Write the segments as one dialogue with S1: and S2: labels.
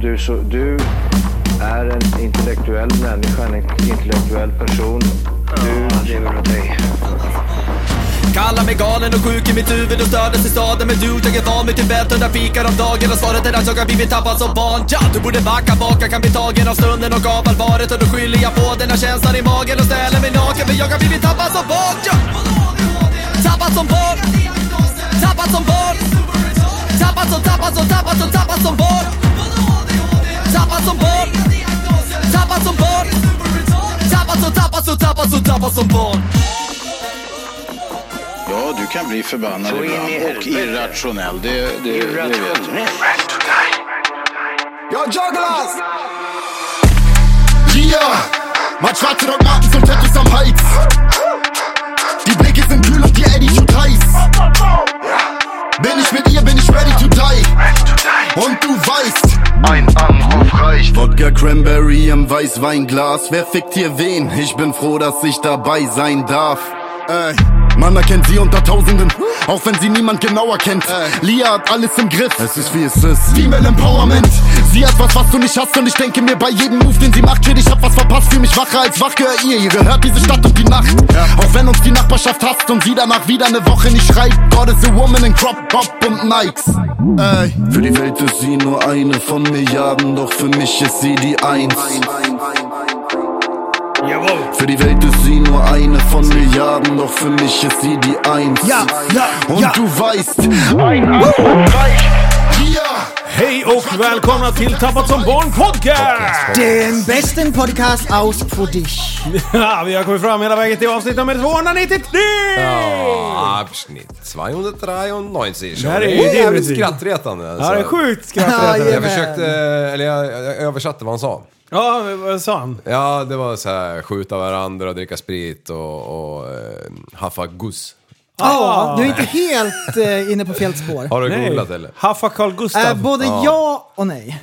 S1: du, så, du är en intellektuell människa, en intellektuell person. Du lever av dig.
S2: Kallar mig galen och sjuk i mitt huvud och stördes i staden Men du, jag är van vid Tibet och där fikar om dagen Och svaret är att jag har blivit tappad som barn ja, Du borde backa bak, jag kan bli tagen av stunden och av allvaret Och då skyller jag på den här känslan i magen och ställer mig naken För jag har blivit tappad som barn ja. Tappad som barn Tappad som barn Tappad som, tappad som, tappad som, tappad som barn Tappad som barn Tappad som barn Tappad som, tappad som, tappad som, tappad som barn
S3: Ja, du kan bli förbannad
S1: Så in i
S3: ibland och
S1: helvete.
S3: irrationell. Det, det, det vet jag.
S1: Irrationell.
S4: Yo, jugglers!
S5: Yeah! Mein schwarzer Rock Martens und Tattoos am Hals. Die Blicke sind kühl und die Attitude heiß. Bin ich mit ihr, bin ich ready to die. Und du weißt, ein Anruf reicht. Wodka Cranberry im Weißweinglas. Wer fickt hier wen? Ich bin froh, dass ich dabei sein darf. Ey. Man erkennt sie unter Tausenden, auch wenn sie niemand genauer kennt. Lia hat alles im Griff. Es ist wie es ist. Female Empowerment. Sie hat was, was du nicht hast, und ich denke mir bei jedem Move, den sie macht, shit, ich hab was verpasst. Fühl mich wacher als wach, gehör ihr. Ihr gehört diese Stadt und die Nacht. Auch wenn uns die Nachbarschaft hasst und sie danach wieder eine Woche nicht schreit. God is a woman in Crop, Bob und Nikes. Ey. Für die Welt ist sie nur eine von Milliarden, doch für mich ist sie die Eins. Für die Welt ist sie nur eine von Milliarden, doch für mich ist sie die Eins.
S4: Ja, ja,
S5: Und
S4: ja.
S5: du weißt, ein
S6: Hej och välkomna till Tappat som barn podcast!
S4: Den besten Podcast aus für dich.
S6: Ja, vi har kommit fram hela vägen till avsnitt nummer 293!
S7: Absnitt 293.
S6: Det här är ju
S7: det är jävligt
S6: definitivt.
S7: skrattretande. alltså.
S6: Det här är sjukt
S4: Ja,
S6: skrattretande.
S4: ja.
S7: Jag försökte, eller jag, jag översatte vad han sa.
S6: Ja, men vad sa han?
S7: Ja, det var så här skjuta varandra och dricka sprit och, och eh, haffa guss.
S4: Ja, du är inte helt eh, inne på fel spår.
S7: Har du googlat eller?
S6: Haffa Carl
S4: Eh,
S6: Gustaf.
S4: både ja och nej.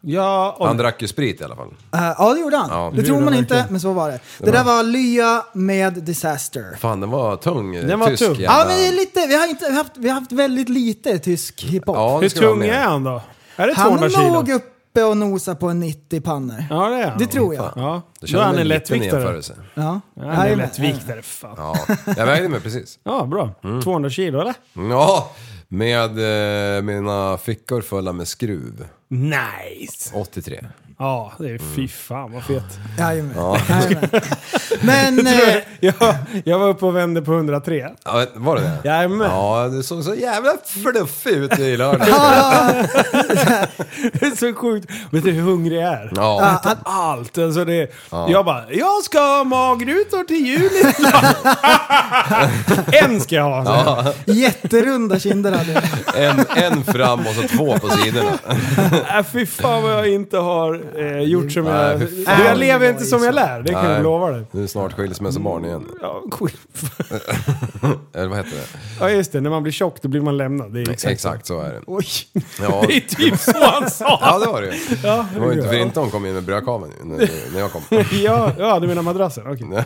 S6: ja, och...
S7: Han drack ju sprit i alla fall.
S4: Eh, ja, det gjorde han.
S7: Ja,
S4: det
S7: det
S4: tror
S6: gjorde
S4: man
S6: han
S4: inte, men så var det. Det där var Lya med Disaster.
S7: Fan, den var tung. eh,
S6: Den var
S7: tysk
S6: tung.
S7: jävla-
S4: Ja, men det är lite, vi har, inte, vi har, haft, vi har haft väldigt lite tysk hiphop.
S7: Ja, det
S6: Hur
S7: ska vi ha
S6: tung
S7: med.
S6: är han då? Är det
S4: han
S6: 200
S4: är
S6: kilo?
S4: nog uppe och nosar på 90 pannor.
S6: Ja, det är han.
S4: Det tror jag.
S6: Ja,
S7: Det
S6: då är
S7: kändes
S6: han
S7: som
S6: en
S7: liten
S6: lättviktare.
S7: jämförelse.
S4: Ja.
S6: Ja, Han är
S4: Jajamän.
S6: lättviktare, fan.
S7: Ja, jag vägde mig precis.
S6: Ja, bra.
S7: Mm.
S6: 200 kilo eller?
S7: Ja, med eh, mina fickor fulla med skruv.
S6: Nice!
S7: 83.
S6: Ja, det är
S7: Mm.
S6: fy fan vad fet.
S4: Jajamän. Jajamän. Men... eh,
S6: Jag, jag var uppe och vände på 103.
S7: Ja, men var det det?
S6: Jajamän.
S7: Ja, du såg så jävla fluffig ut i lördags.
S6: Det är så sjukt. Vet du hur hungrig jag är?
S7: Ja.
S6: Att allt. Alltså det, Jag bara, jag ska ha magrutor till juli. en ska jag ha. alltså. Ja.
S4: Jätterunda kinder hade jag.
S7: En, en fram och så två på sidorna.
S6: Äh, fy fan vad jag inte har eh, gjort som jag...
S7: Nej, fy fan.
S6: Du, jag lever inte som jag lär, det kan jag
S7: Nej.
S6: lova dig.
S7: Nu är snart skilsmässobarn igen.
S6: Ja, cool.
S7: Eller vad heter det?
S6: ja, just det. När man blir tjock då blir man lämnad. Det är exakt.
S7: Exakt så är det.
S6: Oj.
S7: Ja,
S6: Det är typ så han sa.
S7: ja det var det ju. Det var ju inte för inte hon kom in med brödkaveln ju, när, när jag kom.
S6: Ja, ja, du menar madrassen? Okej.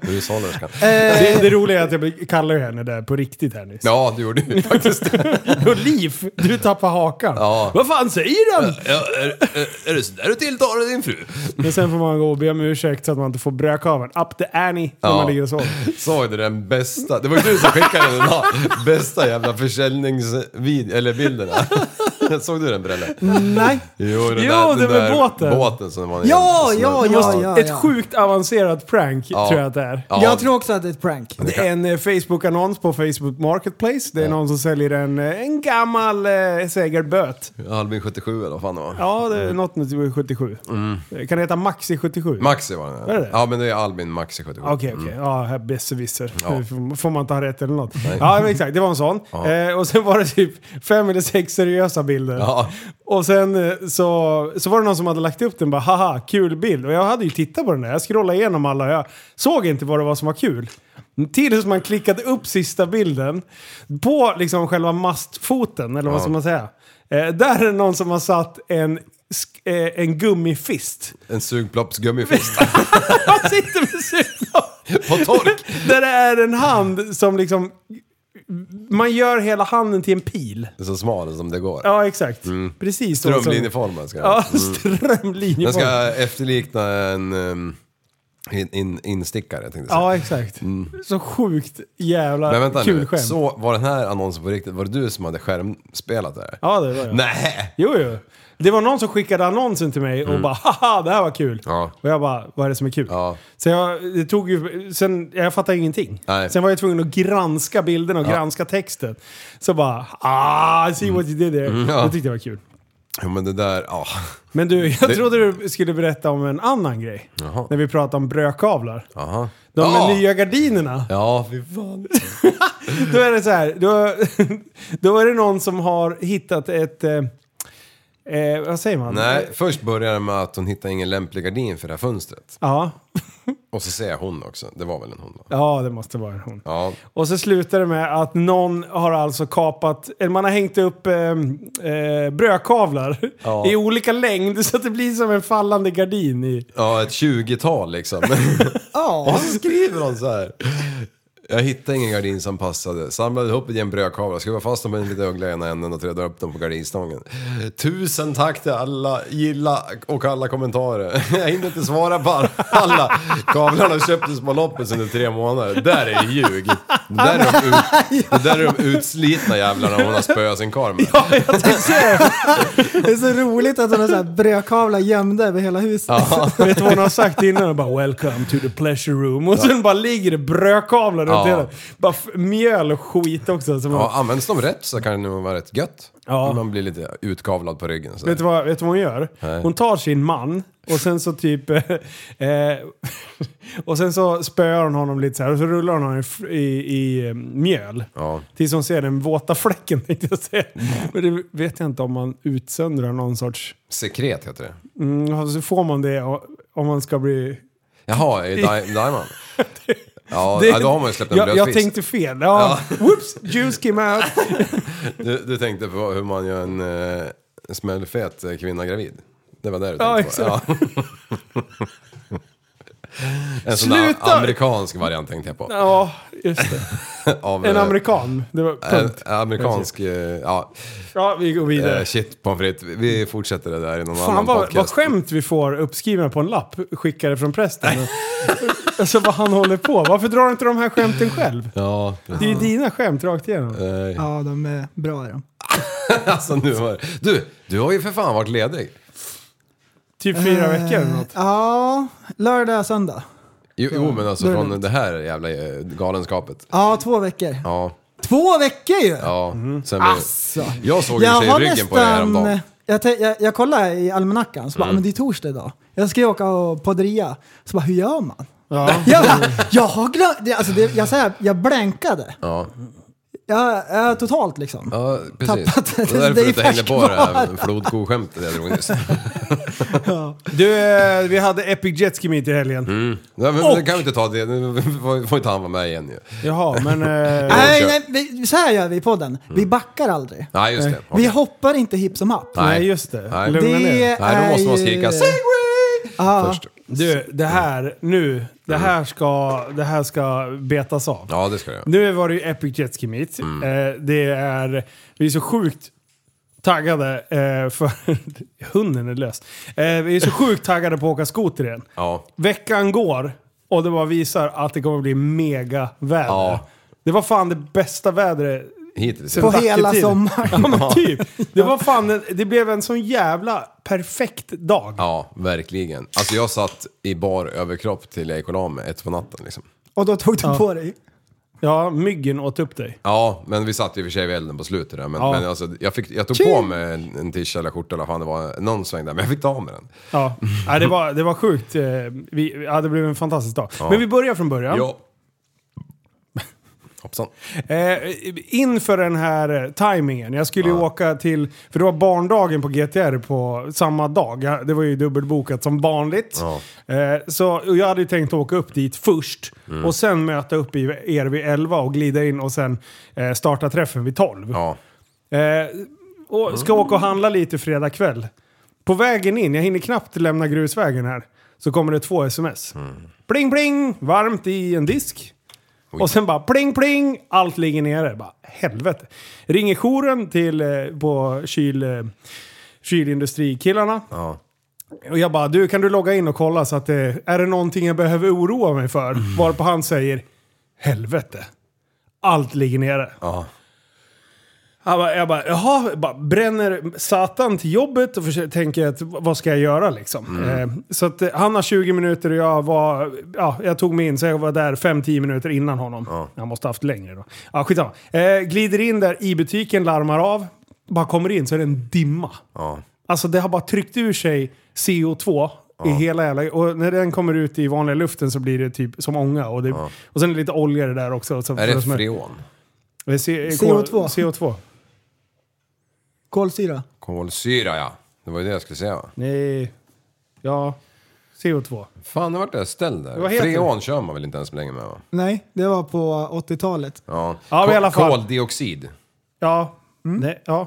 S7: Hushållerskan.
S6: Det, det roliga är att jag kallar henne där på riktigt här nyss.
S7: Ja, det gjorde ju faktiskt det.
S6: Och Liv, du tappar hakan.
S7: Ja.
S6: Vad fan säger han?
S7: Ja, är, är, är det så där du tilltalar din fru?
S6: Men sen får man gå och be om ursäkt så att man inte får brödkaveln. Up the Annie när
S7: Ja.
S6: man ligger och sover.
S7: Såg du den bästa? Det var ju du som skickade den här bästa jävla försäljningsvid eller bilderna. Såg du den Brelle?
S4: Nej.
S7: Jo, den
S6: Jo,
S7: där,
S6: den
S7: den
S6: med
S7: där
S6: båten.
S7: båten som var
S4: Ja, ja,
S6: Det måste,
S4: ja, ja.
S6: ett
S4: ja.
S6: sjukt avancerat prank
S7: Ja.
S6: tror jag att det är.
S7: Ja.
S4: Jag tror också att det är ett prank.
S6: Det är en eh, Facebook-annons på Facebook Marketplace. Det är någon som säljer en, eh, en gammal eh, segerböt.
S7: Albin 77 eller vad fan det var.
S6: Ja, det är något med 77.
S7: Mm.
S6: Det Kan det heta Maxi 77?
S7: Maxi var den.
S6: Är det det?
S7: Ja, men det är Albin Maxi Mm. 77.
S6: Okej, okej. Ja, här besserwisser.
S7: Ja.
S6: F- Får man inte ha rätt eller något? Ja, men exakt. Det var en sån.
S7: Ja.
S6: Eh, och sen var det typ fem eller sex seriösa bilder.
S7: Ja.
S6: Och sen eh, så, så var det någon som hade lagt upp den bara haha, kul bild. Och jag hade ju tittat på den där. Jag scrollade igenom alla och jag såg inte vad det var som var kul. Tills man klickade upp sista bilden på liksom själva mastfoten, eller vad ska man säga? Eh, där är det någon som har satt en, sk- eh, en gummifist.
S7: En sugploppsgummifist.
S6: Han sitter med sugblad.
S7: På tork!
S6: Där det är en hand som liksom man gör hela handen till en pil.
S7: Det är så smal som det går.
S6: Ja, exakt. Precis. så som-
S7: Strömlinjeformad ska den.
S6: Ja,
S7: Mm. Den
S6: strömlinjeform.
S7: ska efterlikna en um, in, in, instickare tänkte jag säga.
S6: Ja, exakt. Så sjukt jävla
S7: Mm. Men vänta
S6: kul
S7: nu,
S6: skämt.
S7: så var den här annonsen på riktigt? Var det du som hade skärmspelat det här?
S6: Ja, det var jag.
S7: Nej!
S6: Jo, jo. Det var någon som skickade annonsen till mig och bara haha, det här var kul.
S7: Mm. Ja.
S6: Och jag bara, vad är det som är kul?
S7: Ja.
S6: Så jag, det tog ju, sen, jag fattade ingenting.
S7: Nej.
S6: Sen var jag tvungen att granska bilderna och granska texten. Så bara, ah, I see what you did there.
S7: Mm. ja.
S6: Det tyckte jag var kul.
S7: Jo men det där, ja.
S6: Men du, jag
S7: Det-
S6: trodde du skulle berätta om en annan grej.
S7: Jaha.
S6: När vi pratade om brödkavlar.
S7: Jaha.
S6: De
S7: ja.
S6: med nya gardinerna.
S7: Ja, fy fan.
S6: Då är det så här, då, då är det någon som har hittat ett... Eh, eh, vad säger man?
S7: Nej, först började det med att hon hittade ingen lämplig gardin för det här fönstret.
S6: Ja,
S7: Och så säger jag hon också, det var väl en hon då?
S6: ja, det måste vara en hon.
S7: Ja.
S6: Och så slutar det med att någon har alltså kapat, eller man har hängt upp eh, eh, brödkavlar
S7: Ja.
S6: i olika längd så att det blir som en fallande gardin. I.
S7: Ja, ett 20-tal liksom. Och så skriver hon så här. Jag hittade ingen gardin som passade. Samlade ihop i en brödkavle, skruva fast dem i en liten uggla i ena änden och trädde upp dem på gardinstången. Tusen tack till alla gilla och alla kommentarer. Jag hinner inte svara på alla. Kavlarna köptes på loppis under tre månader. Där är det ljug. Det där är de, ut, det där är de utslitna jävlarna hon har spöat sin karl med.
S4: Det är så roligt att hon har så här brödkavlar gömda över hela huset.
S6: Vet du vad hon har sagt innan? Hon bara “Welcome to the pleasure room” och sen bara ligger det brödkavlar runt
S7: Ja.
S6: hela. Bara f- mjöl och skit också. Som
S7: Ja, används de rätt så kan det nog vara rätt gött.
S6: Ja.
S7: Man blir lite utkavlad på ryggen. Så.
S6: Vet du, vad, vet du vad hon gör?
S7: Nej.
S6: Hon tar sin man och sen så typ... Eh, eh, och sen så spöar hon honom lite så här och så rullar hon honom i, f- i, i eh, mjöl.
S7: Ja.
S6: Tills hon ser den våta fläcken tänkte jag säga. Men det vet jag inte om man utsöndrar någon sorts...
S7: Sekret heter det.
S6: Mm, så får man det o- om man ska bli...
S7: Jaha, i Di- Diamond? Ja, ja, då har man ju släppt en
S6: jag, jag
S7: blötfisk.
S6: tänkte fel. Ja. Whoops, juice came out.
S7: Du, du tänkte på hur man gör en eh, smällfet eh, kvinna gravid. Det var det du
S6: Ja,
S7: tänkte på. Ja. En sån där
S6: Sluta!
S7: amerikansk variant tänkte jag på.
S6: Ja, just det.
S7: Av,
S6: En
S7: eh,
S6: amerikan. Det var
S7: en
S6: punkt.
S7: amerikansk, eh, ja,
S6: Ja, vi går vidare.
S7: eh, shit pommes frites. Vi fortsätter det där i någon
S6: Fan
S7: annan
S6: vad,
S7: podcast.
S6: vad skämt vi får uppskrivna på en lapp skickade från prästen. alltså vad han håller på. Varför drar inte de här skämten själv?
S7: Ja, Eh.
S6: Det är ju dina skämt rakt igenom.
S7: nej.
S4: Ja, de är bra är de.
S7: Alltså, nu var, du, du har ju för fan varit ledig.
S6: Typ fyra veckor eller något.
S4: Eh, Ja, lördag, söndag.
S7: Jo, jo men alltså
S4: då är det
S7: från
S4: lugnt.
S7: det här jävla eh, galenskapet.
S4: Ja, två veckor.
S7: Ja,
S4: Två veckor ju!
S7: ja. Sen blev-
S4: Alltså.
S7: Jag såg ju sig i ryggen på det här om dagen. Mm.
S4: jag, tän- jag, jag kollade i almanackan, så bara, men det är torsdag idag. Jag ska ju åka och podderia. Så bara, hur gör man?
S6: Ja.
S4: Jag, bara, jag har glömt, det- alltså det, jag säger, jag blankade.
S7: Ja,
S4: Jag, jag totalt liksom.
S7: ja precis.
S4: Tappat
S7: det
S4: det.
S7: var därför
S4: Det är
S7: du inte hängde på det
S4: färskvara.
S7: här flodko-skämtet jag drog nyss.
S6: Du, eh, vi hade Epic Jet Ski Meet i helgen.
S7: Nej, men
S6: Och-
S7: det kan vi inte ta det. Nu får får inte han vara med igen ju.
S6: Jaha, men... Eh,
S4: Nej,
S7: kör.
S4: nej, vi, så här gör vi i podden. Vi backar aldrig.
S7: Nej, Mm. just det.
S4: Vi
S7: Okej.
S4: hoppar inte hipp som happ.
S6: nej, just det.
S7: Nej.
S6: Lugna ner.
S4: Det-
S7: Nej, då måste man
S4: är ju-
S7: skrika segway
S4: Ja.
S7: först.
S6: Du, det här nu. Det här ska, det här ska betas av.
S7: Mm. Ja, det ska jag. göra.
S6: Nu var det ju Epic Jet Ski Meet.
S7: Mm.
S6: Eh, det är, vi är så sjukt taggade eh, för... hunden är lös. Eh, vi är så sjukt taggade på att åka skoter igen.
S7: Ja.
S6: Veckan går och det bara visar att det kommer bli mega väder.
S7: Ja.
S6: Det var fan det bästa vädret
S7: Hittills.
S4: På
S7: ja.
S6: Vacker
S4: hela
S6: tid. Ja
S4: sommaren.
S6: men typ. Det var fan, en- det blev en sån jävla perfekt dag.
S7: Ja, verkligen. Alltså jag satt i bar överkropp till jag gick och la mig ett på natten liksom.
S4: Och då tog du på dig.
S6: Ja, myggen åt upp dig.
S7: Ja, men vi satt ju i och för sig vid elden på slutet där. Men,
S6: Ja.
S7: men alltså, jag, fick, jag tog
S6: Tjing!
S7: på mig en, en tisha eller skjorta eller vad fan det var, någon sväng där. Men jag fick ta av mig den.
S6: Ja, Nej, det, var, det var sjukt. eh, Vi, ja, det blev en fantastisk dag. Men vi börjar från början.
S7: Ja. Hoppsan.
S6: Eh, inför den här eh, timingen, jag skulle ju åka till, för det var barndagen på GTR på samma dag. Jag, det var ju dubbelbokat som vanligt. Eh, så och jag hade ju tänkt åka upp dit först och sen möta upp i, er vid 11 och glida in och sen eh, starta träffen vid 12.
S7: Ja.
S6: Eh, och ska åka och handla lite fredag kväll. På vägen in, jag hinner knappt lämna grusvägen här, så kommer det två sms. Pling pling! Varmt i en disk. Och sen bara pling pling, allt ligger nere. Bara, helvete. Ringer jouren till, eh, på kyl, eh, kylindustrikillarna.
S7: Ja.
S6: Och jag bara, du kan du logga in och kolla så att det, är det någonting jag behöver oroa mig för? Varpå han säger, helvete. Allt ligger nere.
S7: Ja.
S6: Han bara, jag bara, jaha, bara, bränner satan till jobbet och försöker, tänker att vad ska jag göra liksom?
S7: Mm.
S6: Eh, så att eh, han har 20 minuter och jag var, ja, jag tog mig in så jag var där 5-10 minuter innan honom. Han måste ha haft längre då. Ja, skitsamma. Eh, glider in där i butiken, larmar av, bara kommer in så är det en dimma.
S7: Ja.
S6: Alltså det har bara tryckt ur sig CO2 i hela jävla... Och när den kommer ut i vanliga luften så blir det typ som ånga. Och, det, och sen är det lite olja i det där också. Så,
S7: Är det
S6: som
S7: freon?
S6: Eh, C-
S4: CO2.
S6: CO2.
S4: Kolsyra.
S7: Kolsyra ja. Det var ju det jag skulle säga.
S6: Nej. Ja. CO2.
S7: Fan, det vart det jag ställde där.
S6: Vad heter det?
S7: Freon kör man väl inte ens längre med va?
S4: Nej, det var på 80-talet.
S7: Ja.
S6: Ja, men i
S7: Ko-
S6: alla fall.
S7: Koldioxid.
S6: Ja. Nej, ja.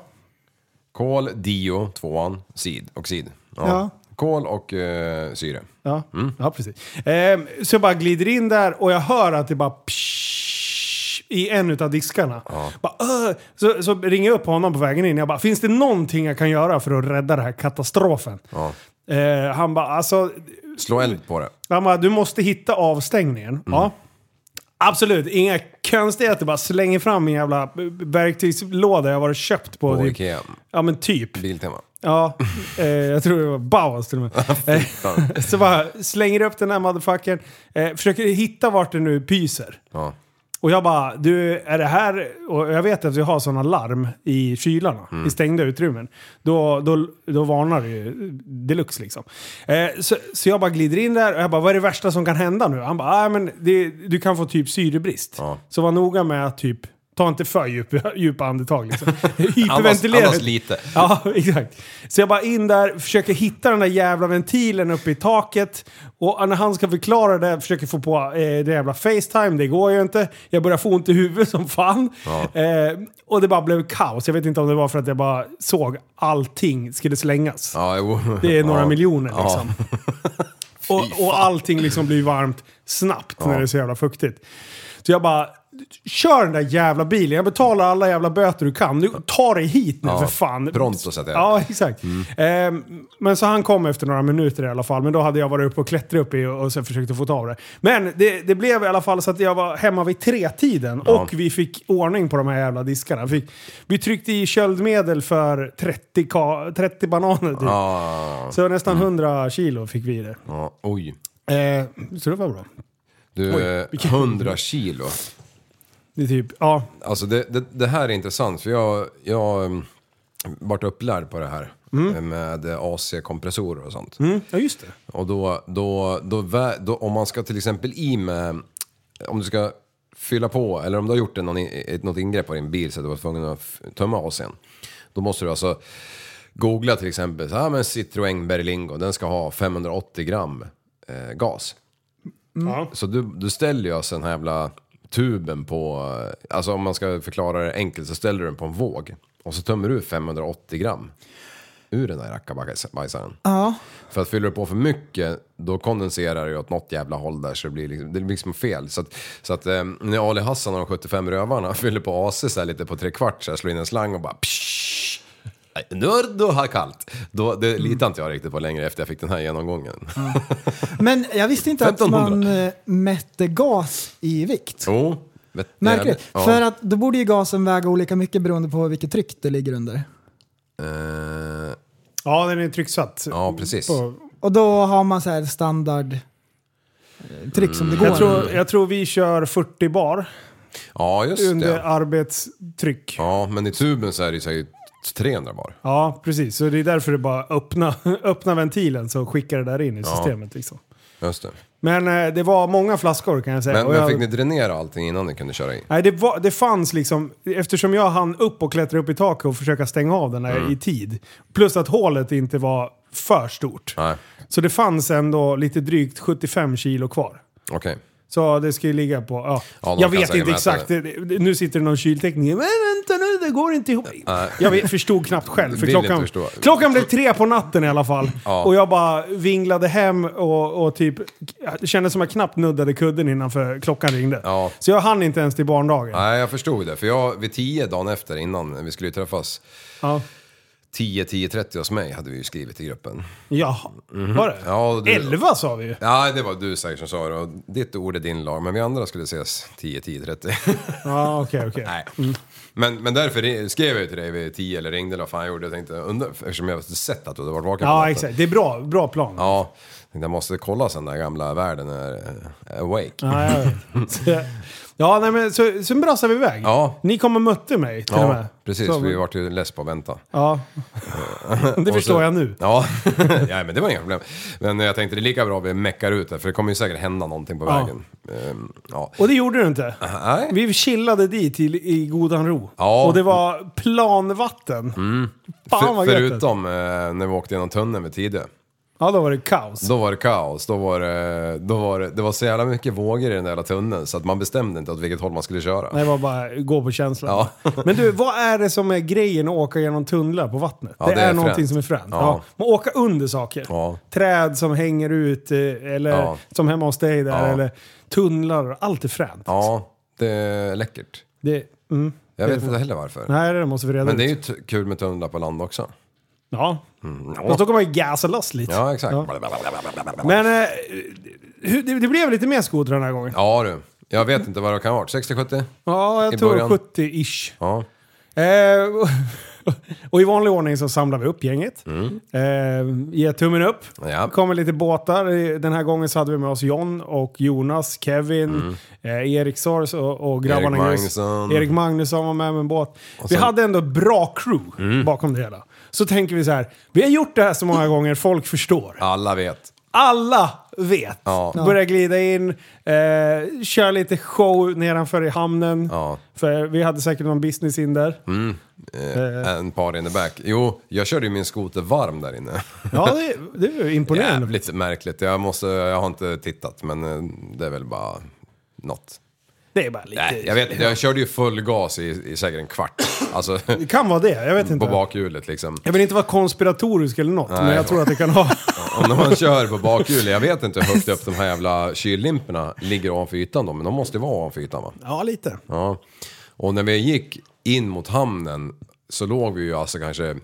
S7: Kol, dio, tvåan, sid, oxid. Ja.
S4: Ja.
S7: Kol och eh, syre.
S6: Ja. ja, precis. Ehm, så jag bara glider in där och jag hör att det bara psh, i en utav diskarna. Bara, "Åh!" så, så ringer jag upp honom på vägen in. Jag bara, finns det någonting jag kan göra för att rädda den här katastrofen?
S7: Ja.
S6: Ehm, han bara, alltså
S7: Slå eld på det.
S6: Han bara, du måste hitta avstängningen. Ja. Absolut, inga konstigheter. Bara slänger fram min jävla eh, verktygslåda jag har varit och köpt på.
S7: På
S6: typ-
S7: Ikea.
S6: Ja men typ.
S7: Biltema.
S6: Ja, eh, jag tror det var Bauhaus till och med. Eh, Så bara slänger upp den här motherfuckern. Eh, försöker hitta vart det nu pyser.
S7: Ja.
S6: Och jag bara, du är det här... Och jag vet att vi har sådana larm i kylarna,
S7: Mm.
S6: i stängda utrymmen. Då, då, då varnar det ju deluxe liksom. Eh, så, så jag bara glider in där och jag bara, vad är det värsta som kan hända nu? Han bara, ah, men det, du kan få typ syrebrist.
S7: Ja.
S6: Så var noga med att typ, ta inte för djupa, djupa andetag liksom.
S7: Annars,
S6: Hyperventilera.
S7: annars lite.
S6: Ja, exakt. Så jag bara in där, försöker hitta den där jävla ventilen uppe i taket. Och när han ska förklara det, försöker få på eh, det jävla Facetime, det går ju inte. Jag börjar få ont i huvudet som fan. Eh, och det bara blev kaos. Jag vet inte om det var för att jag bara såg allting skulle slängas.
S7: Ja, jo.
S6: Det är några
S7: Mm. ja.
S6: miljoner
S7: Ja.
S6: liksom. Och, och allting liksom blir varmt snabbt när det är så jävla fuktigt. Så jag bara, kör den där jävla bilen. Jag betalar alla jävla böter du kan. Du, ta dig hit nu
S7: Ja,
S6: för fan.
S7: pronto, så att Mm. säga.
S6: Ja, exakt. Ehm, men så han kom efter några minuter i alla fall. Men då hade jag varit uppe och klättrat upp i och, och sen försökte få tag i det. Men det, det blev i alla fall så att jag var hemma vid tretiden. Och vi fick ordning på de här jävla diskarna. Vi, fick, vi tryckte i köldmedel för 30, ka, 30 bananer typ.
S7: Ja. Mm.
S6: Så nästan 100 kilo fick vi i det.
S7: ja. Oj.
S6: Eh, så det var bra.
S7: Du, eh, 100 kilo.
S6: Det är typ, ja.
S7: Alltså det, det, det här är intressant för jag, jag um, vart upplärd på det här. eh, Med eh, AC-kompressorer och sånt.
S6: Mm. Ja, just det.
S7: Och då, då, då, vä- då, om man ska till exempel i med, om du ska fylla på eller om du har gjort en, någon, i- ett, något ingrepp på din bil så att du var tvungen att f- tömma AC'n. Då måste du alltså googla till exempel, så här, "Ah, men Citroën Berlingo, den ska ha 580 gram eh, gas.
S6: Ja.
S7: Så du, du ställer ju alltså den här jävla tuben på, eh, alltså om man ska förklara det enkelt så ställer du den på en våg. Och så tömmer du 580 gram ur den där rackabajsaren. För att fyller du på för mycket, då kondenserar det ju åt något jävla håll där så det blir liksom, det blir liksom fel. Så att, så att eh, när Ali Hassan och de 75 rövarna fyller på AC så här lite på tre kvart så här, slår in en slang och bara psh, Nej, nu har du har kallt. Då, det litar inte jag riktigt på längre efter jag fick den här genomgången.
S4: Men jag visste inte att
S7: 1500.
S4: man eh, mätte gas i vikt.
S7: Jo, vet du,
S4: Märkligt.
S7: ja.
S4: För att då borde ju gasen väga olika mycket beroende på vilket tryck det ligger under.
S7: Eh,
S6: Ja, den är trycksatt.
S7: ja, precis.
S6: På-
S4: Och då har man så här standard eh, tryck som det går.
S6: Mm. Jag, tror, jag tror vi kör 40 bar
S7: Ja, just
S6: under
S7: det.
S6: arbetstryck. Ja.
S7: Ja, men i tuben så är det ju säkert 300 bar.
S6: precis. Så det är därför det bara öppna, öppna ventilen så skickar det där in i systemet. Liksom.
S7: Just det.
S6: Men eh, det var många flaskor kan jag säga.
S7: Men,
S6: Och
S7: men
S6: jag,
S7: fick ni dränera allting innan ni kunde köra in?
S6: Nej, det, var, det fanns liksom, eftersom jag hann upp och klättra upp i taket och försöka stänga av den
S7: Mm.
S6: här i tid. Plus att hålet inte var för stort.
S7: Nej,
S6: Så det fanns ändå lite drygt 75 kilo kvar.
S7: okej.
S6: Så det ska ju ligga på... Ja.
S7: Ja, någon
S6: jag
S7: kan
S6: vet
S7: säkert
S6: inte
S7: mäta
S6: exakt. det- det- Nu sitter det någon kyltekniker. Men vänta nu, det går inte ihop. Jag vet, förstod knappt själv. För
S7: Vill inte
S6: klockan,
S7: förstå.
S6: klockan blev tre på natten i alla fall.
S7: Ja.
S6: Och jag bara vinglade hem och, och typ... Det kändes som jag knappt nuddade kudden innanför klockan ringde.
S7: Ja.
S6: Så jag hann inte ens till barndagen.
S7: Nej, jag förstod det. För jag, vid 10 dagen efter, innan vi skulle träffas,
S6: Ja.
S7: 10-10.30 hos mig hade vi ju skrivit i gruppen.
S6: Jaha, var det?
S7: Mhm. Ja, och du-
S6: Elva sa vi ju.
S7: Ja, det var du säkert som sa det. och Ditt ord är din lag, men vi andra skulle ses 10-10.30.
S6: Ja, okej, okej.
S7: Nej. Men, men därför re- skrev jag ju till dig vid 10 eller ringde eller vad fan jag gjorde. Jag tänkte, undra, eftersom jag sett att du hade varit vaken på
S6: Ja,
S7: natten.
S6: exakt. Det är bra, bra plan.
S7: Ja, tänkte jag måste kolla sen den där gamla världen är eh, awake.
S6: Ja, jag vet. Så- Ja, nej men så, sen brassade vi iväg.
S7: Ja.
S6: Ni kom och mötte mig till och
S7: Ja,
S6: med.
S7: precis.
S6: Så-
S7: Vi vart ju less på att vänta.
S6: Ja. Det
S7: Och
S6: förstår
S7: så-
S6: jag nu.
S7: Ja. ja, men det var inga problem. Men jag tänkte det är lika bra att vi meckar ut det, för det kommer ju säkert hända någonting på
S6: Ja.
S7: vägen. Ehm, ja.
S6: Och det gjorde du inte.
S7: Nej.
S6: Vi chillade dit i, i godan ro.
S7: Ja. Mm.
S6: Och det var planvatten. Fan vad
S7: För,
S6: gött.
S7: förutom eh, när vi åkte genom tunneln vid Tidö.
S6: Ja, då var det kaos.
S7: Då var det kaos. Då var det, då var det, det var så jävla mycket vågor i den där jävla tunneln så att man bestämde inte åt vilket håll man skulle köra.
S6: Det var bara gå på känslan.
S7: Ja.
S6: Men du, vad är det som är grejen att åka genom tunnlar på vattnet?
S7: Ja,
S6: det,
S7: det
S6: är,
S7: är
S6: någonting
S7: fränt.
S6: som är fränt. Ja.
S7: Ja.
S6: Man åka under saker.
S7: Ja.
S6: Träd som hänger ut, eh, eller
S7: Ja.
S6: som hemma hos dig där,
S7: Ja.
S6: eller tunnlar. Allt är fränt.
S7: Ja, det är läckert.
S6: Det, mm.
S7: Jag vet inte heller varför.
S6: Nej, det måste vi reda
S7: Men
S6: ut.
S7: det är ju t- kul med tunnlar på land också.
S6: Ja. Fast då kan man ju gasa loss lite.
S7: Mm, Ja, exakt.
S6: Men eh, hur- det, det blev lite mer skoter den här gången. Ja,
S7: Ja du, jag vet inte vad det kan ha varit. 60-70?
S6: jag
S7: I
S6: tror
S7: början.
S6: 70-ish.
S7: Ja.
S6: Eh, och i vanlig ordning så samlar vi upp gänget. Eh, ger tummen upp.
S7: Mm. Ja.
S6: kommer lite båtar. Den här gången så hade vi med oss John och Jonas, Kevin, eh, Erik Sors och, och grabbarna
S7: Mm. Erik
S6: Grus.
S7: Magnusson.
S6: Erik Magnusson var med med en båt. Vi
S7: sen- Mm.
S6: hade ändå ett bra crew bakom det hela. Så tänker vi så här, vi har gjort det här så många gånger, folk förstår.
S7: Alla vet.
S6: Alla vet.
S7: Ja.
S6: Börjar glida in, eh, kör lite show nedanför i hamnen.
S7: Ja.
S6: För vi hade säkert någon business in där.
S7: Eh, En par in the back. Jo, jag körde ju min skoter varm där inne.
S6: Ja, det, det är ju imponerande.
S7: Jävligt märkligt. Jag, måste, jag har inte tittat, men eh, det är väl bara något.
S6: Det är bara lite...
S7: Nej, jag vet inte. Jag körde ju full gas i, i säkert en kvart. Alltså,
S6: Det kan vara det, jag vet inte.
S7: på bakhjulet liksom.
S6: Jag vill inte vara konspiratorisk eller något, men
S7: Mm, Nej.
S6: jag tror att det kan ha...
S7: Om man kör på bakhjulet, jag vet inte hur högt upp de här jävla kyllimporna ligger ovanför ytan då, men de måste ju vara ovanför ytan va?
S6: ja, lite.
S7: Ja. Och när vi gick in mot hamnen så låg vi ju alltså kanske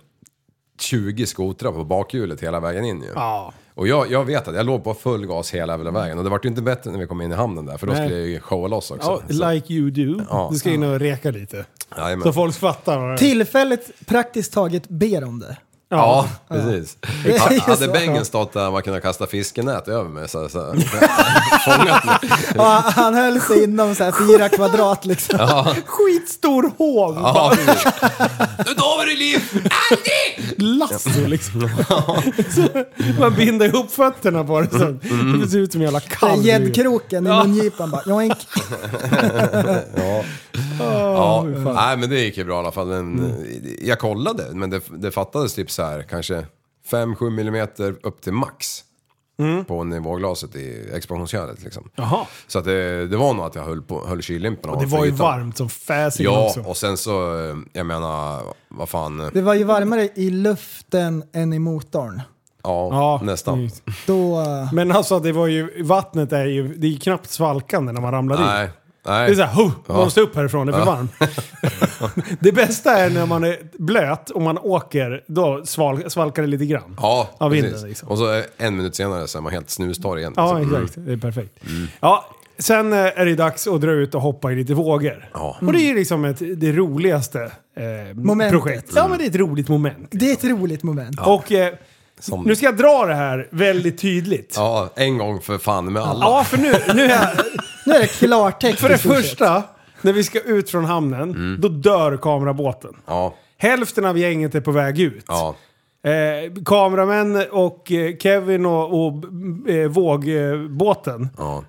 S7: 20 skotrar på bakhjulet hela vägen in ju.
S6: Ja.
S7: Och jag, jag vet att jag låg på full gas hela jävla vägen och det vart ju inte bättre när vi kom in i hamnen där för då
S6: Nej.
S7: skulle jag ju showa loss också.
S6: Ja, like you do.
S7: Ja.
S6: Du ska in och reka lite.
S7: Jajamän.
S6: Så folk fattar vad det är.
S4: Tillfälligt praktiskt taget ber om det.
S7: Ja, precis.
S4: Exakt.
S7: Ha- Hade Bengen stått där man kunde kasta fiskenät över mig så, så fångat mig.
S4: Och han han höll sig inom så här fyra kvadrat liksom.
S6: Skitstor håv!
S7: Ja, precis. Nu tar vi det liv! Aldrig!
S6: Lasso liksom. Så Man binder ihop fötterna på det så
S7: Mm.
S6: det ser ut som en jävla
S4: Den
S6: kalv.
S4: här Gäddkroken i mungipan bara. Joink.
S7: Ja, mm. nej men det gick ju bra i alla fall. Den,
S6: Mm.
S7: Jag kollade, men det, det fattades typ så här kanske 5-7 millimeter upp till max. På nivåglaset i expansionskölet liksom.
S6: Mm. Jaha.
S7: Så att det, det var nog att jag höll, på, höll kyllimporna
S6: Det
S7: ovanför
S6: var ju
S7: ytan.
S6: varmt som fäsing
S7: Ja,
S6: också.
S7: och sen så, eh, jag menar, vad fan. eh,
S4: Det var ju varmare i luften än i motorn.
S7: Ja,
S6: Ja, mm.
S7: nästan.
S6: precis.
S4: Då...
S6: Men alltså det var ju, vattnet är ju, det är ju knappt svalkande när man ramlar dit.
S7: Nej, nej.
S6: Det är såhär, huh, man måste upp härifrån, det är för varmt. det bästa är när man är blöt och man åker, då sval, svalkar det lite grann.
S7: Ja,
S6: av
S7: precis.
S6: vinden liksom.
S7: Och så eh, en minut senare så är man helt snustorr igen.
S6: Ja,
S7: liksom.
S6: exakt. Det är perfekt.
S7: Mm.
S6: Ja, sen eh, är det dags att dra ut och hoppa i lite vågor.
S7: Ja.
S6: Och det är ju liksom ett, det roligaste eh,
S4: Momentet.
S6: projekt. Ja, men det är ett roligt moment.
S4: Det är ett roligt moment.
S6: Och eh,
S7: Som-
S6: nu ska jag dra det här väldigt tydligt. Ja.
S7: Ja, en gång för fan med alla.
S6: för nu, nu är jag,
S4: Nu är det klartext.
S6: För det
S4: i stort sett.
S6: första, när vi ska ut från hamnen,
S7: Mm.
S6: då dör kamerabåten.
S7: Ja,
S6: Hälften av gänget är på väg ut.
S7: ja.
S6: Eh, kameramän och eh, Kevin och, och eh, vågbåten
S7: ja.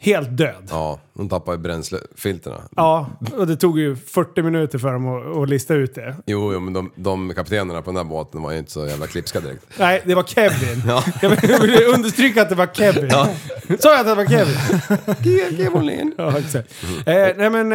S6: Helt död.
S7: Ja, de tappar ju bränslefilterna.
S6: Ja, och det tog ju 40 minuter för dem att, att lista ut det.
S7: Jo, jo, men de, de kaptenerna på den där båten var ju inte så jävla klipska direkt.
S6: Nej, det var Kevin.
S7: Ja.
S6: Jag vill- jag vill understryka att det var Kevin. Sa jag att det var Kevin? Ja, exakt. Eh, nej men,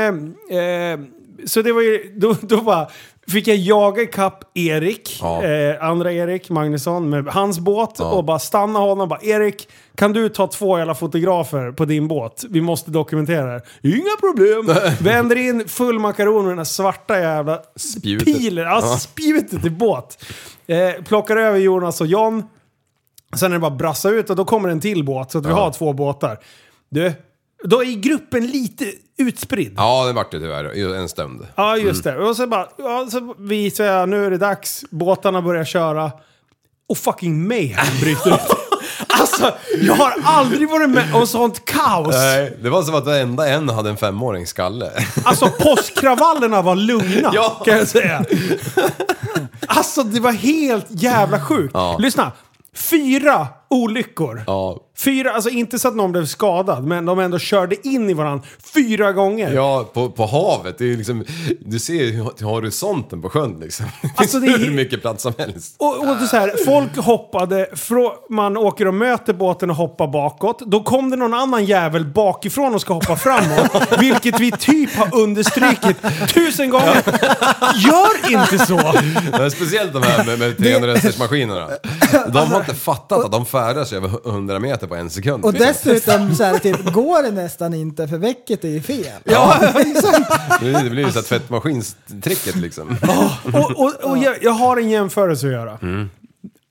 S6: eh, eh, så det var ju, då, då bara, fick jag jaga ikapp Erik,
S7: Ja.
S6: eh, andra Erik Magnusson, med hans båt och bara stanna honom bara Erik, kan du ta två jävla fotografer på din båt? Vi måste dokumentera det här. Inga problem! Vänder in full makaron med den här svarta jävla
S7: Spjutet.
S6: pilen, alltså
S7: Ja.
S6: spjutet i båt. Eh, plockar över Jonas och John. Sen är det bara att brassa ut och då kommer en till båt. Så att vi har två båtar. Du, då är gruppen lite utspridd. Ja.
S7: Ja, det vart det tyvärr. Ju En stund.
S6: just
S7: Mm.
S6: det. Och så bara, ja, så visar jag, nu är det dags, båtarna börjar köra. Och fucking mayhem bryter ut. alltså, jag har aldrig varit med om sånt kaos.
S7: Nej, det var som att varenda en hade en femårings skalle.
S6: Alltså påskkravallerna var lugna
S7: Ja.
S6: kan jag säga. Alltså det var helt jävla sjukt.
S7: Ja.
S6: Lyssna. Fyra olyckor.
S7: Ja.
S6: Fyra, alltså inte så att någon blev skadad, men de ändå körde in i varandra fyra gånger.
S7: Ja, på, på havet. Det är ju liksom, du ser ju till horisonten på sjön liksom. Det finns
S6: Alltså, det är-
S7: hur mycket plats som helst.
S6: Och, och det är så här, folk hoppade, frå- man åker och möter båten och hoppar bakåt. Då kom det någon annan jävel bakifrån och ska hoppa framåt. vilket vi typ har understrukit tusen gånger. Gör inte så!
S7: Men speciellt de här med, med 300 maskinerna De har inte fattat att de färdas över 100 meter på en sekund.
S4: Och
S7: liksom.
S4: dessutom så här, typ, går det nästan inte för väcket är ju fel.
S7: Det blir- det blir ju så här tvättmaskinstricket liksom.
S6: och och, och jag, jag har en jämförelse att göra.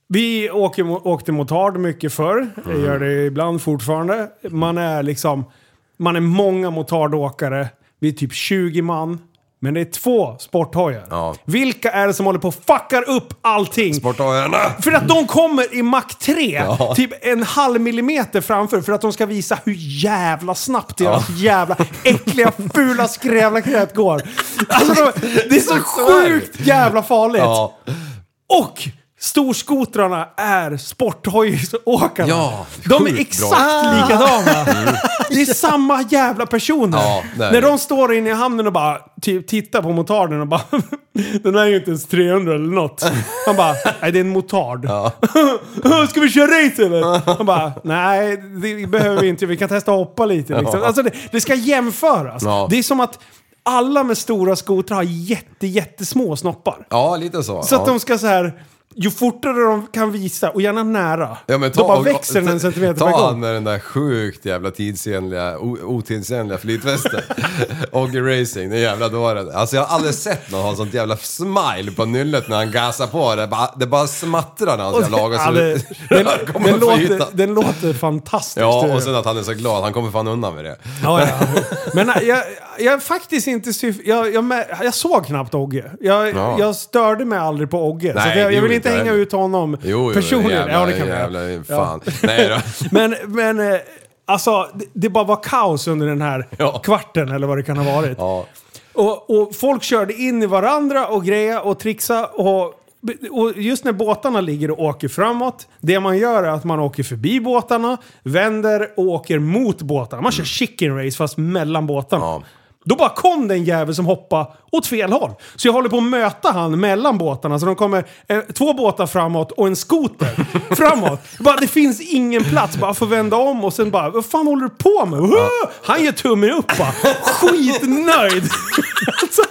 S6: Vi åker, mo- åkte motard mycket förr, jag gör det ibland fortfarande. Man är liksom, man är många motardåkare, vi är typ 20 man. Men det är två sporthojar.
S7: Ja.
S6: Vilka är det som håller på och fuckar upp allting?
S7: Bort av öarna!
S6: För att de kommer i Mac 3,
S7: Ja.
S6: typ en halv millimeter framför, för att de ska visa hur jävla snabbt deras jävla äckliga, fula, skrävla knät går. Alltså, de, det är så sjukt jävla farligt.
S7: Ja.
S6: Och storskotrarna är sporthojsåkarna.
S7: Ja,
S6: de
S7: sjukt
S6: är
S7: bra.
S6: exakt likadana. Det är samma jävla personer.
S7: Ja, det är
S6: När
S7: det.
S6: de står inne i hamnen och bara typ, tittar på motarden och bara Den här är ju inte ens 300 eller något. Han bara, nej det är en motard. Ska vi köra race eller? Han bara, nej det behöver vi inte. Vi kan testa att hoppa lite. Liksom. Alltså det, det ska jämföras.
S7: Ja.
S6: Det är som att alla med stora skotrar har jätte, jättesmå snoppar.
S7: Ja, lite så.
S6: Så
S7: ja.
S6: att de ska så här... Ju fortare de kan visa, och gärna nära,
S7: Ja, men
S6: då bara växer den en centimeter
S7: ta
S6: per
S7: han
S6: gång.
S7: med den där sjukt jävla tidsenliga, o- otidsenliga flytvästen. Oggy Racing, det jävla dåren. Alltså jag har aldrig sett någon ha sånt jävla smile på nyllet när han gasar på. Det bara, det bara smattrar när hans jävla ögon
S6: Ja, det, den,
S7: kommer
S6: den,
S7: upp för ytan.
S6: låter, den låter fantastiskt.
S7: Ja,
S6: du.
S7: och sen att han är så glad. Han kommer fan undan med det.
S6: ja, ja. Men nej, jag, jag är faktiskt inte syf- jag, jag, mä- jag såg knappt Ogge. Jag,
S7: Ja.
S6: jag störde mig aldrig på Ogge. så
S7: Nej,
S6: att jag,
S7: det
S6: jag vill
S7: gjorde
S6: inte
S7: inte
S6: hänga
S7: jag.
S6: ut honom
S7: Jo, jo
S6: personligen.
S7: jävla,
S6: ja, det kan jag.
S7: jävla, fan. Nej då.
S6: Men, men eh, alltså, det, det bara var kaos under den här
S7: Ja.
S6: kvarten eller vad det kan ha varit.
S7: Ja.
S6: Och, och folk körde in i varandra och greja och trixa och och just när båtarna ligger och åker framåt, det man gör är att man åker förbi båtarna, vänder och åker mot båtarna. Man kör chicken race fast mellan båtarna.
S7: Ja.
S6: Då bara kom den jävel som hoppade åt fel håll. Så jag håller på att möta han mellan båtarna. Så de kommer eh, två båtar framåt och en skoter framåt. Bara, det finns ingen plats. Bara får vända om och sen bara, vad fan håller du på med? Woo! Han ger tummen upp bara. Skitnöjd! alltså,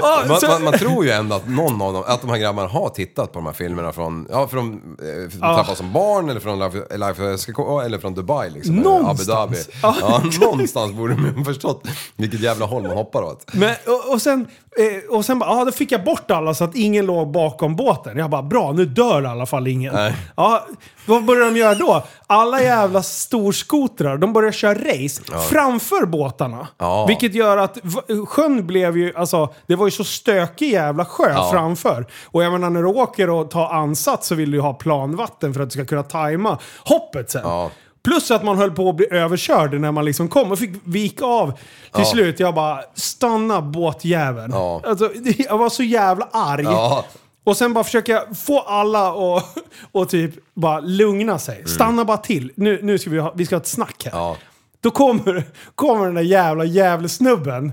S6: ja,
S7: Man,
S6: så-
S7: man, man tror ju ändå att någon av dem, att de här grabbarna har tittat på de här filmerna från, ja från eh, från Tappas som barn eller från Life, Life SKK eller från Dubai liksom. eller
S6: Någonstans.
S7: Abu Dhabi. Ja, någonstans borde de ju ha förstått vilket jävla håll man hoppar åt.
S6: Men, och, och sen, eh, och sen bara, ja, då fick jag bort alla så att ingen låg bakom båten. Jag bara, bra, nu dör i alla fall ingen.
S7: Nej.
S6: Ja, vad börjar de göra då? Alla jävla storskotrar, de börjar köra race framför båtarna.
S7: Ja.
S6: Vilket gör att v- sjön blev ju, alltså, det var ju så stökig jävla sjö
S7: Ja.
S6: framför. Och jag menar, när du åker och tar ansats så vill du ju ha planvatten för att du ska kunna tajma hoppet sen.
S7: Ja.
S6: Plus att man höll på att bli överkörd när man liksom kom och fick vika av till slut. Jag bara, stanna båtjäveln.
S7: Ja.
S6: Alltså, det- jag var så jävla arg.
S7: Ja.
S6: Och sen bara försöker jag få alla och, och typ bara lugna sig. Stanna bara till. Nu, nu ska vi, ha, vi ska ha ett snack här.
S7: Mm. Ja.
S6: Då kommer, kommer den där jävla jävelsnubben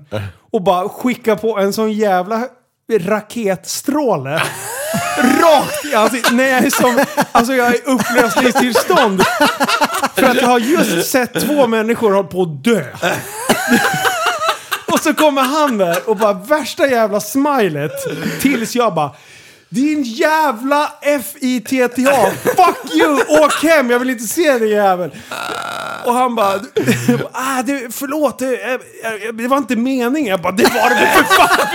S6: och bara skickar på en sån jävla raketstråle. Rakt i ansiktet. Nej, jag är som, alltså jag är i upplösningstillstånd. För att jag har just sett två människor hålla på att dö. Och så kommer han där och bara värsta jävla smilet. Tills jag bara din jävla F-I-T-T-A! Fuck you! Åk hem! Jag vill inte se dig jävel! Och han bara... Ah, du, förlåt, det, jag- jag- det var inte meningen. Jag bara, det var det väl för fan!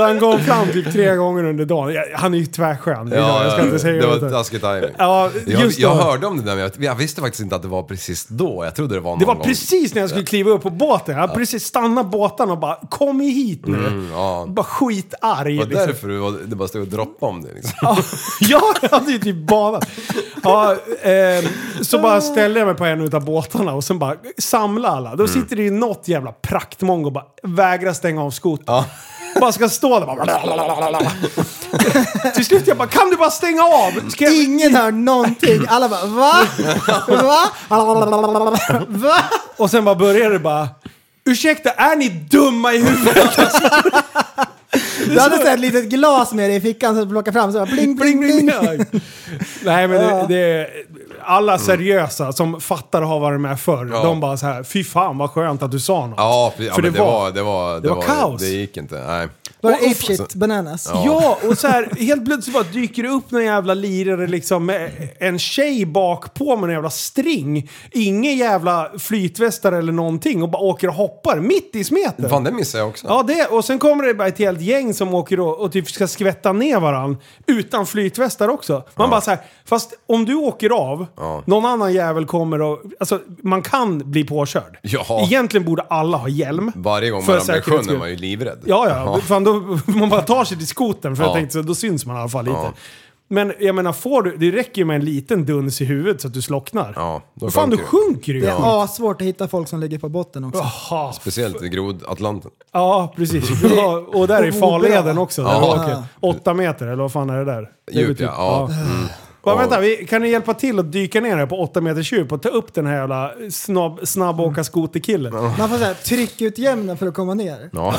S6: Han kom fram typ tre gånger under dagen. Jag- Han är ju tvärskön. Ja, jag ska inte säga
S7: det
S6: emot
S7: var taskig timing.
S6: Ja,
S7: jag,
S6: just
S7: jag
S6: då.
S7: hörde om det där, men jag, jag visste faktiskt inte att det var precis då. Jag trodde det var någon
S6: Det var
S7: gång.
S6: precis när jag skulle kliva upp på båten. Jag precis stannade båten och bara kom hit nu.
S7: ja.
S6: Bara skitarg.
S7: Det var
S6: liksom.
S7: därför du var, det bara stod och droppade om det liksom.
S6: Ja, jag hade ju typ badat. Ja, ehm, så bara ställde jag mig på en utav båtarna och sen bara samla alla. Då sitter det ju något jävla praktmongo och bara vägrar stänga av skotern. Bara ska stå där bara... Till slut jag bara, kan du bara stänga av? Ska jag...
S4: Ingen hör någonting. Alla bara va? Va? va?
S6: Och sen bara började det bara... Ursäkta, är ni dumma i huvudet?
S4: Du hade så här ett litet glas med dig i fickan som du plockade fram. Så bara, bling, bling, bling.
S6: Nej men det,
S4: Ja.
S6: det, alla seriösa som fattar och har varit med förr,
S7: Ja.
S6: de bara så här, fy fan vad skönt att du sa något.
S7: Ja, för, ja
S6: För
S7: men
S6: det
S7: det,
S6: var-
S7: var, det var...
S6: det var kaos.
S7: Det gick inte, nej.
S4: Bara ape shit bananas.
S6: Ja, och så här, helt plötsligt bara dyker det upp någon jävla lirare liksom med en tjej bak på med en jävla string. Ingen jävla flytvästar eller någonting och bara åker och hoppar mitt i smeten.
S7: Fan, det missade jag också.
S6: Ja, det, och sen kommer det bara ett helt gäng som åker och, och typ ska skvätta ner varann utan flytvästar också. Man bara så här, fast om du åker av, någon annan jävel kommer och... Alltså, man kan bli påkörd.
S7: Ja.
S6: Egentligen borde alla ha hjälm.
S7: Varje gång
S6: För
S7: man ramlar i
S6: säkerhets
S7: sjön
S6: skull.
S7: är man ju livrädd.
S6: Ja, ja. Fan, då, man bara tar sig till skotern för jag
S7: Ja.
S6: tänkte så då syns man i alla fall lite. Men jag menar, får du, det räcker ju med en liten duns i huvudet så att du slocknar.
S7: Ja, då
S6: Fan, då
S7: sjunker du.
S6: sjunker du ju.
S4: Det är svårt att hitta folk som ligger på botten också.
S6: Jaha.
S7: Speciellt i grodatlanten.
S6: Ja, precis. Ja, och där är farleden också. Där
S7: Ja.
S6: du åker. Åtta meter, eller vad fan är det där? Det
S7: Djup
S6: betyder-
S7: ja. ja. Mm.
S6: Bara,
S7: Ja.
S6: vänta, vi, kan ni hjälpa till att dyka ner här på åtta meters djup och ta upp den här jävla snabb, snabbåka skoterkillen?
S7: Mm.
S4: Man får så här, tryckutjämna för att komma ner.
S7: Ja.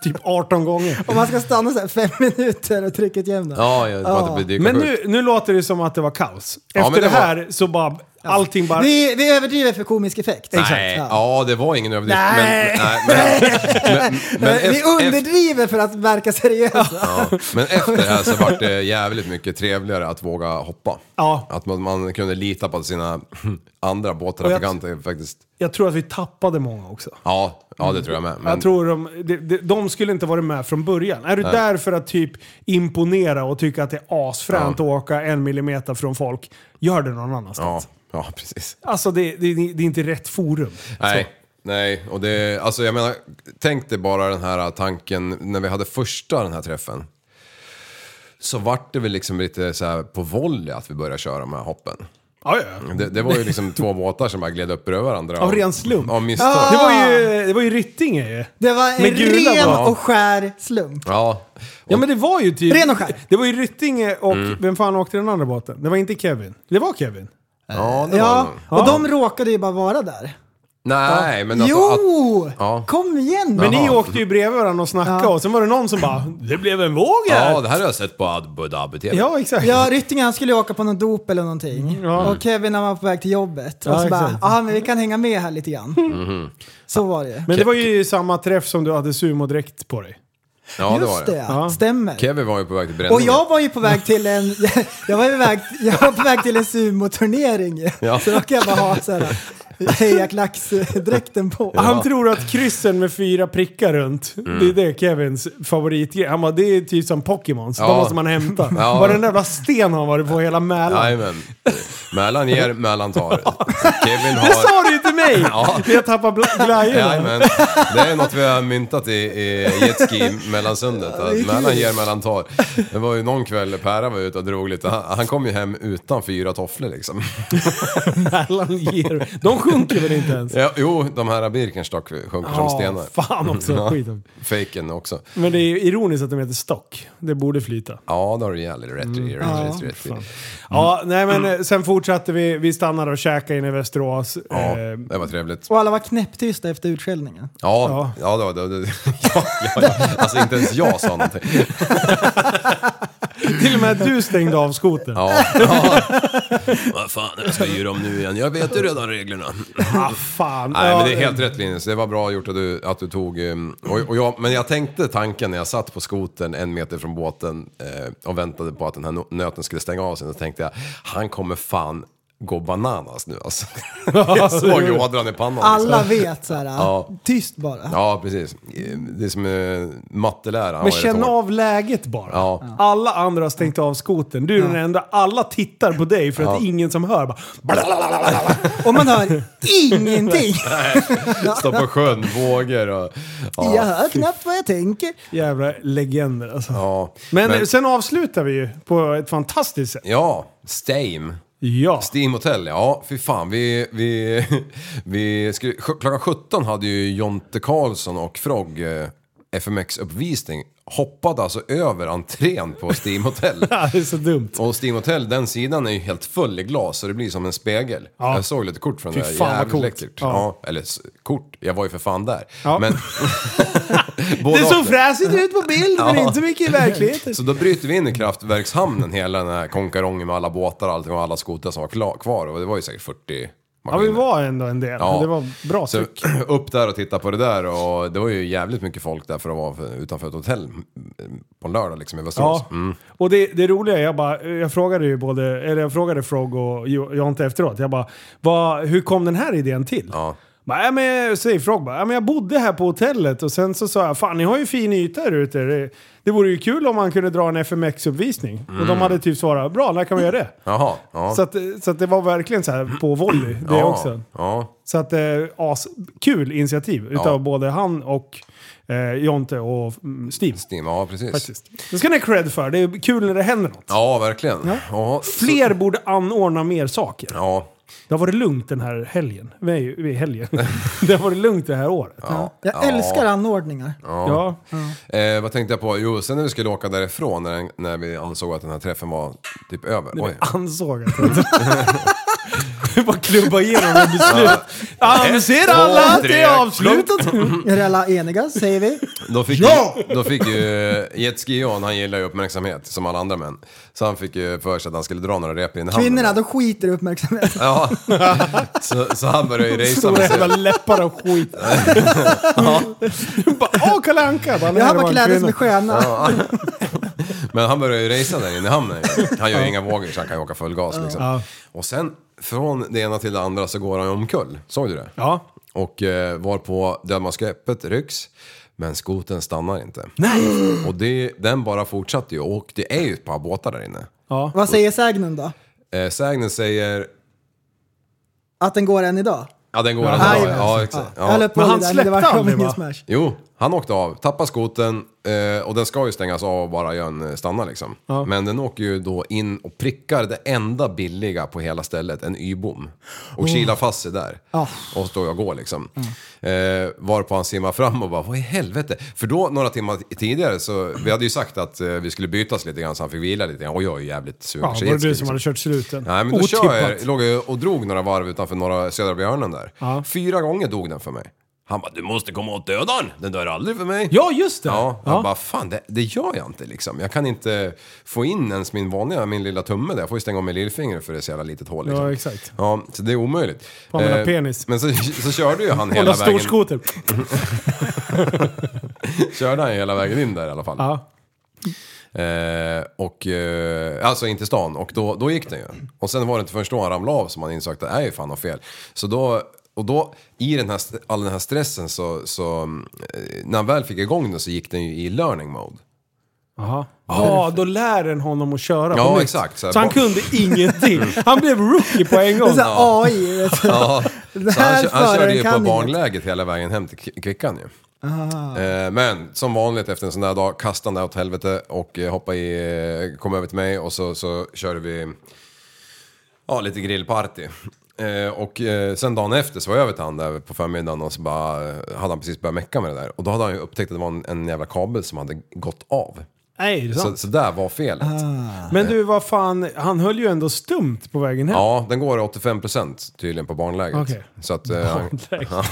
S6: Typ 18 gånger.
S4: Om man ska stanna så här fem minuter och tryckutjämna.
S7: Ja, jag bara att det blir
S6: Men nu, nu låter det som att det var kaos. Efter
S7: Ja, men
S6: det,
S7: det var-
S6: här så bara allting bara...
S4: Vi, vi överdriver för komisk effekt.
S7: Nej,
S4: Ja.
S7: ja det var ingen överdrift.
S4: Nej.
S7: Men, nej, men, men, men, men,
S4: vi
S7: efter-
S4: underdriver för att verka seriösa.
S7: Ja, men efter det här så vart det jävligt mycket trevligare att våga hoppa.
S6: Ja.
S7: Att man, man kunde lita på att sina andra båttrafikanter faktiskt...
S6: Jag tror att vi tappade många också.
S7: Ja, ja det tror jag med. Men,
S6: Jag tror de, de, de, de skulle inte varit med från början. Är du där för att typ imponera och tycka att det är asfränt att åka en millimeter från folk, gör det någon
S7: ja,
S6: annanstans.
S7: ja, precis.
S6: Alltså det, det, det är inte rätt forum.
S7: Nej, nej. Och det, alltså jag menar, tänk dig bara den här tanken när vi hade första den här träffen. Så vart det väl liksom lite så här på volley att vi började köra de här hoppen.
S6: Ja, ja.
S7: Det, det var ju liksom två båtar som bara gled upp bredvid varandra.
S6: Av ren slump.
S7: Av misstag.
S6: Det var ju, det var ju Ryttinge ju.
S4: Ah, Det var en
S6: Med gula
S4: ren
S6: bara.
S4: och skär slump.
S7: Ja.
S6: Ja men det var ju typ...
S4: Ren och skär.
S6: Det var ju Ryttinge och
S7: Mm.
S6: vem fan åkte den andra båten? Det var inte Kevin. Det var Kevin.
S7: Ja, det var det
S4: Ja,
S7: nog.
S4: och de råkade ju bara vara där.
S7: Nej, men alltså, att,
S4: Jo!
S7: ja.
S4: Kom igen
S6: Men
S4: nu.
S6: ni åkte ju bredvid varandra och snackade
S4: Ja.
S6: och sen var det någon som bara “Det blev en våg här!”
S7: Ja, det här har jag sett på Abu Dhabi-tv.
S6: Ja, exakt.
S4: Ja, Rytting han skulle ju åka på någon dop eller någonting. Och Kevin han var på väg till jobbet.
S6: Ja,
S4: och så bara,
S6: exakt.
S4: ja men vi kan hänga med här lite grann.
S7: Mhm.
S4: Så var det ju.
S6: Men det var ju samma träff som du hade sumodräkt på dig.
S7: Ja, det var
S4: Just det,
S7: det.
S4: ja. stämmer.
S7: Kevin var ju på väg till bränningen.
S4: Och jag var ju på väg till en, jag var ju på väg, jag var på väg till en sumoturnering ju.
S7: Ja.
S4: Så då kan jag bara ha så här hejarklacksdräkten på.
S6: Han tror att kryssen med fyra prickar runt,
S7: Mm.
S6: det är det Kevins favoritgrej. Han bara, det är typ som Pokémons, de
S7: Ja.
S6: måste man hämta.
S7: Ja.
S6: Var den jävla sten har varit på hela Mälaren.
S7: Jajamän. Mälan ger, Mälan tar. Kevin
S6: Det sa
S7: har...
S6: du ju till mig! Vi har tappat bla- glajjorna.
S7: Jajamän. Det är något vi har myntat i, i jetski mellansundet. Att mellan ger, mellan tar. Det var ju någon kväll Pära var ute och drog lite. Han, han kom ju hem utan fyra tofflor liksom.
S6: Mellan ger. De sjunker väl inte ens?
S7: Ja, jo, de här Birkenstock sjunker som stenar.
S6: fan också.
S7: Ja.
S6: Skit.
S7: Faken också.
S6: Men det är ju ironiskt att de heter stock. Det borde flyta.
S7: Ja, det har du jävligt rätt i.
S6: Mm.
S7: Rätt, rätt, rätt, i.
S6: Ja, nej men eh, sen fortsatte vi. Vi stannade och käkade inne i Västerås.
S7: Ja,
S6: Eh,
S7: det var trevligt.
S4: Och alla var knäpptysta efter utskällningen.
S7: Ja, ja, det var det. det- Ja, ja, ja. Alltså inte ens jag sa någonting.
S6: till och med du stängde av skotern.
S7: Ja, ja. Vad fan, jag ska ju dem nu igen. Jag vet ju redan reglerna.
S6: Ah, fan.
S7: Nej,
S6: Ja,
S7: men det är helt rätt Linus. Det var bra gjort att du, att du tog... ehm, Och, och jag, men jag tänkte tanken när jag satt på skoten en meter från båten eh, och väntade på att den här no- nöten skulle stänga av sig. Så tänkte jag, han kommer fan gå bananas nu alltså. Jag såg ju ådran i pannan. liksom.
S4: Alla vet såhär,
S7: Ja.
S4: tyst bara.
S7: Ja, precis. Eh, Det är som eh, matteläraren. han
S6: Men
S7: var ju
S6: känn
S7: rätt hård.
S6: av läget bara.
S7: Ja.
S6: Alla andra har stängt av skotern. Du är den enda. Alla tittar på dig för att det är ingen som hör. Bara,
S4: Och man hör ingenting.
S7: Stå på sjön, vågor och... Ja.
S4: Jag hör knappt vad jag tänker.
S6: jävla legender alltså.
S7: Ja.
S6: Men,
S7: Men-
S6: sen avslutar vi ju på ett fantastiskt sätt.
S7: Ja, Steam.
S6: Ja.
S7: Steam Hotel, ja. Fy fan, vi... vi, vi skulle, sj- klockan 17 hade ju Jonte Karlsson och Frog eh, FMX-uppvisning. Hoppade alltså över entrén på Steam Hotel.
S6: Det är så dumt.
S7: Och Steam Hotel, den sidan är ju helt full i glas så det blir som en spegel.
S6: Ja.
S7: Jag såg lite kort från
S6: Fy
S7: det där.
S6: fan, vad
S7: Jävligt
S6: coolt.
S7: läckert.
S6: Ja.
S7: Ja. eller s- kort, jag var ju för fan där.
S6: Ja.
S7: Men,
S6: Det
S7: Både
S6: såg
S7: och.
S6: fräsigt ut på bild men inte mycket i verkligheten.
S7: Så då bryter vi in i kraftverkshamnen, hela den här konkarongen med alla båtar och allting och alla skotrar som var kla- kvar. Och det var ju säkert 40
S6: Ja,
S7: maskiner.
S6: vi var ändå en del.
S7: Ja.
S6: Det var bra
S7: Så
S6: tryck.
S7: upp där och titta på det där och det var ju jävligt mycket folk där för att vara för- utanför ett hotell mm, på en lördag liksom i Västerås.
S6: Ja.
S7: Mm.
S6: Och det, det roliga är, jag, bara, jag frågade ju både, eller jag frågade Frog och Jo- Jonte efteråt. Jag bara, vad, hur kom den här idén till?
S7: Ja.
S6: Bara, äh, men, säger Frog bara, äh, men jag bodde här på hotellet och sen så sa jag, fan ni har ju fin yta här ute. Det, det vore ju kul om man kunde dra en FMX-uppvisning. Och de hade typ svarat, bra när kan vi göra det?
S7: Jaha. Mm. Ja.
S6: Så, att, så att det var verkligen så här på volley det
S7: ja.
S6: också.
S7: Ja.
S6: Så att eh, as, kul initiativ utav
S7: Ja.
S6: både han och eh, Jonte och mm, Steve.
S7: Steam, ja precis.
S6: Faktiskt. Det ska ni ha cred för. Det är kul när det händer något.
S7: Ja, verkligen. Ja. så-
S6: Fler borde anordna mer saker.
S7: Ja.
S6: Det har varit lugnt den här helgen. Nej, vi är helgen. det har varit lugnt det här året.
S4: Ja. Jag älskar anordningar.
S6: Ja.
S7: Eh, vad tänkte jag på? Jo, sen när vi skulle åka därifrån när, den, när vi ansåg att den här träffen var typ över. Oj.
S6: Ansåg att Du bara klubba igenom ett beslut. Anser alla att det är avslutat?
S4: Är alla eniga, säger vi.
S7: Då fick, ju, då fick ju eh, jetski John, han gillar ju uppmärksamhet som alla andra män. Så han fick ju för sig att han skulle dra några rep in i handen.
S4: Kvinnorna, de skiter i uppmärksamhet.
S7: Ja, så, så han började ju racea
S6: Stora
S7: med
S6: jävla
S7: sig.
S6: läppar och skit. Du bara, Åh, Kalle Anka! Bara,
S4: Jag
S6: nej, det var
S4: har bara
S6: en
S4: kläder som
S6: kvinna.
S4: är sköna.
S7: Men han började ju racea där inne i hamnen. ju. Han gör ju inga vågor så han kan ju åka full gas liksom. Och sen från det ena till det andra så går han ju omkull. Såg du det?
S6: Ja.
S7: Och eh, var på dödmansgreppet rycks. Men skoten stannar inte. Och det, den bara fortsatte ju. Och det är ju ett par båtar där inne.
S4: Vad säger sägnen då?
S7: Eh, sägnen säger...
S4: Att den går än idag?
S7: Ja, den går ja,
S4: Aj,
S7: ändå.
S4: men
S7: Ja,
S4: alltså.
S7: exakt.
S4: Jag höll
S7: Ja.
S4: på
S6: Men
S4: det
S6: han
S4: där,
S6: släppte
S4: men det var
S6: aldrig,
S4: ingen
S6: va?
S4: smash.
S7: Jo, han åkte av. Tappar skoten eh, och den ska ju stängas av och bara göra en eh, stanna liksom. Men den åker ju då in och prickar det enda billiga på hela stället, en Y-bom.
S6: Oh.
S7: Och kilar fast sig där.
S6: Ah.
S7: Och står och går liksom.
S6: Mm.
S7: Eh, varpå han simmar fram och bara, vad i helvete? För då, några timmar t- tidigare, så vi hade ju sagt att eh, vi skulle bytas lite grann så han fick vila lite grann. Och jag är ju jävligt sugen
S6: Ja, var
S7: på
S6: det
S7: jetski,
S6: du
S7: liksom.
S6: som hade kört sluten?
S7: Nej men då
S6: Otippat.
S7: kör jag, låg jag och drog några varv utanför norra Södra Björnen där.
S6: Ja.
S7: Fyra gånger dog den för mig. Han bara, du måste komma åt dödaren, den dör aldrig för mig.
S6: Ja, just det!
S7: Ja,
S6: Ja.
S7: jag bara, fan det, det gör jag inte liksom. Jag kan inte få in ens min vanliga, min lilla tumme där. Jag får ju stänga av med lillfingret för det är så jävla litet hål liksom.
S6: Ja, exakt.
S7: Ja, så det är omöjligt. Eh,
S6: Fan, mina penis.
S7: Men så, så körde ju han hela
S6: Hålla
S7: vägen,
S6: storskoter.
S7: körde han hela vägen in där i alla fall.
S6: Ja.
S7: Eh, och, eh, alltså in till stan och då, då gick den ju. Och sen var det inte förrän då han ramlade av som han insåg att det är ju fan något fel. Så då, och då i den här, st- all den här stressen så, så eh, när han väl fick igång den så gick den ju i learning mode.
S6: Jaha. Ja, då lär den honom att köra
S7: Ja,
S6: på nytt.
S7: exakt. Så
S6: Så, han
S7: här, bo-
S6: kunde ingenting. Han blev rookie på en
S4: Det
S6: gång.
S4: är såhär AI, vet du.
S7: Ja, Så han, kö- han
S4: Därför
S7: körde ju
S4: kan
S7: på
S4: ni
S7: barnläget hela vägen hem till K- Kvickan ju. Eh, Men som vanligt efter en sån där dag kastade han det åt helvete och eh, hoppade i, eh, kom över till mig och så, så körde vi ja, lite grillparty. Eh, och eh, sen dagen efter så var jag över till han där på förmiddagen och så bara, eh, hade han precis börjat mecka med det där. Och då hade han ju upptäckt att det var en, en jävla kabel som hade gått av.
S6: Nej, det är
S7: Så,
S6: sant. Ah.
S7: så där var felet.
S6: Men du, vad fan, han höll ju ändå stumt på vägen hem.
S7: Ja, den går 85% tydligen på barnläget.
S6: Okej.
S7: Så att, eh, ja.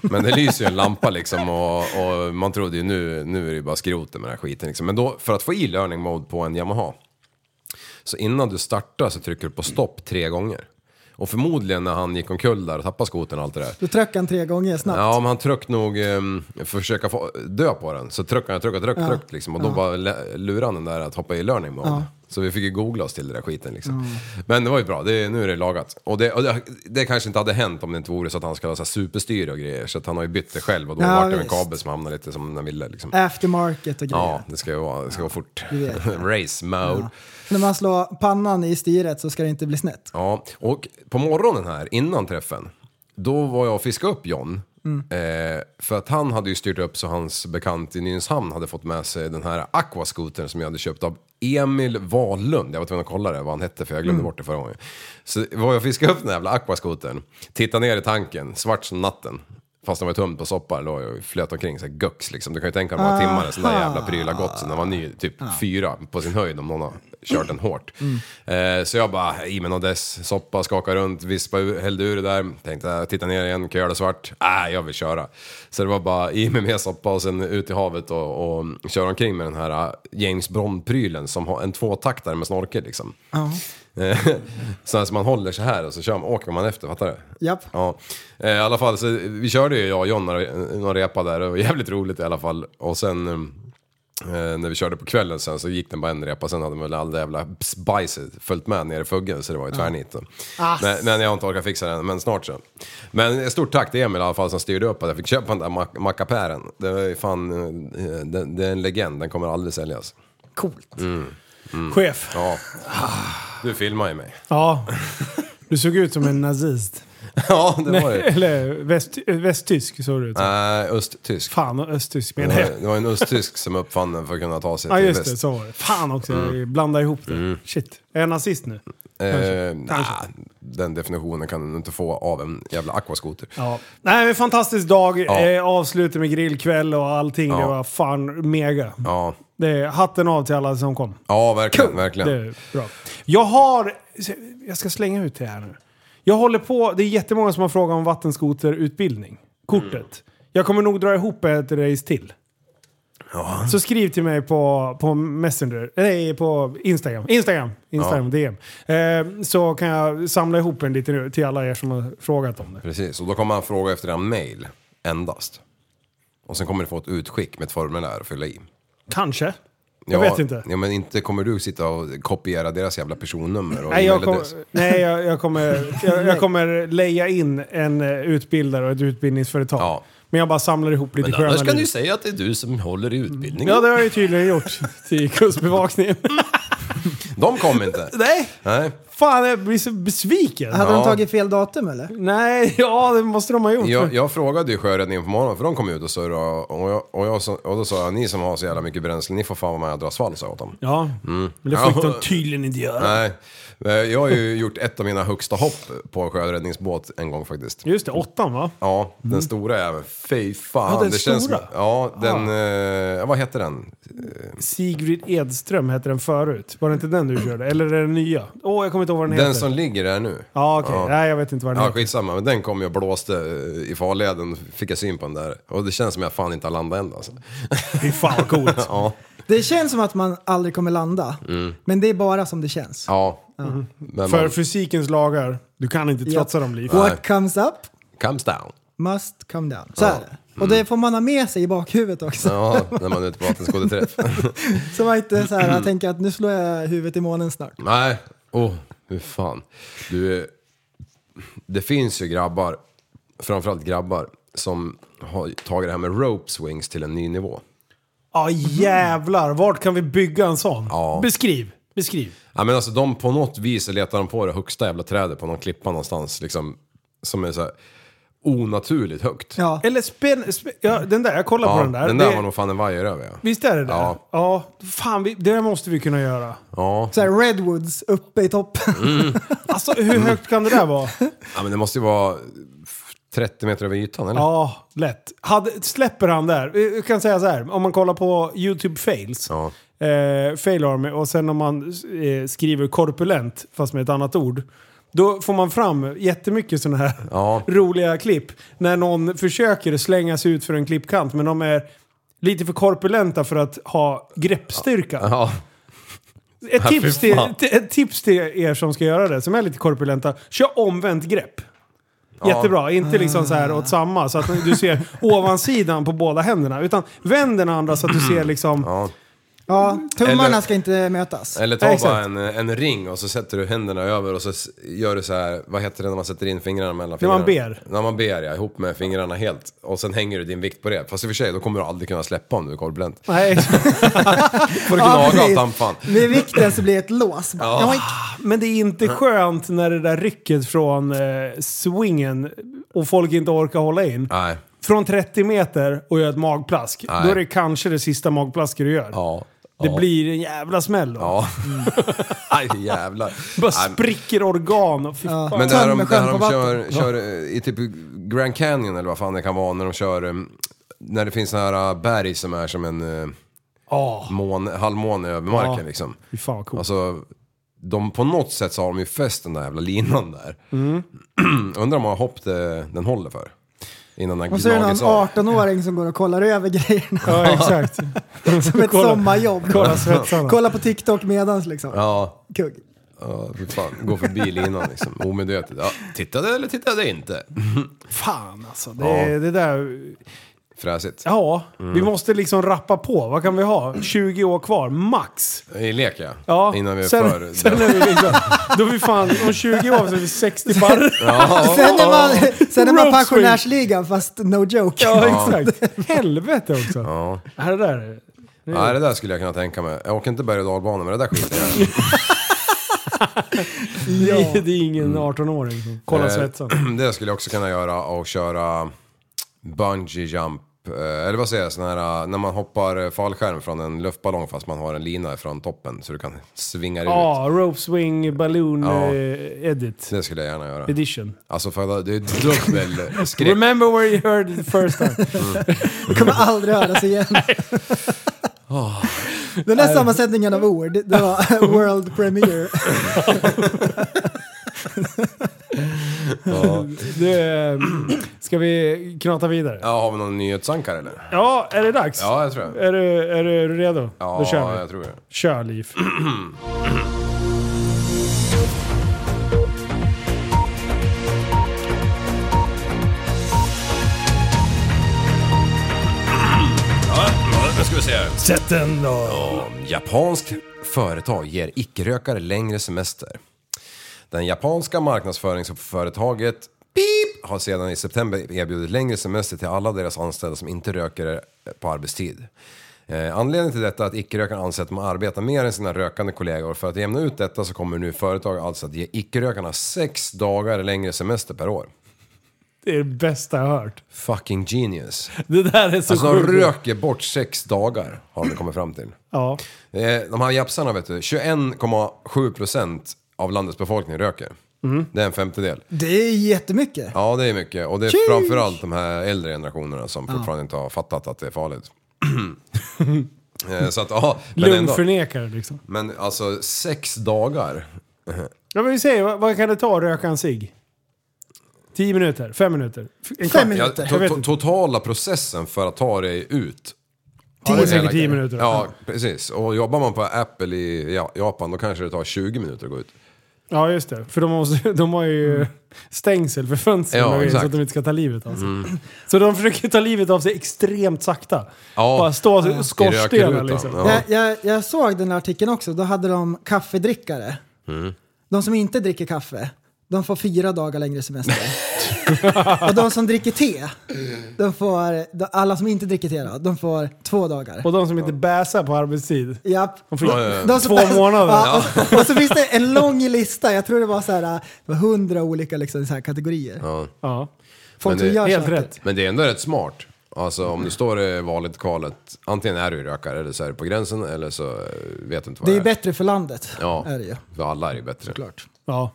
S7: Men det lyser ju en lampa liksom och, och man trodde ju nu, nu är det ju bara skroten med den här skiten. Liksom. Men då, för att få i learning mode på en Yamaha. Så innan du startar så trycker du på stopp tre gånger. Och förmodligen när han gick omkull där och tappade skotern och allt det där.
S4: Du tryckte han tre gånger snabbt.
S7: Ja, men han tryckte nog, um, försöka få, dö på den. Så tryckte han, tryckte, tryckte, tryckte liksom. Och då bara lä- lurade han den där att hoppa i learning mode. Så vi fick ju googla oss till den där skiten liksom. Men det var ju bra, det, nu är det lagat. Och, det, och det, det kanske inte hade hänt om det inte vore så att han skulle ha så här superstyre och grejer. Så att han har ju bytt det själv och då
S4: Ja,
S7: vart det en
S4: visst. Äh.
S7: kabel som hamnade lite som den ville liksom.
S4: Aftermarket och grejer.
S7: Ja, det ska ju vara, det ska vara fort.
S4: Du vet.
S7: Race mode.
S4: När man slår pannan i styret så ska det inte bli snett.
S7: Ja, och på morgonen här innan träffen, då var jag och fiskade upp John. Eh, för att han hade ju styrt upp så hans bekant i Nynäshamn hade fått med sig den här aquascootern som jag hade köpt av Emil Wahlund. Jag var tvungen att kolla det, vad han hette för jag glömde bort det förra gången. Så var jag och fiskade upp den här jävla aquascootern, tittade ner i tanken, svart som natten. Fast den var tömd på soppa, låg jag och flöt omkring så här gux liksom. Du kan ju tänka dig några timmar när sådana där jävla prylar gått sen den var ny, typ fyra på sin höjd om någon har kört den hårt. Eh, så jag bara, i mig någon dess, soppa, skaka runt, vispa ur, hällde ur det där, tänkte äh, titta ner igen, kan jag göra det svart? Nej, äh, jag vill köra. Så det var bara i mig mer soppa och sen ut i havet och, och köra omkring med den här äh, James Bond-prylen som har en tvåtaktare med snorkel liksom. Eh, så alltså man håller så här och så kör man, åker man efter, fattar du?
S4: Japp.
S7: Ja. Eh, I alla fall, så vi körde ju jag och John några, några repa där, det var jävligt roligt i alla fall. Och sen eh, när vi körde på kvällen sen så gick den bara en repa, sen hade väl all det jävla bajset följt med ner i fuggen så det var ju tvärnit. då. Men, men jag har inte orkat fixa den, men snart så. Men stort tack till Emil i alla fall som styrde upp att jag fick köpa den där mack- mackapären. Det är fan, eh, det, det är en legend, den kommer aldrig säljas.
S4: Coolt.
S6: Chef.
S7: Ja. Du filmar ju mig.
S6: Ja. Du såg ut som en nazist.
S7: Ja, det var det.
S6: Eller väst, västtysk såg du ut som.
S7: Nej, Eh, östtysk. Eh,
S6: Fan, östtysk menar jag.
S7: Det var en östtysk som uppfann den för att kunna ta sig
S6: Ja
S7: till
S6: just
S7: väst. Mm.
S6: det, så var det. Fan också, jag blandade ihop det. Shit, är jag nazist nu?
S7: Eh, nah, den definitionen kan du inte få av en jävla aquaskoter.
S6: Ja. Nej men fantastisk dag,
S7: Ja.
S6: eh, avslutet med grillkväll och allting. Det
S7: Ja.
S6: var fan mega.
S7: Ja,
S6: Det är hatten av till alla som kom.
S7: ja verkligen, verkligen.
S6: Det är bra. Jag har... Jag ska slänga ut det här nu. Jag håller på... Det är jättemånga som har frågat om vattenskoterutbildning. Kortet.
S7: Mm.
S6: Jag kommer nog dra ihop ett race till. Så skriv till mig på, på Messenger. Nej, på Instagram. Instagram! Instagram, DM. Eh, så kan jag samla ihop en lite nu till alla er som har frågat om det.
S7: Precis, och då kommer han fråga efter en mail endast. Och sen kommer du få ett utskick med ett formulär att fylla i.
S6: Kanske. Jag
S7: Ja,
S6: vet inte.
S7: Ja, men inte kommer du sitta och kopiera deras jävla personnummer och
S6: Nej, jag kommer,
S7: e-mailadress.
S6: nej jag, jag, kommer, jag, jag kommer leja in en eh, utbildare och ett utbildningsföretag.
S7: Ja.
S6: Men jag bara samlar ihop lite sköna liv.
S7: säga att det är du som håller i utbildningen.
S6: Ja, det har jag ju tydligen gjort till Kustbevakningen.
S7: De kom inte.
S6: nej!
S7: Nej.
S6: Fan, jag blir så besviken.
S4: Hade
S7: Ja.
S4: de tagit fel datum eller?
S6: Nej, ja det måste de ha gjort.
S7: Jag, jag frågade ju sjöräddningen på morgonen för de kom ut och surrade och, jag, och, jag, sa- och då sa jag ni som har så jävla mycket bränsle ni får fan vara med och dra svall sa jag åt dem.
S6: Ja, men det fick
S7: Mm. Ja.
S6: de tydligen inte göra.
S7: Nej, eh, jag har ju gjort ett av mina högsta hopp på en sjöräddningsbåt en gång faktiskt.
S6: Just det, åttan va?
S7: Ja, den stora jäveln. Fy fan.
S6: Mm. Ja, den
S7: som-
S6: stora? Ah.
S7: ja, den... Eh, vad heter den?
S6: Sigrid Edström hette den förut. Var det inte den du körde? Eller är det den nya? Åh, jag kommer inte ihåg vad den,
S7: Den
S6: heter.
S7: som ligger där nu.
S6: Ja, okej.
S7: Ja.
S6: Nej, jag vet inte vad den
S7: Ja,
S6: heter.
S7: skitsamma. Men den kom jag och blåste eh, i farleden. Fick jag syn på den där. Och det känns som jag fan inte har landat än alltså.
S6: Fy fan vad coolt.
S7: Ja,
S4: Det känns som att man aldrig kommer landa. Men det är bara som det känns.
S7: Mm. ja. Men
S6: Mm. För
S7: man
S6: fysikens lagar, du kan inte trotsa dem liv.
S4: What comes up
S7: comes down.
S4: must come down. Så är det. Och det får man ha med sig i bakhuvudet också.
S7: Mm. Ja, när man är ute på vattenskoterträff.
S4: Så man inte så här, tänker att nu slår jag huvudet i månen snart.
S7: Nej, åh, oh, hur fan. Du, eh, det finns ju grabbar, framförallt grabbar, som har tagit det här med rope swings till en ny nivå.
S6: Ja, jävlar. Vart kan vi bygga en sån?
S7: Ja.
S6: Beskriv. Beskriv.
S7: Ja, men alltså de på något vis letar de på det högsta jävla trädet på någon klippa någonstans. Liksom, som är så här onaturligt högt.
S4: Ja.
S6: Eller spänn... Spä, ja, den där, jag kollar på den där.
S7: den där
S6: det,
S7: var nog fan en vajeröv ja.
S6: Visst är det det?
S7: Ja.
S6: Ja. ja. Fan, vi, det måste vi kunna göra.
S7: ja.
S4: Så här redwoods uppe i toppen.
S6: Alltså hur högt kan det där vara?
S7: Ja men det måste ju vara 30 meter över ytan eller?
S6: Ja, lätt. Hade, släpper han där? Vi kan säga så här, om man kollar på YouTube fails.
S7: Ja.
S6: Eh, fail Army och sen om man eh, skriver korpulent, fast med ett annat ord. Då får man fram jättemycket sådana här
S7: Ja.
S6: roliga klipp. När någon försöker slänga sig ut för en klippkant men de är lite för korpulenta för att ha greppstyrka.
S7: ja.
S6: Ett,
S7: Ja, fy
S6: tips till,
S7: fan.
S6: t- ett tips till er som ska göra det, som är lite korpulenta. Kör omvänt grepp. Jättebra, inte liksom så här åt samma så att du ser ovansidan på båda händerna. Utan vänd den andra så att du ser liksom...
S7: ja.
S4: Ja, tummarna
S7: Eller-
S4: ska inte mötas.
S7: Eller ta
S6: Ja,
S7: bara
S6: exakt.
S7: en, en ring och så sätter du händerna över och så s- gör du så här, vad heter det när man sätter in fingrarna mellan
S6: När
S7: fingrarna?
S6: man ber.
S7: När man ber ja, ihop med fingrarna helt. Och sen hänger du din vikt på det. Fast i och för sig, då kommer du aldrig kunna släppa om du är korpulent.
S6: Nej,
S7: får du gnaga av
S4: precis.
S7: tampan.
S4: Vid vikten så blir det ett lås. bara.
S7: Ja.
S4: Joink.
S6: Ah, men det är inte skönt när det där rycket från eh, swingen och folk inte orkar hålla in.
S7: Nej.
S6: Från 30 meter och gör ett magplask.
S7: Nej.
S6: Då är det kanske det sista magplasket du gör.
S7: Ja.
S6: Det
S7: ja.
S6: blir en jävla smäll då.
S7: Ja. Nej jävlar.
S6: Bara
S7: Nej,
S6: spricker organ. Och fy fan.
S7: Men där
S4: Tömmer
S7: de,
S4: sjön
S7: där de
S4: på
S7: kör, kör eh, i typ Grand Canyon eller vad fan det kan vara när de kör eh, när det finns sådana här eh, berg som är som en eh,
S6: Ja.
S7: mån, halvmåne över marken
S6: Ja.
S7: liksom.
S6: Ah, Fy fan vad coolt.
S7: Alltså, de, på något sätt så har de ju fäst den där jävla linan där.
S6: Mm.
S7: Undrar hur många hopp det, den håller för. Innan den
S4: Och så är det någon
S7: gnagits av.
S4: 18-åring som går och kollar över grejerna.
S6: Ja, exakt.
S4: Som ett
S6: Kolla.
S4: sommarjobb.
S6: Kolla svetsarna.
S4: Kolla på TikTok medans liksom.
S7: Ja,
S4: Kugg.
S7: ja fy fan. Gå förbi linan liksom. Omedvetet. Ja, tittade eller tittade inte?
S6: Fan alltså. Det,
S7: Ja. Mm.
S6: det där...
S7: Fräsigt.
S6: Ja, vi måste liksom rappa på. Vad kan vi ha? 20 år kvar, max.
S7: I lek ja.
S6: Ja,
S7: Innan vi är
S6: sen,
S7: för...
S6: sen är vi liksom, Då är vi fan, om 20 år så är vi 60 barr.
S7: Ja,
S4: Sen är man, sen är
S6: Rope
S4: man
S6: swing.
S4: pensionärsligan fast no joke.
S6: Ja, exakt. Helvete också.
S7: Ja.
S6: Här är det där.
S7: Nej, det där skulle jag kunna tänka mig. Jag åker inte berg och dalbana men det där skiter jag i.
S6: Det, det är ingen 18-åring som kollar svetsan.
S7: Eh, Mm. Det skulle jag också kunna göra och köra bungee jump. eh, Eller vad säger jag? Sån här, eh, när man hoppar eh, fallskärm från en luftballong fast man har en lina från toppen så du kan svinga dig ut.
S6: Ja, rope swing balloon
S7: Ja.
S6: eh, edit.
S7: Det skulle jag gärna göra.
S6: Edition.
S7: Alltså för det är dubbel skräck.
S6: Remember where you heard it first time.
S4: Det kommer aldrig höras igen. Den där sammansättningen av ord, det var world premiere.
S6: Du, eh, ska vi knata vidare?
S7: Ja, har vi någon nyhetsankare eller?
S6: Ja, är det dags?
S7: Ja, jag tror det.
S6: Är, du, är du redo?
S7: Ja,
S6: Då Eh, kör vi.
S7: jag tror det.
S6: Kör, Liv.
S7: Nu ska vi se här.
S6: Sätt den då.
S7: Ja, Japanskt företag ger icke-rökare längre semester. Den japanska marknadsföringsföretaget Pip har sedan i september erbjudit längre semester till alla deras anställda som inte röker på arbetstid. Eh, anledningen till detta är att icke-rökare anser att de arbetar mer än sina rökande kollegor. För att jämna ut detta så kommer nu företag alltså att ge icke-rökarna sex dagar längre semester per år.
S6: Det är det bästa jag har hört.
S7: Fucking genius.
S6: Det där är så
S7: Alltså de
S6: sjukt.
S7: röker bort sex dagar har de kommit fram till.
S6: Ja.
S7: Eh, De här japsarna vet du, 21,7 procent av landets befolkning röker. Det är en femtedel.
S4: Det är jättemycket.
S7: Ja, det är mycket. Och det är framförallt de här äldre generationerna som fortfarande inte har fattat att det är farligt. Eh, Så att, ja, men ändå.
S6: Lungförnekare liksom.
S7: Men alltså sex dagar.
S6: Ja, men vi säger, vad, vad kan det ta att röka en cigg? 10 minuter? 5 minuter? f- En kvart?
S4: Fem
S7: Ja,
S4: minuter.
S7: to- to- totala processen för att ta dig ut.
S6: Ja, det är säkert
S7: Hela
S6: 10
S7: grejen.
S6: minuter.
S7: Ja, precis. Och jobbar man på Apple i Ja- Japan då kanske det tar 20 minuter att gå ut.
S6: Ja, just det. För de, måste, de har ju stängsel för fönstren
S7: Mm. Ja,
S6: och grejer, så
S7: exakt. Mm.
S6: att de inte ska ta livet av sig. Så de försöker ta livet av sig extremt sakta.
S7: Ja.
S6: Bara stå i
S7: I
S6: skorstenar
S7: rökrutan.
S6: liksom.
S7: Ja.
S4: Jag, jag, jag
S7: Mm.
S4: såg den här artikeln också, då hade de kaffedrickare. De som inte dricker kaffe, de får fyra dagar längre semester. och de som dricker te, de får, de, alla som inte dricker te då, de får två dagar.
S6: Och de som inte bäsar på arbetstid.
S4: Japp.
S6: De får
S7: Ja, ja, ja.
S4: De som-
S6: Två månader.
S4: Ja, och, och så finns det en lång lista, jag tror det var så här, det var hundra olika liksom, så här, kategorier.
S7: Ja.
S6: Ja.
S4: Folk
S7: men
S4: som
S7: det-
S4: gör
S6: Helt
S4: saker.
S6: rätt.
S7: Men det är ändå rätt smart. Alltså om du står i valet kvalet, antingen är du rökare eller så är du på gränsen eller så eh, vet du inte vad
S4: Det är ju bättre för landet.
S7: Ja,
S4: Är det ju.
S7: för alla är det bättre.
S4: Klart.
S6: Ja.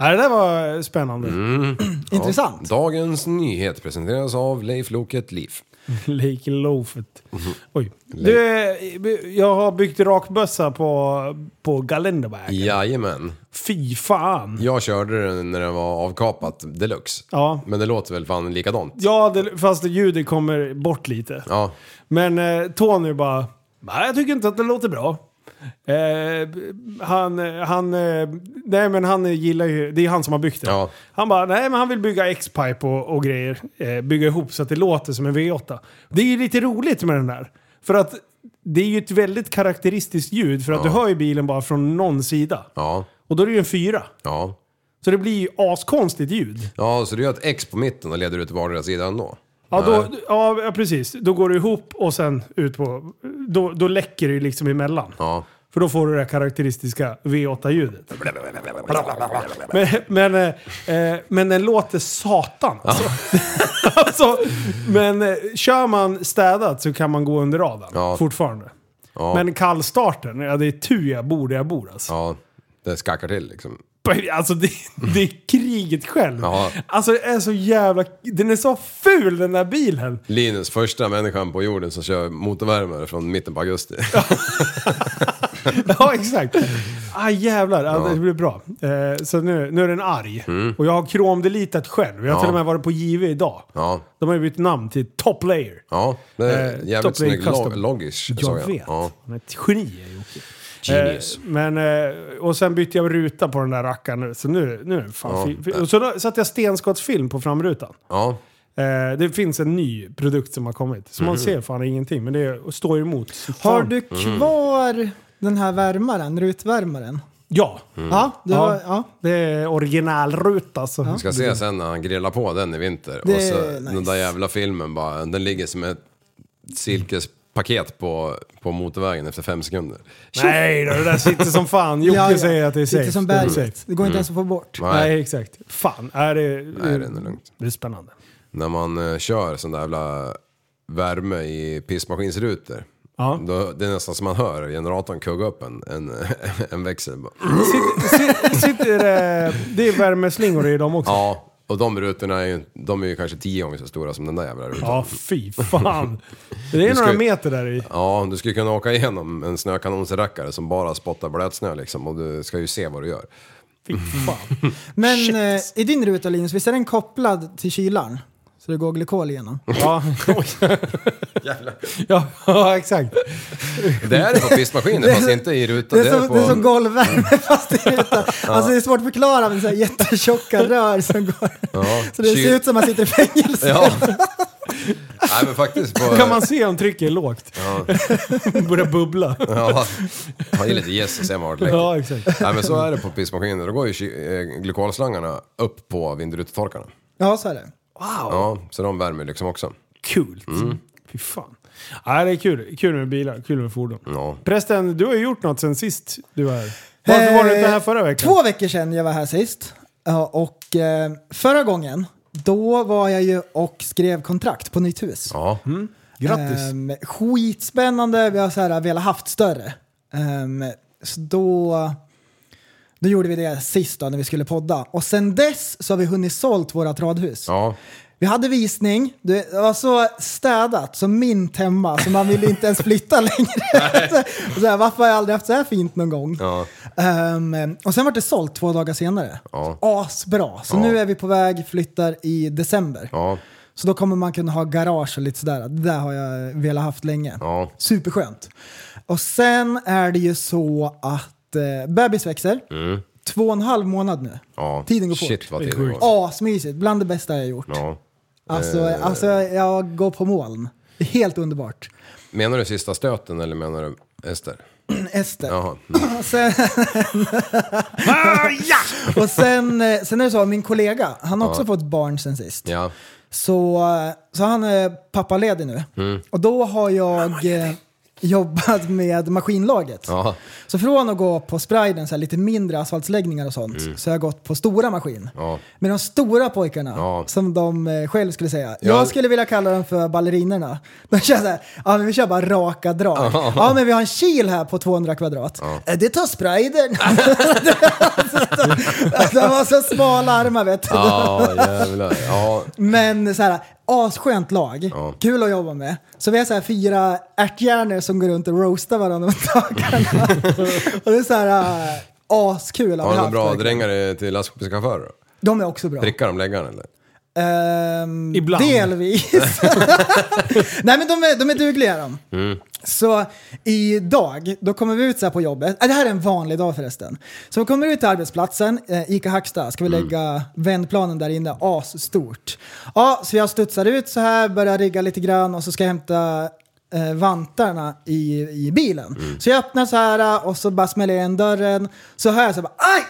S6: Nej, det där var spännande.
S7: Mm. Ja.
S4: Intressant.
S7: Dagens nyhet presenteras av Leif Loket Liv.
S6: Lake Loafet.
S7: Mm-hmm.
S6: Oj. Du, eh, jag har byggt rakbössa på, på Galenderberg.
S7: Jajamän.
S6: Fy fan.
S7: Jag körde den när den var avkapat deluxe.
S6: Ja.
S7: Men det låter väl fan likadant.
S6: Ja, det, fast ljudet kommer bort lite.
S7: Ja.
S6: Men eh, Tony bara, nej jag tycker inte att det låter bra. Eh, han, han, eh, nej men han gillar ju, det är han som har byggt det.
S7: Ja.
S6: Han bara, nej men han vill bygga X-pipe och, och grejer. Eh, bygga ihop så att det låter som en V8. Det är ju lite roligt med den där. För att det är ju ett väldigt karaktäristiskt ljud för att du hör ju bilen bara från någon sida.
S7: Ja.
S6: Och då är det ju en fyra.
S7: Ja.
S6: Så det blir ju askonstigt ljud.
S7: Ja, så du gör ett X på mitten och leder ut till vardera sidan då?
S6: Ja, då, ja, precis. Då går du ihop och sen ut på... Då, då läcker det ju liksom emellan.
S7: Ja.
S6: För då får du det här karaktäristiska V8-ljudet. Men, men, eh, eh, men den låter satan alltså. alltså men eh, kör man städat så kan man gå under radarn
S7: Ja.
S6: fortfarande.
S7: Ja.
S6: Men kallstarten, ja det är tur jag bor där jag bor alltså.
S7: Ja. Det skakar till liksom.
S6: Alltså det, det är kriget själv.
S7: Ja.
S6: Alltså det är så jävla... Den är så ful den där bilen.
S7: Linus, första människan på jorden som kör motorvärmare från mitten på augusti.
S6: Ja, exakt. Ah, jävlar, ah, det blir bra. Eh, så nu, nu är den arg. Och jag har kromdelitat själv. Jag har
S7: Mm. Ja.
S6: till och med varit på JW idag.
S7: Ja.
S6: De har ju bytt namn till Top Layer.
S7: Ja, det är
S6: Eh,
S7: jävligt
S6: Top Lane
S7: snygg lo-
S6: Custom.
S7: loggish
S6: Jag
S7: såg
S6: vet.
S7: Ja.
S6: Han är ett geni, är Jocke.
S7: Genius.
S6: Eh, men, eh, och sen bytte jag ruta på den där rackaren nu, så nu, nu är det fan
S7: Ja.
S6: fi- fi- Och så då satte jag stenskottsfilm på framrutan.
S7: Ja.
S6: Eh, det finns en ny produkt som har kommit. Så
S7: Mhm.
S6: man ser fan ingenting, men det är- står emot.
S4: Har
S7: Mm.
S4: du kvar den här värmaren, rutvärmaren?
S6: Ja,
S7: Mm.
S4: Ja, du
S6: Ja.
S4: Har, ja.
S6: det är originalruta alltså.
S7: Vi ska se sen när han grillar på den i vinter.
S4: Det
S7: och så
S4: är nice.
S7: den där jävla filmen bara, den ligger som ett silkespaket på, på motorvägen efter fem sekunder.
S6: Nej då, det där sitter som fan. Jocke
S4: Ja, ja.
S6: säger att det är safe.
S4: Sitter som
S6: Det är
S4: berget.
S6: safe.
S4: Det går inte ens att få bort.
S7: Mm. Nej.
S6: Nej, exakt. Fan, är det...
S7: Nej, det är nog lugnt.
S6: Det är spännande.
S7: När man eh, kör sån där jävla värme i pissmaskinsrutor.
S6: Ja.
S7: Då, det är nästan som man hör generatorn kugga upp en, en, en växel. bara.
S6: Sitter det... Det är värmeslingor i dem också. Ja,
S7: Ja, och de rutorna är ju, de är ju kanske tio gånger så stora som den där jävla rutan.
S6: fy fan. Det är
S7: ska-
S6: några meter där i.
S7: Ja, du skulle kunna åka igenom en snökanonsrackare som bara spottar blötsnö liksom och du ska ju se vad du gör.
S6: Fy fan.
S4: Men eh, i din ruta Linus, visst är den kopplad till kylaren? Så det går glykol igenom.
S6: Ja, ja, ja exakt.
S7: Det är det på pissmaskinen fast inte i rutan.
S4: Det är, som,
S7: på...
S4: det är som golvvärme fast i rutan. Alltså det är svårt att förklara med så här jättetjocka rör som går.
S7: ja,
S4: Så det ser ut som man sitter i fängelse.
S7: Ja. Nej men faktiskt på...
S6: Kan man se om trycket är lågt? Börjar bubbla.
S7: Ja, man ger lite gäss och ser man vart det läcker.
S6: Ja, exakt.
S7: Nej men så är det på pissmaskiner. Då går ju ky- eh, glykolslangarna upp på vindrutetorkarna.
S4: Ja, så är det.
S7: Ja, så de värmer liksom också.
S6: Kul.
S7: Mm.
S6: Fy fan. Ja, det är kul. Kul med bilar, kul med fordon.
S7: Ja.
S6: Prästen, du har ju gjort något sen sist du var här.
S4: Eh,
S6: Varför var du inte här förra veckan?
S4: Två veckor sedan jag var här sist. Ja, Och eh, förra gången, då var jag ju och skrev kontrakt på nytt hus.
S7: Ja.
S4: Mm.
S6: Grattis!
S4: Ehm, skitspännande, vi har så här velat haft större. Ehm, så då, då gjorde vi det sist då, när vi skulle podda. Och sen dess så har vi hunnit sålt vårat radhus.
S7: Ja.
S4: Vi hade visning, det var så städat som mint hemma så man ville inte ens flytta längre. så, så här, varför har jag aldrig haft så här fint någon gång?
S7: Ja.
S4: Ehm, och sen var det sålt två dagar senare.
S7: Ja.
S4: Asbra! Så
S7: Ja.
S4: nu är vi på väg, flyttar i december.
S7: Ja.
S4: Så då kommer man kunna ha garage och lite sådär. Det där har jag velat haft länge.
S7: Ja.
S4: Superskönt. Och sen är det ju så att eh, bebis växer. Två och en halv månad nu.
S7: Mm. ja.
S4: Tiden går
S7: Shit
S4: fort.
S7: vad tiden går.
S4: Asmysigt. Bland det bästa jag har gjort.
S7: Ja. Eh.
S4: Alltså, alltså jag går på moln. Det är helt underbart.
S7: Menar du sista stöten eller menar du Ester?
S4: Ester.
S7: Jaha.
S4: Och sen,
S7: Ah,
S4: och sen, eh, sen är det så, min kollega, han har också fått barn sen sist.
S7: Ja.
S4: Så, eh, så han är pappaledig nu.
S7: Mm.
S4: Och då har jag eh, jobbat med maskinlaget.
S7: Ja.
S4: Så från att gå på spriden, så här, lite mindre asfaltsläggningar och sånt, så har jag gått på stora maskin.
S7: Mm. Ja.
S4: Med de stora pojkarna,
S7: Ja.
S4: som de eh, själv skulle säga.
S7: Ja.
S4: Jag skulle vilja kalla dem för ballerinerna. De kör så här, ja men vi kör bara raka drag. Ja men vi har en kil här på 200 kvadrat. Eh, Det tar spriden. alltså, de har så smala armar vet du.
S7: Ja, jävlar. Ja.
S4: Men så här, asskönt lag.
S7: Ja.
S4: Kul att jobba med. Så vi är så här fyra ärthjärnor som går runt och roastar varandra om dagarna. och det är så här äh, askul.
S7: Har du
S4: vi
S7: några
S4: haft,
S7: bra
S4: verkligen.
S7: drängare till lastbilschaufförer då?
S4: De är också bra.
S7: Prickar de läggaren eller?
S4: Ehm,
S6: Ibland.
S4: Delvis. Nej men de är, de är dugliga de. Så idag, då kommer vi ut så här på jobbet. Äh, det här är en vanlig dag förresten. Så vi kommer ut till arbetsplatsen, eh, Ica Hacksta, ska vi lägga vändplanen där inne, asstort. Ja, så jag studsar ut så här, börjar rigga lite grann och så ska jag hämta eh, vantarna i, i bilen. Så jag öppnar så här eh, och så bara smäller jag igen dörren. Så hör jag så här, bara, aj!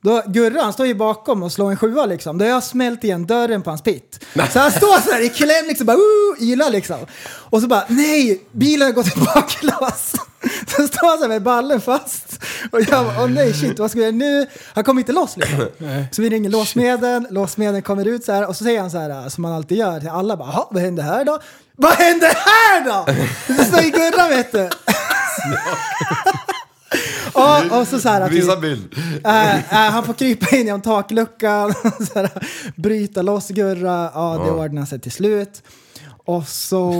S4: Då, Gurra han står ju bakom och slår en sjua liksom. Då har jag smält igen dörren på hans pitt. Så han står så här i kläm liksom, bara uh, ylar liksom. Och så bara nej, bilen har gått i baklås. Så står han så här med ballen fast. Och jag bara, åh nej shit, vad ska jag göra nu? Han kommer inte loss liksom. Så vi ringer låsmeden, låsmeden kommer ut så här och så säger han så här som man alltid gör till alla bara, "Jaha, vad hände här då? Vad hände här då? Så står ju Gurra vet du. och, och så så här, typ-
S7: Visa bild.
S4: Äh, äh, han får krypa in genom takluckan, så här, bryta loss Gurra. Ja, det ordnar sig till slut. Och så,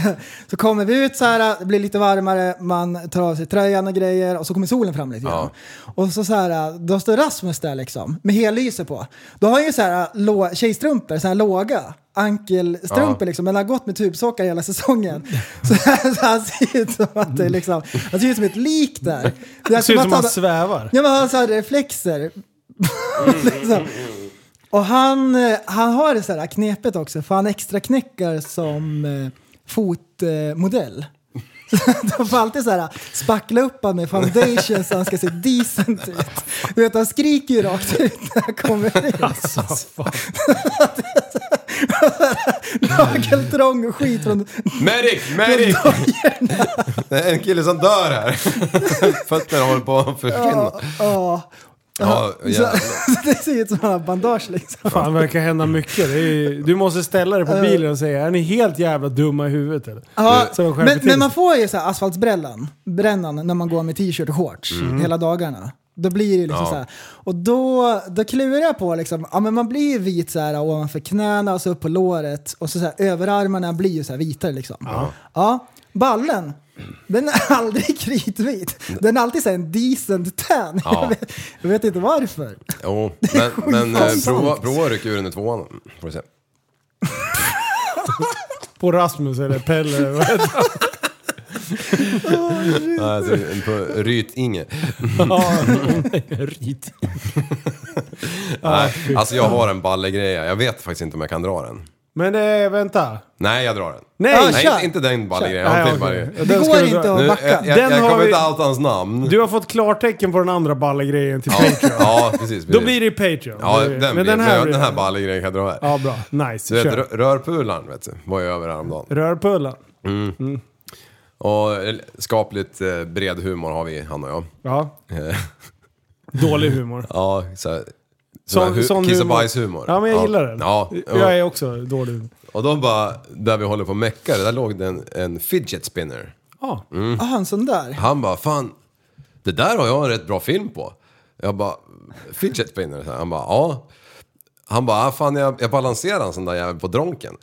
S4: så kommer vi ut så här, det blir lite varmare, man tar av sig tröjan och grejer och så kommer solen fram lite grann. Och så, så här, då står Rasmus där liksom, med hellyse på. Då har han ju så här lå- tjejstrumpor, så här låga ankelstrumpor
S7: Ja.
S4: liksom, men han har gått med tubsockar hela säsongen. Så, så han ser ut som att det är liksom, han ser ut som ett lik där. Det är
S6: Det ser ut som
S4: att
S6: han svävar.
S4: Ja men han har så här reflexer.
S7: Mm.
S4: liksom. Och han, eh, han har det så här knepet också för han extra knäcker som eh, fotmodell. De får alltid så här spackla upp han med foundation så han ska se decent ut. Du vet han skriker ju rakt ut när han kommer in.
S7: Alltså,
S4: Nageltrång och skit från
S7: Medic! Medic! Det är en kille som dör här. Fötterna håller på att försvinna.
S4: Ja.
S7: Ja,
S4: Så,
S7: jävlar.
S4: så det ser ut som han har bandage liksom.
S6: Fan, det verkar hända mycket. Det är, ju- du måste ställa dig på Ehm. bilen och säga, är ni helt jävla dumma i huvudet eller?
S4: Ja,
S6: Så de skärper
S4: men,
S6: till
S4: men man
S6: sig.
S4: får ju så här asfaltsbrällan, brännan, när man går med t-shirt och shorts hela dagarna. Då blir det liksom
S7: Mm. Ja.
S4: så här. Och då, då klurar jag på liksom, ja men man blir ju vit så här ovanför knäna och så upp på låret och så, så här, överarmarna blir ju så här vitare liksom. Ja. Ballen, den är aldrig kritvit. Den är alltid så här en decent tan.
S7: Ja.
S4: Jag, vet, jag vet inte varför.
S7: Jo, men, men eh,
S4: skitkonstigt.
S7: prova, prova att rycka ur den ur tvåan. Får vi se.
S6: På Rasmus eller Pelle. eller vad heter han?
S7: Nej, alltså, på Rytinge.
S6: Ja, rit.
S7: Nej, alltså jag har en ballegreja. Jag vet faktiskt inte om jag kan dra den.
S6: Men eh, vänta.
S7: Nej, jag drar den.
S6: Nej!
S4: Ja,
S7: Nej,
S4: kör.
S7: inte, inte den ballegrejan. Jag har
S6: Nej,
S7: en till
S6: okej.
S7: ballegrej.
S4: Det
S6: Den ska
S4: går
S6: du
S4: inte
S6: dra.
S4: att
S7: Nu, eh,
S4: backa.
S7: jag, jag,
S6: Den
S7: jag
S6: har
S7: kommer
S6: vi-
S7: inte outa hans namn.
S6: Du har fått klartecken på den andra ballegrejen till
S7: ja,
S6: Patreon.
S7: ja, precis.
S6: Då
S7: precis.
S6: blir det Patreon.
S7: Ja,
S6: Det
S7: den
S6: blir-
S7: blir, men den här,
S6: blir-
S7: den här ballegrejen kan jag dra här.
S6: Ja, bra. Nice.
S7: Du vet,
S6: Kör.
S7: rö- rörpularen vet du, var ju över häromdagen.
S6: Rörpullan.
S7: Och eh, skapligt eh, bred humor har vi, han och jag.
S6: Ja.
S7: Eh,
S6: Dålig humor.
S7: ja, såhär... Sån, hu- kiss och bajshumor.
S6: Ja, men jag gillar den.
S7: Ja,
S6: Jag är också dålig humor.
S7: och då bara, där vi håller på och meckar, där låg det en, en fidget spinner.
S6: Ja.
S4: Ah, en sån där.
S7: Han bara, fan, det där har jag en rätt bra film på. Jag bara, fidget spinner? Så här. Han bara, ja. Han bara, ah, fan jag, jag balanserar en sån där jävel på dronken.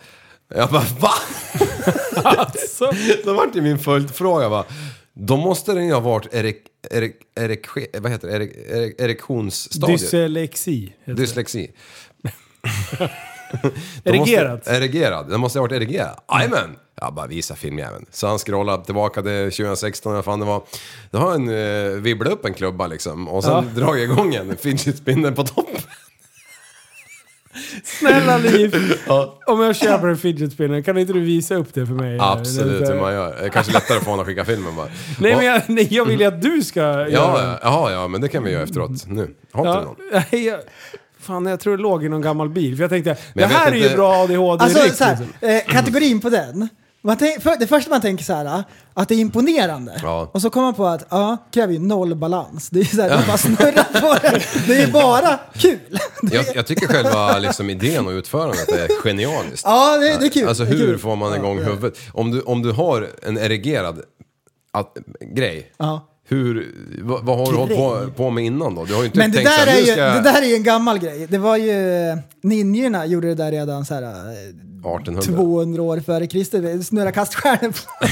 S7: Jag bara, va?
S6: Alltså.
S7: Då vart det min följdfråga bara, då måste den ju ha varit erek, erek, erek, vad heter det? Erek, erek, erektionsstadiet.
S6: Dyslexi. heter det.
S7: Dyslexi. Då måste-
S6: Erigerat.
S7: Erigerad. Den måste ha varit erigerad.
S6: Mm.
S7: Jajamän! Jag bara visa filmjäveln. Så han scrollade tillbaka till 2016 eller vad fan det var. Då har han eh, vibblat upp en klubba liksom och sen dragit igång en fidget spinner på toppen.
S6: Snälla Liv,
S7: Ja,
S6: om jag köper en fidget spinner, kan inte du visa upp det för mig?
S7: absolut
S6: Det är-
S7: hur man gör. Det är kanske lättare att få honom att skicka filmen bara.
S6: Nej, men jag, nej, jag vill ju att du ska göra
S7: Ja,
S6: det.
S7: ja, jaha, ja, men det kan vi göra efteråt. Nu. Har inte du någon?
S6: Nej, jag, fan, jag tror det låg i någon gammal bil. För jag tänkte,
S7: Men jag
S6: det
S7: vet
S6: här är ju
S7: inte-
S6: bra adhd
S4: Alltså,
S6: direkt,
S4: så här,
S6: liksom.
S4: eh, kategorin på den. Man tänk, för, det första man tänker så här, att det är imponerande.
S7: Ja.
S4: Och så kommer man på att ja, kräver ju noll balans. Det är så här, de bara snurrar på det. Det är bara kul.
S7: Jag, jag tycker själva liksom, idén och utförandet är genialiskt.
S4: Ja, det, det är kul.
S7: Alltså
S4: det är
S7: hur
S4: kul.
S7: får man igång huvudet? Om du, om du har en erigerad att, grej,
S4: Ja.
S7: hur, vad, vad har du hållit på,
S4: Grej.
S7: på med innan då? Du har ju inte
S4: Men det
S7: tänkt
S4: där,
S7: såhär,
S4: är
S7: nu
S4: ju,
S7: ska
S4: det
S7: jag...
S4: där är ju en gammal grej. Det var ju, ninjorna gjorde det där redan så här, eh,
S7: 1800.
S4: 200 år före Kristus. Snurra kaststjärnor på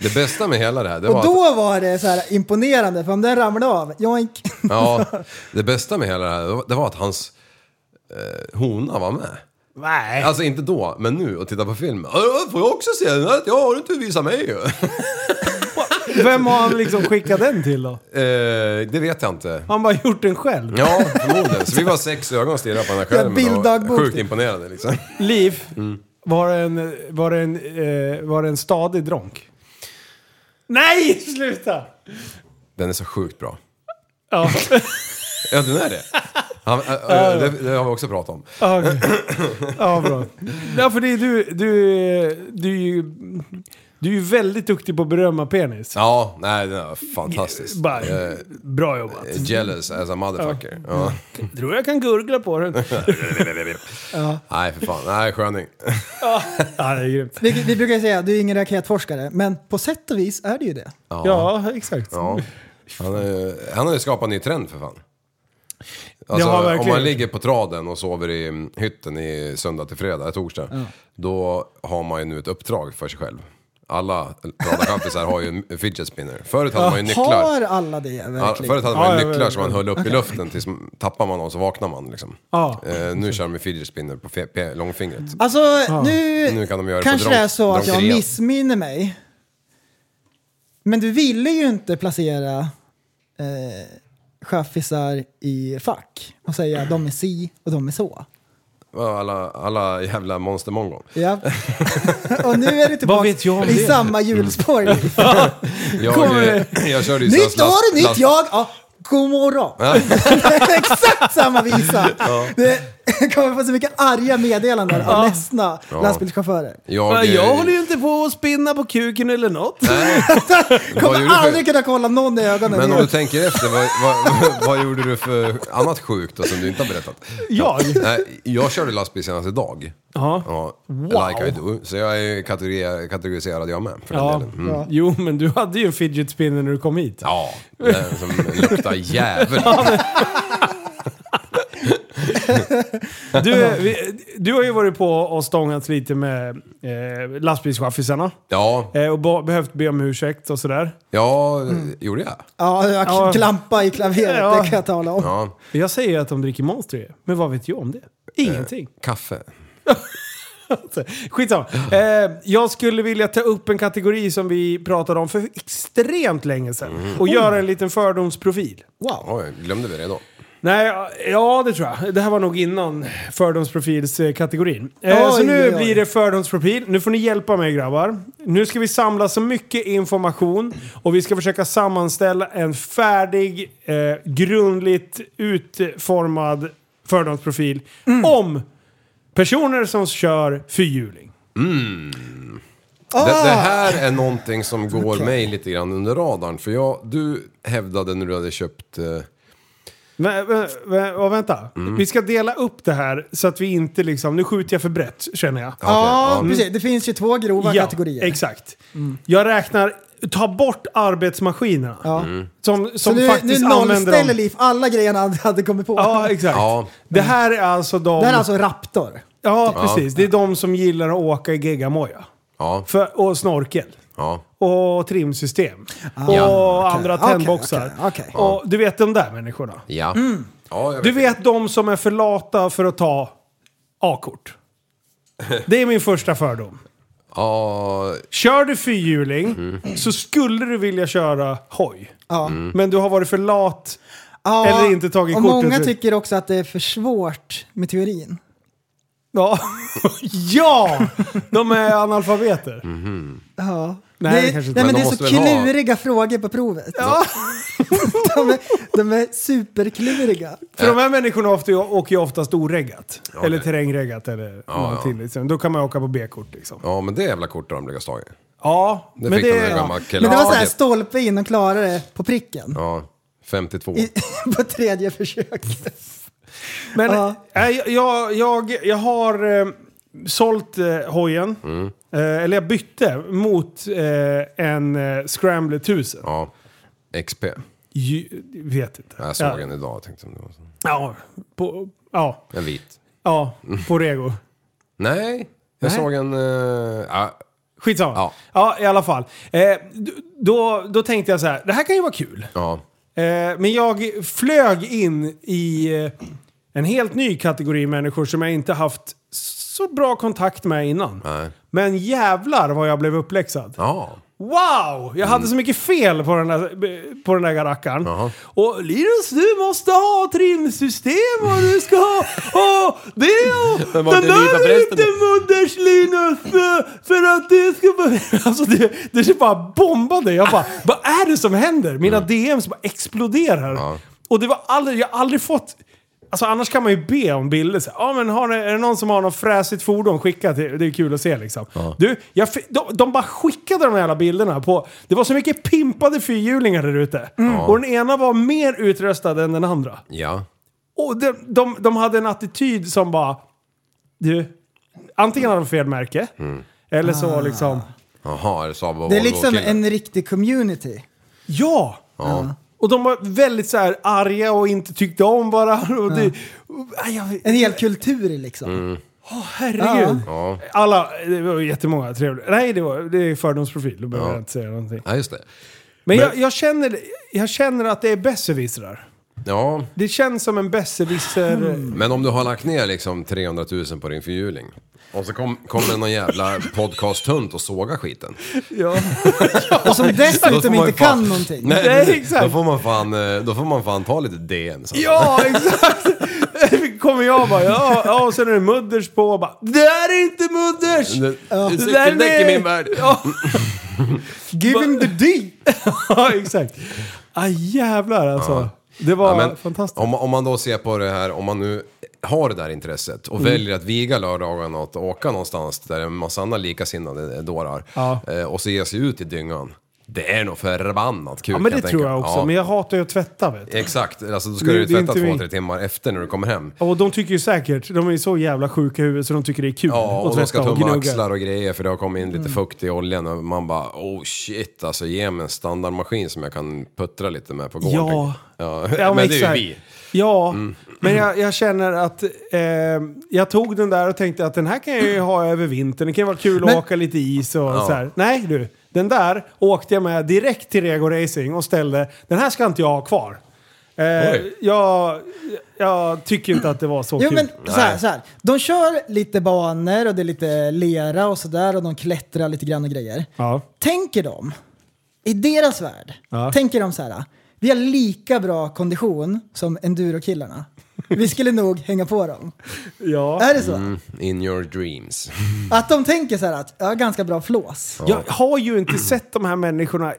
S7: Det bästa med hela det här, det var
S4: Och
S7: att,
S4: då var det så här imponerande, för om den ramlade av, joink.
S7: ja, det bästa med hela det här, det var- det var att hans eh, hona var med.
S6: Nej.
S7: Alltså inte då, men nu och titta på filmen. "Ja, Får jag också se den? här? Ja, har du inte visat mig ju?
S6: Vem har han liksom skickat den till då?
S7: Eh, det vet jag inte.
S6: Han bara gjort den själv.
S7: Ja, förmodligen. Så vi var sex ögon och stirrade på den här
S4: Ja,
S7: skärmen. och var
S4: bilddagbok.
S7: sjukt imponerade liksom.
S6: Liv, var, det en, var, det en, eh, var det en stadig dronk? Nej, sluta!
S7: Den är så sjukt bra.
S6: Ja,
S7: Ja, den är det. Han, äh, äh, det, det har vi också pratat om.
S6: ja, okej. ja bra. Ja, för det är du, du, eh, du, är ju- du är ju väldigt duktig på att berömma penis.
S7: Ja, nej, den är fantastisk.
S6: Bara,
S7: Eh,
S6: bra jobbat.
S7: jealous as a motherfucker. Ja.
S6: Tror jag kan gurgla på den.
S7: Nej, för fan. Nej, sköning.
S6: Ja, det är grymt.
S4: Vi, vi brukar ju säga du är ingen raketforskare, men på sätt och vis är det ju det.
S6: Ja, exakt.
S7: Ja. Han, är, han har ju skapat en ny trend för fan.
S6: Det har han
S7: Alltså, om
S6: verkligen
S7: man
S6: gjort.
S7: ligger på traden och sover i mm, hytten i söndag till fredag, torsdag, då har man ju nu ett uppdrag för sig själv. Alla radarkampisar har ju en fidget spinner. Förut hade man ju nycklar.
S4: Har alla det
S7: Ja,
S4: verkligen?
S7: förut hade man
S6: Ja,
S7: ju
S6: ja,
S7: nycklar
S6: ja,
S7: som man höll upp i luften tills tappar man dem så vaknar man liksom.
S6: Ja.
S7: Eh, nu kör de med fidget spinner på fe- pe- långfingret.
S4: Alltså nu,
S7: Nu kan de göra det på
S4: kanske
S7: dronk-
S4: det är så att jag
S7: dronkeriet.
S4: missminner mig. Men du ville ju inte placera eh, chaffisar i fack och säga de är si och de är så.
S7: Ja, Alla, alla jävla monstermongon.
S4: Ja. och nu är du
S6: Vad
S4: tillbaka
S6: vet jag om
S4: i
S6: det?
S4: samma hjulspår.
S7: Mm. Jag, eh, jag körde ju så här
S4: Nytt år,
S7: last-
S4: nytt jag! Ja, god morgon! Exakt samma visa! Det kommer få så mycket arga meddelanden av ledsna lastbilschaufförer.
S7: Jag, eh,
S6: Jag håller ju inte på att spinna på kuken eller något.
S7: vad gjorde
S4: Kommer
S7: du för-
S4: aldrig kunna kolla någon i ögonen.
S7: Men om du
S4: igen.
S7: tänker efter, vad, vad, vad gjorde du för annat sjukt då, som du inte har berättat?
S6: Jag?
S7: Nej, jag körde lastbil senast idag.
S6: Ja.
S7: Ja, Like I do. Så jag är ju kategori, kategoriserad jag med för den
S6: Ja.
S7: delen. Mm.
S6: Jo, men du hade ju en fidget spinner när du kom hit.
S7: Ja, den som luktar jävel.
S6: Du, vi, du har ju varit på och stångats lite med eh, lastbilschaffisarna.
S7: Ja,
S6: Eh, och ba- behövt be om ursäkt och sådär.
S7: ja gjorde jag?
S4: Ja, jag
S6: Ja.
S4: klampa i klaveret,
S6: Ja.
S4: det kan jag tala om.
S7: Ja,
S6: Jag säger ju att de dricker Monster ju, men vad vet jag om det? Ingenting.
S7: kaffe.
S6: Skitsamma. Eh, jag skulle vilja ta upp en kategori som vi pratade om för extremt länge sedan. Och göra en liten fördomsprofil.
S4: Wow.
S7: Oj, glömde vi det då?
S6: Nej, ja det tror jag. Det här var nog innan fördomsprofilskategorin. Eh,
S4: Oj,
S6: så nu
S4: oj, oj.
S6: blir det fördomsprofil. Nu får ni hjälpa mig grabbar. Nu ska vi samla så mycket information och vi ska försöka sammanställa en färdig, eh, grundligt utformad fördomsprofil
S4: Mm.
S6: om personer som kör fyrhjuling.
S4: Ah!
S7: Det, det här är någonting som går mig lite grann under radarn. För jag, du hävdade när du hade köpt... eh,
S6: Vä- vä- vä- och vänta, vi ska dela upp det här så att vi inte liksom... Nu skjuter jag för brett känner jag.
S4: Ja,
S7: okej,
S6: Mm.
S4: precis. Det finns ju två grova kategorier.
S6: Exakt. Jag räknar, ta bort arbetsmaskinerna.
S4: Ja.
S7: Mm.
S6: Som,
S4: Så
S6: som
S4: nu, nu
S6: faktiskt använder
S4: nollställer
S6: dem.
S4: Liv alla grejerna han hade kommit på.
S6: Ja, exakt.
S7: Ja.
S6: Det här är alltså de...
S4: Det här är alltså Raptor.
S6: ja, precis. Det är de som gillar att åka i geggamoja.
S7: Ja,
S6: För- Och snorkel.
S7: ja.
S6: Och trimsystem. och andra
S4: Ah, Okej,
S6: tändboxar.
S4: okej, okej.
S6: Och du vet de där människorna.
S7: Ja.
S4: Mm.
S7: ja jag
S6: Du
S7: det.
S6: vet de som är för lata för att ta A-kort. Det är min första fördom.
S7: Ja,
S6: Kör du
S7: Mm.
S6: fyrhjuling så skulle du vilja köra hoj.
S4: Ja.
S6: Men du har varit för lat
S4: Ja,
S6: Eller inte tagit
S4: och
S6: kortet.
S4: Många tycker också att det är för svårt med teorin.
S6: Ja! ja! De är analfabeter.
S7: Mm.
S4: Ja.
S6: Nej,
S4: det,
S6: kanske inte.
S4: nej, men
S7: Men de
S4: det är så
S7: måste väl ha-
S4: kluriga frågor på provet. de, är, de är superkluriga.
S6: För de här människorna ofta, åker ju oftast oreggat.
S7: Äh. Ja,
S6: Eller
S7: det-
S6: terrängreggat eller någonting. Liksom. Då kan man åka på B-kort liksom.
S7: Ja, men det jävla kortet har de lyckats ta i.
S6: Ja,
S7: Det fick de där gamla killarna.
S4: Men det var så här,
S7: Ja,
S4: stolpe in och klara det på pricken.
S7: Ja, 52.
S4: I, på tredje försöket.
S6: Men
S4: Ja.
S6: nej, jag, jag, jag har eh, sålt eh, hojen.
S7: Mm.
S6: Eh, eller jag bytte mot eh, en eh, Scrambler 1000.
S7: Ja. XP.
S6: Ju, vet inte.
S7: Jag såg
S6: ja.
S7: den idag tänkte jag. om det var så.
S6: Ja, på, ja,
S7: En vit.
S6: ja, på rego.
S7: Nej, jag
S6: Nej.
S7: såg en... eh, ja,
S6: Skitsamma. Ja.
S7: Ja.
S6: i alla fall. Eh, d- då, då tänkte jag så här, det här kan ju vara kul.
S7: ja.
S6: Eh, men jag flög in i eh, en helt ny kategori människor som jag inte haft så bra kontakt med innan.
S7: Nej.
S6: Men jävlar vad jag blev uppläxad.
S7: Ja.
S6: Wow! Jag hade så mycket fel på den där, på den där rackaren.
S7: Mm. Jaha.
S6: Och Linus, du måste ha trimsystem och du ska ha ha det och
S7: Men var
S6: den
S7: inte ni på
S6: där är
S7: prästen
S6: inte mudders Linus eh, för att det ska vara... Alltså det, det så bara bombade. Jag bara, vad är det som händer? Mina DMs bara exploderar.
S7: Ja.
S6: Och det var aldrig, jag har aldrig fått... Alltså annars kan man ju be om bilder. Så, här, ja men har ni, är det någon som har något fräsigt fordon, skicka till, det är kul att se liksom. Du, jag, fi- de, de bara skickade de här jävla bilderna på... Det var så mycket pimpade fyrhjulingar där ute. Och den ena var mer utrustad än den andra.
S7: Ja.
S6: Och de, de, de hade en attityd som bara... Du, antingen hade de fel märke, eller
S7: Ah.
S6: så liksom...
S7: Jaha, är det Saab och
S4: Det är
S7: Volvo och
S4: liksom
S7: killar?
S4: en riktig community.
S6: Ja!
S7: Ja.
S6: Och de var väldigt så här arga och inte tyckte om varandra. Och det,
S7: Ah.
S6: Aj, jag,
S4: En hel kultur liksom.
S7: Mm.
S6: Åh, herregud.
S7: Ja.
S6: Alla, det var jättemånga trevliga. Nej, det, var, det är fördomsprofil. Då behöver
S7: Ja.
S6: jag inte säga någonting.
S7: Nej, just det.
S6: Men, jag, jag, känner, jag känner att det är besserwissrar.
S7: Ja,
S6: Det känns som en besserwisser...
S7: men om du har lagt ner liksom 300 000 på din fyrhjuling och så kom- kommer det någon jävla podcasthunt och sågar skiten.
S6: Ja.
S4: Och som
S7: Då får
S4: dessutom
S7: man ju
S4: inte kan
S7: fan-
S4: någonting.
S7: Nej,
S6: Nej,
S7: precis.
S6: exakt.
S7: Då får man fan, eh, då får man fan ta lite DM. Så.
S6: Ja, exakt! kommer jag bara, ja, ja, och sen är det mudders på och bara, det här är inte mudders!
S7: Det,
S6: Det där
S7: Ursäkta,
S6: är-
S7: däck i min värld.
S6: Ja,
S4: Give him the D!
S6: ja, exakt. Ah, jävlar alltså. Det var
S7: Ja, men
S6: fantastiskt.
S7: Om, om man då ser på det här, om man nu har det där intresset
S6: Mm.
S7: och väljer att viga lördagen åt att åka någonstans där en massa andra likasinnade dårar
S6: Ja.
S7: eh, och så ger sig ut i dyngan. Det är nog förbannat kul
S6: Ja, men
S7: kan
S6: det tror
S7: tänka.
S6: jag också.
S7: Ja,
S6: Men jag hatar ju att tvätta vet du.
S7: Exakt, alltså då ska
S6: Det-
S7: du ju
S6: det är
S7: tvätta
S6: inte min-
S7: två, tre timmar efter när du kommer hem.
S6: Och de tycker ju säkert, de är ju så jävla sjuka i huvudet så de tycker det är kul
S7: Ja, och de ska tumma
S6: gnugga. Mm.
S7: axlar och grejer för det har kommit in lite fukt i oljan och man bara oh shit alltså ge mig en standardmaskin som jag kan puttra lite med på gården.
S6: Ja.
S7: ja.
S6: Ja,
S7: men, det är
S6: exakt.
S7: ju vi. Mm.
S6: Ja, men jag, jag känner att eh, jag tog den där och tänkte att den här kan jag ju ha över vintern. Det kan ju vara kul
S4: Men-
S6: att åka lite is och så här. Nej du, den där åkte jag med direkt till Rego Racing och ställde, den här ska inte jag ha kvar. Eh,
S7: Oj.
S6: jag, jag tycker inte att det var så
S4: Jo
S6: kul.
S4: men så här, så här. De kör lite banor och det är lite lera och sådär och de klättrar lite grann och grejer.
S6: Ja.
S4: Tänker de, i deras värld,
S6: Ja.
S4: tänker de så här. Vi har lika bra kondition som endurokillarna. Vi skulle nog hänga på dem.
S6: Ja.
S4: Är det så?
S7: In your dreams.
S4: Att de tänker så här att jag har ganska bra flås.
S6: Jag har ju inte sett de här människorna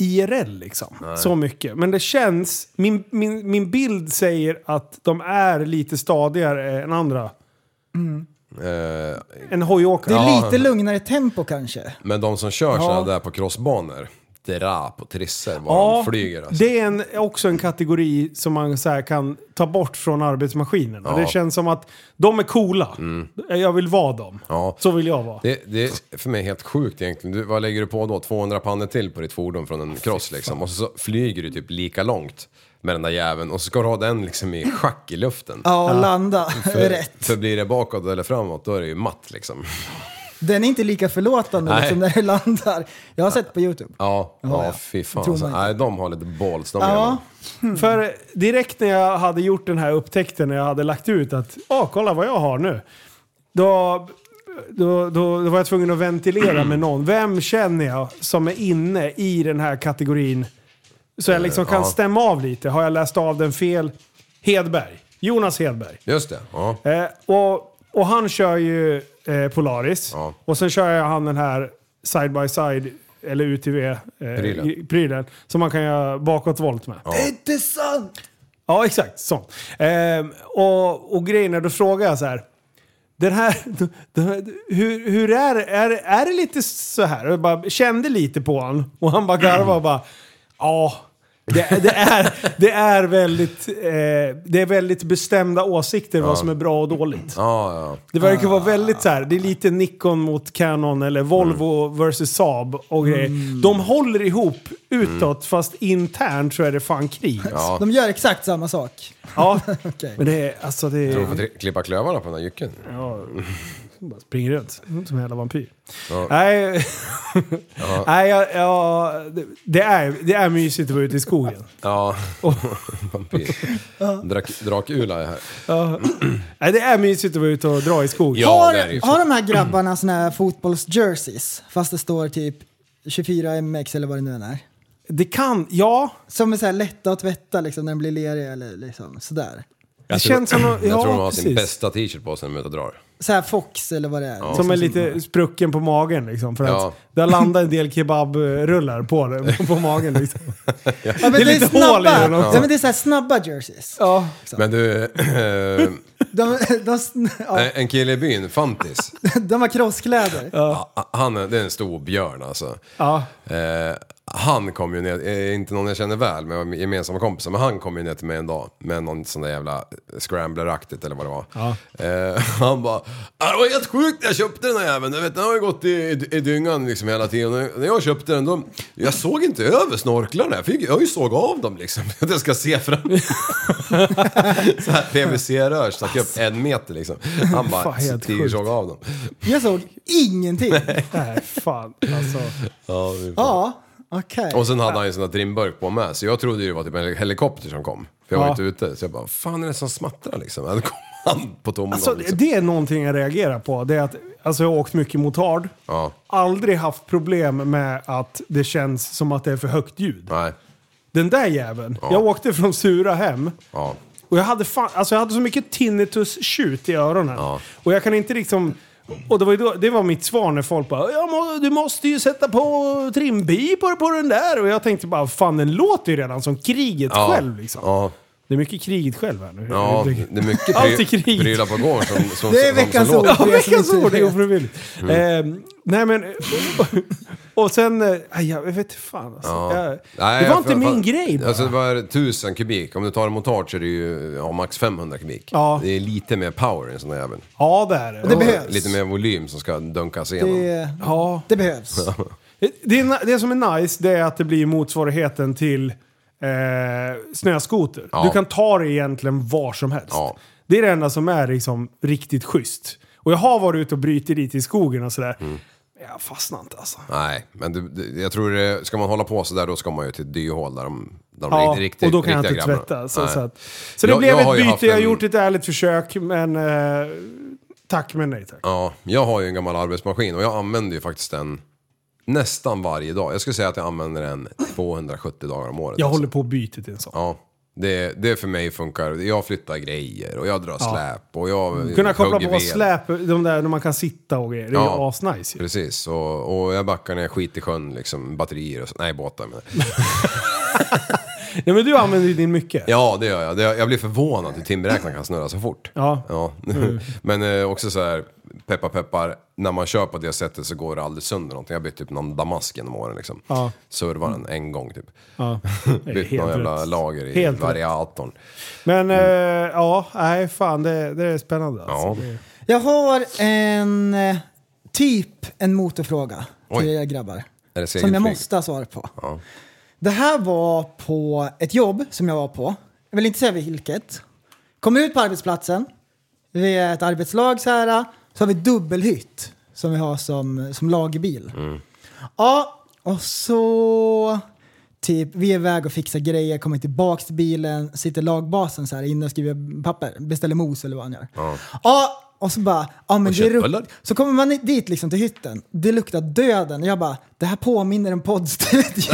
S6: IRL liksom. Så mycket. Men det känns, min, min, min bild säger att de är lite stadigare än andra.
S7: Eh,
S6: En hojåkare.
S4: Det är
S7: Ja.
S4: lite lugnare tempo kanske.
S7: men de som kör såna
S6: Ja.
S7: där på crossbanor, drap och trissor var de flyger alltså.
S6: det är en, också en kategori som man så här kan ta bort från arbetsmaskinerna.
S7: Ja. Mm.
S6: Det känns som att de är coola. Jag vill vara dem.
S7: Ja.
S6: Så vill jag vara.
S7: Det, det är för mig helt sjukt egentligen. Du, vad lägger du på då? 200 pannor till på ditt fordon från en cross liksom. Och så flyger du typ lika långt med den där jäveln och så ska du ha den liksom i schack i luften.
S4: Ja, och landa rätt.
S7: För blir det bakåt eller framåt då är det ju matt liksom.
S4: Den är inte lika förlåtande
S7: Nej.
S4: liksom, när det landar. Jag har sett på YouTube.
S7: Ja, ja,
S4: ja.
S7: fy fan.
S4: Tror man
S7: Alltså,
S4: inte.
S7: nej, de har lite balls de
S4: Ja,
S7: ja.
S6: För direkt när jag hade gjort den här upptäckten, när jag hade lagt ut att ah, kolla vad jag har nu. Då, då, då, då var jag tvungen att ventilera med någon. Vem känner jag som är inne i den här kategorin Så jag liksom
S7: Eh,
S6: kan
S7: ja.
S6: stämma av lite. Har jag läst av den fel? Hedberg. Jonas Hedberg.
S7: Just det. Ja.
S6: Eh, och, och han kör ju eh, Polaris.
S7: Ja.
S6: Och sen kör jag han den här side by side, eller UTV, eh,
S7: Prylen.
S6: gr- prylen som man kan göra bakåtvolt med.
S7: Det är
S6: inte sant! Ja, exakt. Så. Eh, och, och grejen är, då frågar jag så här. Den här, den här hur, hur är det? Är, är det lite så här? Och Jag bara kände lite på honom och han bara garvade och bara ja. Det, det, är, det, är väldigt, eh, det är väldigt bestämda åsikter vad som är bra och dåligt.
S7: Ja, ja.
S6: Det verkar vara väldigt så här. det är lite Nikon mot Canon eller Volvo
S7: Mm.
S6: versus Saab och grejer. De håller ihop utåt fast internt så är det fan krig. Ja,
S7: ja.
S4: De gör exakt samma sak. Okej.
S6: men det är alltså det
S7: Tror
S6: är...
S7: du får tri- klippa klövarna på den där jycken?
S6: Ja, bara springer runt som en jävla vampyr.
S7: Ja.
S6: Nej, Nej jag, jag, det- det, är, det är mysigt att vara ute i skogen.
S7: Ja. Vampyr. Drak, drakula är här.
S6: Nej, det är mysigt att vara ute och dra i skogen.
S7: Ja,
S4: har,
S7: det är det ju.
S4: har de här grabbarna såna här fotbolls-jerseys fast det står typ 24MX eller vad det nu än är?
S6: Det kan, ja.
S4: Som är så här lätta att tvätta liksom när de blir leriga eller liksom sådär.
S6: Det känns som att-
S7: jag
S6: ja,
S7: tror de har sin
S6: precis.
S7: bästa t-shirt på sig när de är ute och drar.
S4: Så här Fox eller vad det är. Liksom.
S6: Som är lite sprucken på magen liksom. För
S7: Ja.
S6: att där landar en del kebabrullar på, det- på magen liksom.
S4: Ja, men
S6: Det är lite hål i
S4: snabba,
S6: den också.
S4: ja, men det är så här snabba jerseys.
S6: Ja.
S7: Men du, eh,
S4: De, de, sn- ja,
S7: en kille i byn, Fantis.
S4: de har crosskläder.
S7: Ah, Han, är- det är en stor björn alltså.
S6: Ja.
S7: Eh, han kom ju ner, eh, inte någon jag känner väl, men jag har gemensamma kompisar, men han kom ju ner till mig en dag med någon sån där jävla scrambler-aktigt eller vad det var. Eh, han bara, "Ah, det var helt sjukt när jag köpte den här jäveln, du vet den har ju gått i, i, i dyngan liksom hela tiden. Och När jag köpte den, då, jag såg inte över snorklarna, jag, fick, jag har ju såg av dem liksom. Att jag ska se fram. så här PVC-rör stack upp en meter liksom. Han
S6: Fan,
S7: bara,
S6: helt
S7: Tiger
S6: sjukt.
S7: såg av dem.
S4: Jag såg ingenting.
S6: Nej, fan alltså.
S7: Ja, det är fan.
S4: Ja, okej.
S7: Och sen hade han ju en sån där trimburk på med, så jag trodde ju det var typ en helikopter som kom. För jag var
S6: Ja.
S7: inte ute, så jag bara, fan är det som smattrar liksom? Ja, Då kom han på tomgång
S6: alltså.
S7: liksom.
S6: Det är någonting jag reagerar på. Det är att, alltså jag har åkt mycket motard.
S7: Ja,
S6: Aldrig haft problem med att det känns som att det är för högt ljud.
S7: nej,
S6: Den där jäveln. Jag åkte från Sura hem.
S7: ja.
S6: Och jag hade, fan, alltså jag hade så mycket tinnitus-tjut i öronen.
S7: Ja.
S6: Och jag kan inte liksom... Och det var, ju då, det var mitt svar när folk bara "Ja, må, “Du måste ju sätta på trimpipor på den där” och jag tänkte bara “Fan, den låter ju redan som kriget
S7: ja.
S6: själv liksom”.
S7: Ja,
S6: Det är mycket kriget själv här nu.
S7: ja. det är mycket
S6: Allt är
S7: pry-
S6: krig.
S7: prylar på gården som, som,
S4: Det är
S7: som- som
S4: veckans
S7: låter. Mm.
S4: ord.
S6: Ja, veckans
S4: som inte
S6: ord är
S4: vet.
S6: ofrivilligt. Eh, nej men... Och sen... eh, aj, jag vet inte fan alltså.
S7: Ja.
S6: jag,
S7: Nej,
S6: Det var
S7: jag-
S6: inte
S7: jag-
S6: min grej bara.
S7: Alltså det var 1000 kubik, om du tar en motard så är det ju ja, max 500 kubik.
S6: Ja.
S7: Det är lite mer power i en sån där jävel.
S6: Ja, det är det.
S4: Det behövs.
S7: Lite mer volym som ska dunkas igenom.
S4: Det,
S6: Ja.
S4: det behövs.
S6: Det, är, det som är nice det är att det blir motsvarigheten till eh, snöskoter.
S7: Ja.
S6: Du kan ta det egentligen var som helst.
S7: Ja.
S6: Det är det enda som är liksom riktigt schysst. Och jag har varit ute och brutit lite i skogen och sådär.
S7: Mm.
S6: Men Jag fastnar inte alltså.
S7: Nej, men du, du, jag tror det, ska man hålla på sådär då ska man ju till dyhål där de, där de
S6: Ja,
S7: riktigt, riktigt
S6: och då kan jag inte
S7: riktiga grabbarna.
S6: tvätta. Så,
S7: Nej.
S6: så, att, så det
S7: Jag-
S6: blev
S7: jag har
S6: ett
S7: ju
S6: byte,
S7: haft
S6: jag har
S7: en-
S6: gjort ett ärligt försök, men eh, tack men nej tack.
S7: Ja, jag har ju en gammal arbetsmaskin och jag använder ju faktiskt den nästan varje dag. Jag skulle säga att jag använder den 270 dagar om året.
S6: Jag
S7: alltså.
S6: håller på att byta till en sån.
S7: Ja, det, det för mig funkar. Jag flyttar grejer och jag drar släp och jag
S6: Mm. Kunna koppla
S7: hugger
S6: på
S7: ved.
S6: släp, de där när man kan sitta och grejer. Det är ju
S7: Ja.
S6: asnice ju.
S7: Precis, och, och jag backar ner skit i sjön, liksom batterier och så. Nej, båtar menar jag.
S6: Nej men du använder ju din mycket.
S7: Ja, det gör jag. Det, jag blir förvånad hur timräknaren kan snurra så fort.
S6: Ja.
S4: Mm.
S7: Men eh, också så här, peppar peppar, när man kör på det sättet så går det aldrig sönder någonting. Jag bytte typ någon damask genom åren liksom.
S6: Ja.
S7: Servar den en gång typ.
S6: Ja. Det är
S7: Bytt
S6: helt
S7: någon jävla
S6: rätt.
S7: lager i
S6: Helt rätt.
S7: variatorn.
S6: Men
S7: Mm.
S6: eh, ja, nej fan det, det är spännande.
S7: Ja.
S6: Alltså. Det-
S4: Jag har en eh, typ en motorfråga
S7: Oj.
S4: till er grabbar.
S7: Är det
S4: Som jag
S7: segelflyg?
S4: måste ha svar på.
S7: Ja.
S4: Det här var på ett jobb som jag var på. Jag vill inte säga vilket. Kommer ut på arbetsplatsen. Vi är ett arbetslag så här. Så har vi dubbelhytt som vi har som, som lagerbil.
S7: Mm.
S4: Ja, och så typ vi är iväg och fixar grejer, kommer tillbaks till bilen, sitter lagbasen så här inne och skriver papper, beställer mos eller vad han gör. Ja, Och så bara, ja men
S7: Och
S4: det luk-
S7: köttbullar.
S4: Så kommer man dit liksom till hytten, det luktar döden. Jag bara, det här påminner en poddstudio.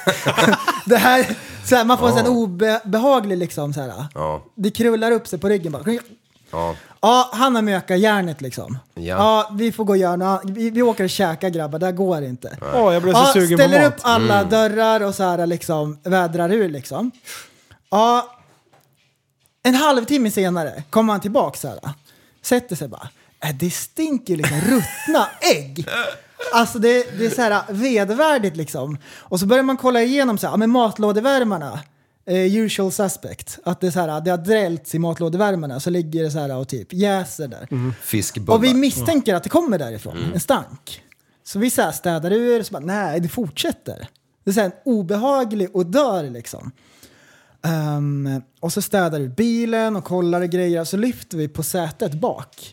S4: det här, så här, man får en sån obehaglig liksom så här.
S7: Ja.
S4: Det krullar upp sig på ryggen bara.
S7: Ja.
S4: Ja, han har mökat järnet liksom.
S7: Ja.
S4: vi får gå och göra något. Vi, vi åker och käkar grabbar, det här går inte.
S6: Åh, jag blev så
S4: Ja,
S6: sugen på
S4: ställer
S6: mat.
S4: upp alla dörrar och så här liksom vädrar ur liksom. Ja, en halvtimme senare kommer han tillbaka så här. Sätter sig bara. Äh, det stinker ju liksom ruttna ägg. Alltså det, det är så här vedvärdigt liksom. Och så börjar man kolla igenom så här, ja, men matlådevärmarna. Eh, usual suspect. Att det, är så här, det har drällts i matlådevärmarna så ligger det så här och typ jäser där.
S6: Mhm.
S7: Fiskbullar.
S4: Och vi misstänker att det kommer därifrån, en stank. Så vi så här städar ur och så bara, nej, det fortsätter. Det är så här en obehaglig odör liksom. Ehm, och så städar vi bilen och kollar och grejer. Så lyfter vi på sätet bak.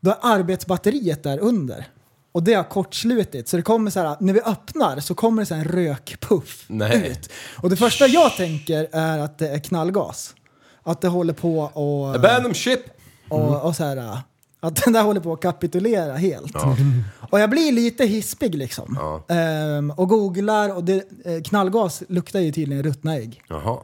S4: Då är arbetsbatteriet där under. Och det har kortslutit. Så det kommer så här, när vi öppnar så kommer det så här en rökpuff
S7: Nej.
S4: ut. Och det första jag tänker är att det är knallgas. Att det håller på och...
S7: Abandon ship!
S4: Och, och så här, äh, att den där håller på att kapitulera helt. Och jag blir lite hispig liksom.
S7: Mm-hmm. Ja.
S4: Ehm, och googlar och det, eh, knallgas luktar ju tydligen ruttna ägg.
S7: Jaha.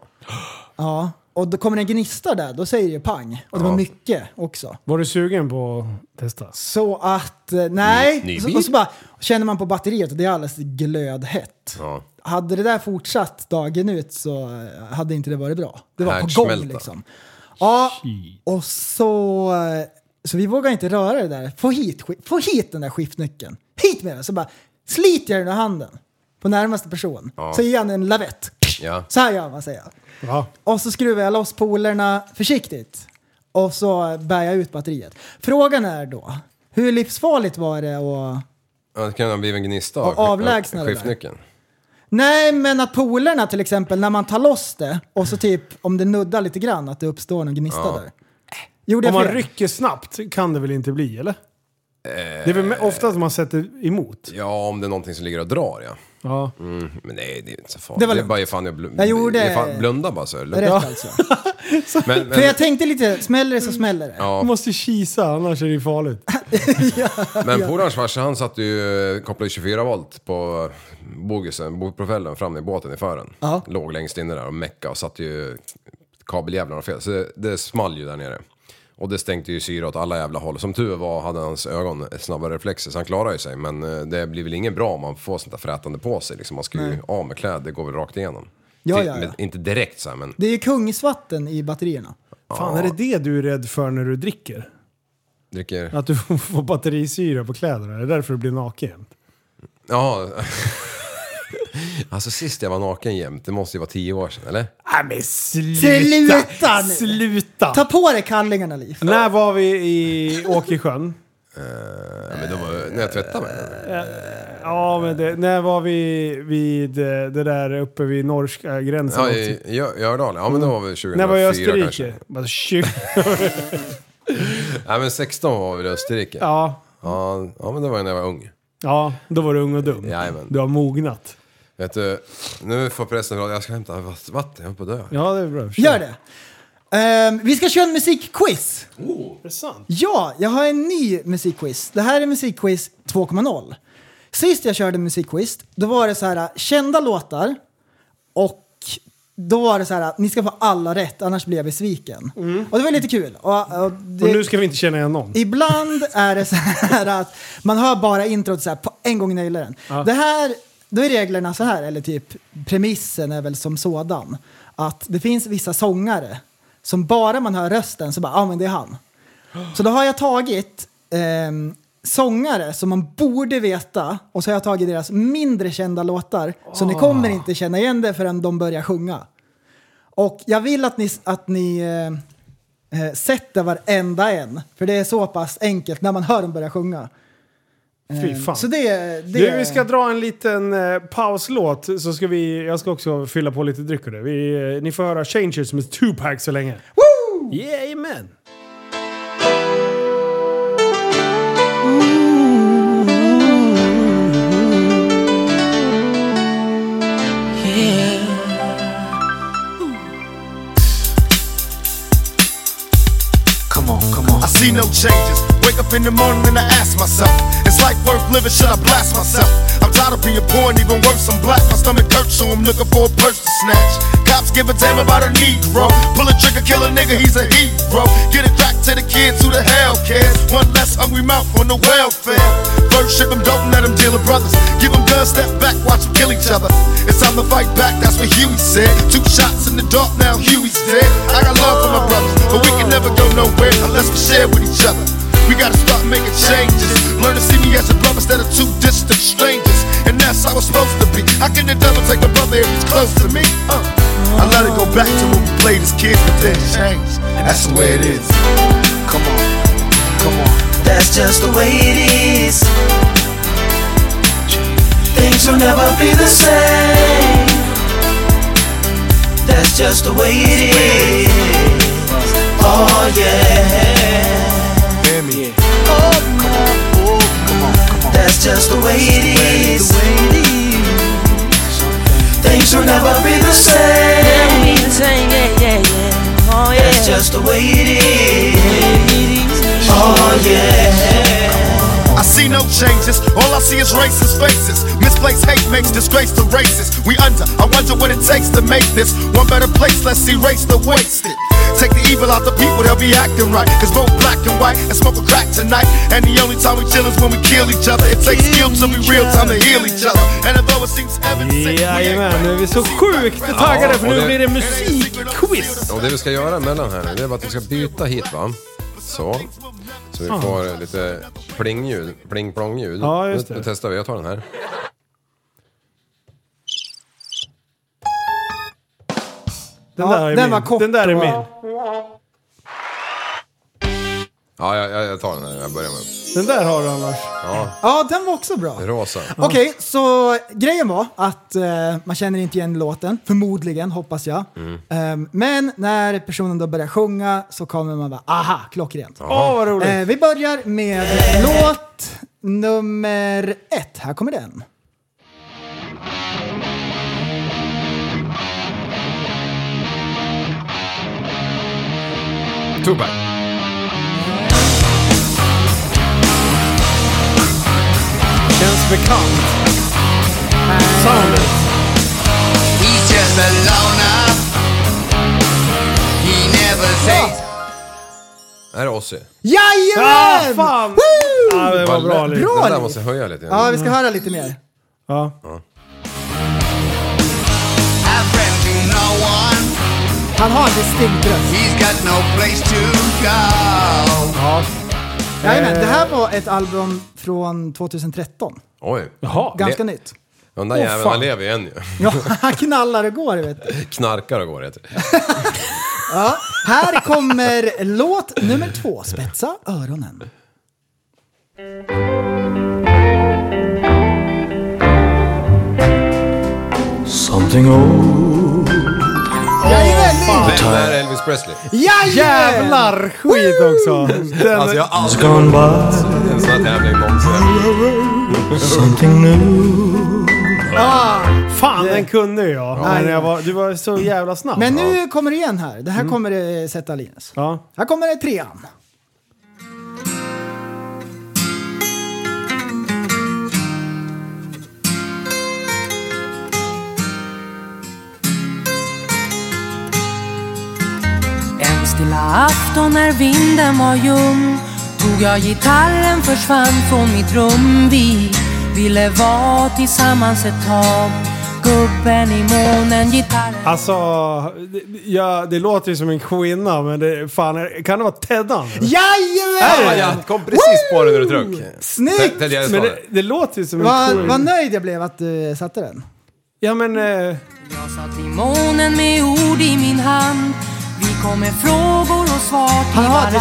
S4: Ja. Och då kommer en gnista där, då säger det pang. Och det var
S7: Ja.
S4: mycket också.
S6: Var du sugen på att testa?
S4: Så att, eh, nej.
S7: Ny- ny
S4: så,
S7: bil.
S4: och så bara, känner man på batteriet och det är alldeles glödhett.
S7: Ja.
S4: Hade det där fortsatt dagen ut så eh, hade inte det varit bra. Det var på gång
S7: Härdsmälta.
S4: liksom. Ja, och så... eh, Så vi vågar inte röra det där. Få hit, sk- få hit den där skiftnyckeln. Hit med den! Så bara sliter jag den ur handen på närmaste person.
S7: Ja.
S4: Så ger han en lavett.
S7: Ja.
S4: Så här gör man säger jag.
S6: Ja.
S4: Och så skruvar jag loss polerna försiktigt. Och så bär jag ut batteriet. Frågan är då, hur livsfarligt var det att...
S7: Ja, det kan ha blivit en gnista av
S4: Och avlägsna det där.
S7: skiftnyckeln.
S4: Nej, men att polerna till exempel, när man tar loss det och så typ om det nuddar lite grann att det uppstår någon gnista där. Gjorde
S6: Om
S4: jag
S6: man
S4: fel?
S6: rycker snabbt kan det väl inte bli, eller?
S7: Eh.
S6: Det är väl me- ofta att man sätter emot?
S7: Ja, om det är någonting som ligger och drar ja.
S6: Ja.
S7: Mm, men nej, det är inte så farligt.
S4: Det
S7: Det,
S4: var
S7: är
S4: lugnt.
S7: bara ifall jag, bl-
S4: Jag gjorde-
S7: ifall blunda bara så är det lugnt.
S4: Rätt
S7: Ja.
S4: alltså.
S7: Men,
S4: För
S7: men,
S4: jag tänkte lite, smäller det så smäller det.
S6: Man måste kisa, annars är det ju farligt.
S7: men polarns farsa han satt ju, kopplade ju 24 volt på bogisen, bogprofellen fram i båten i fören.
S4: Ja.
S7: Låg längst inne där och mecka och satt ju kabeljävlarna fel. Så det, det small ju där nere. Och det stänkte ju syre åt alla jävla håll. Som tur var hade hans ögon snabba reflexer så han klarade ju sig. Men eh, det blir väl inget bra om man får sånt där frätande på sig. Liksom, man ska ju av med kläder, det går väl rakt igenom.
S4: Ja,
S7: Till-
S4: ja, ja.
S7: men Inte direkt så här, men
S4: Det är ju kungsvatten i batterierna.
S6: Fan, är det det du är rädd för när du dricker?
S7: dricker...
S6: Att du får batterisyra på kläderna? Är det därför du blir naken?
S7: Ja. alltså sist jag var naken jämt, det måste ju vara tio år sedan eller?
S6: Nej men sluta!
S4: Sluta nu!
S6: Sluta!
S4: Ta på dig kallingarna Liv.
S6: När var vi i Åkersjön?
S7: Ja, men det var när jag tvättade mig.
S6: Eh, Ja, men det, när var vi vid eh, det där uppe vid norska gränsen?
S7: Ja,
S6: också?
S7: i i Gö- Gördalen. Ja men det var väl 2004
S6: när var jag i
S7: kanske.
S6: Österrike? Bara, tju-
S7: Nej men 16 var vi i Österrike. Ja.
S6: Ja,
S7: Ja, men det var ju när jag var ung.
S6: ja, då var du ung och dum.
S7: Jajamän.
S6: Du har mognat.
S7: Vet du, nu får prästen jag ska hämta vatt- vatten, jag höll på att dö.
S6: Ja, det är bra.
S4: Gör det! Ehm, vi ska köra en musikquiz.
S6: Intressant.
S4: Ja, jag har en ny musikquiz. Det här är musikquiz 2.0. Sist jag körde musikquiz, då var det så här äh, kända låtar och då var det så här, äh, ni ska få alla rätt annars blir jag besviken. Och det var lite kul. Och, och
S6: Mm.
S4: det,
S6: Och nu ska vi inte känna igen någon.
S4: Ibland är det så här att man hör bara introt så här, på en gång nailar den. Det här, då är reglerna så här, eller typ premissen är väl som sådan. Att det finns vissa sångare som bara man hör rösten så bara, ja ah, men det är han. Så då har jag tagit ehm, sångare som man borde veta och så har jag tagit deras mindre kända låtar. Så ni
S6: Ah.
S4: kommer inte känna igen det förrän de börjar sjunga. Och jag vill att ni, att ni eh, eh, sätter varenda en. För det är så pass enkelt när man hör dem börja sjunga.
S6: Fy fan.
S4: Eh, Så det, det
S6: Du, vi ska dra en liten eh, pauslåt, så ska vi, jag ska också fylla på lite dryck och det. Vi, eh, ni får höra Changers med Tupac så länge. Woo! Yeah, amen.
S5: I see no changes, Wake up in the morning and I ask myself, is life worth living? Should I blast myself? I'm tired of being poor and even worse, I'm black. My stomach hurts, so I'm looking for a purse to snatch. Cops give a damn about a Negro. Pull a trigger, kill a nigga, he's a hero. Get it back to the kids who the hell cares. One less hungry mouth on the welfare. First ship them, don't let them deal with brothers. Give them guns, step back, watch them kill each other. It's time to fight back, that's what Huey said. Two shots in the dark, now Huey's dead. I got love for my brothers, but we can never go nowhere unless we share with each other. We gotta start making changes. Learn to see me as a brother instead of two distant strangers. And that's how it's supposed to be. How can the devil take a brother if he's close to me? Uh. I let it go back to when we played as kids, but then changed. That's the way it is. Come on, come on.
S8: That's just the way it is. Things will never be the same. That's just the way it is. Oh yeah.
S5: Hear me.
S8: That's just the way it is. Things will never be the same. That's just the way it is. Oh yeah.
S5: I see no changes, all I see is racist faces. Misplaced hate makes disgrace to races. We under, I wonder what it takes to make this one better place. Let's erase the wasted. Take the evil out the people, they'll be acting right. Cause both black and white and smoke a crack tonight. And the only time we chill is when we kill each other. It takes skill to be real time to heal each other. And although it seems evident,
S6: Jajamän, nu är vi så sjukt taggade för nu blir det musikquiz.
S7: Och det vi ska göra mellan här nu, det är bara att vi ska byta hit va. Så. Så vi får lite plingljud, pling-plong-ljud.
S6: Ja, just
S7: Nu,
S6: det.
S7: nu testar vi, jag tar den här.
S6: Den
S4: Ja,
S6: där är
S4: den
S6: min.
S4: var kort
S6: den där är
S4: och-
S6: min.
S7: Ja, jag, jag, jag tar den här, jag börjar med.
S6: Den där har du annars.
S4: Ja, den var också bra.
S7: Rosa.
S4: Okej, så grejen var att eh, man känner inte igen låten, förmodligen, hoppas jag.
S6: Mm.
S4: Ehm, men när personen då börjar sjunga så kommer man bara aha, klockrent.
S6: Åh, vad roligt.
S4: Eh, vi börjar med låt nummer ett. Här kommer den.
S7: Tupac.
S6: Känns bekant. Soundet.
S9: He's just a loner. He never takes
S7: Här är Ozzy.
S4: Jajamän!
S6: Ah, fan!
S4: Woo!
S6: Ja, det var bra
S7: lätt.
S6: Liv.
S4: Bra,
S7: Den där
S4: Liv.
S7: måste jag höja lite
S4: Ja,
S7: grann.
S4: vi ska höra lite mer.
S6: Ja.
S9: a friend to no one.
S4: Han har en distinkt röst.
S9: He's got no place to go.
S4: Jajamän, det här var ett album från 2013.
S7: Oj.
S6: Jaha.
S4: Ganska
S7: Le-
S4: nytt.
S7: Den där
S6: Åh,
S7: jäveln,
S6: fan.
S7: han lever ju än ju.
S4: Ja, han knallar och går, vet du.
S7: Knarkar och går heter det.
S4: Här kommer låt nummer två, Spetsa öronen.
S9: Something old.
S4: Jajamän!
S7: Den där är Elvis Presley.
S4: Jajamän!
S6: Jävlar skit också. Den,
S7: Alltså jag har aldrig
S9: Gone by.
S7: varit i en sån här tävling någonsin.
S9: Something new.
S6: fan, den kunde jag. Men jag var, du var så jävla snabb.
S4: Men nu kommer det igen här. Det
S6: Mm.
S4: här kommer det sätta Linus.
S6: Ja.
S4: Här kommer det trean.
S10: En stilla afton när vinden var ljum Tog jag gitarren, försvann från mitt rum Vi ville vara tillsammans ett tag Gubben i månen, gitarren
S6: Alltså, det, ja, det låter ju som en kvinna, men det, fan, kan det vara Teddan?
S7: Ja,
S4: Jajamän!
S7: jag kom precis på det när du dröck.
S4: Snyggt!
S7: Ted
S6: Men
S7: Gärdestad.
S6: Äh, det, det låter ju som en
S4: Vad
S6: kvinna.
S4: vad nöjd jag blev att du satte den.
S6: Ja, men... Eh,
S10: Jag satt i månen med ord i min hand Vi kom med frågor och svar till
S4: Han har
S10: varann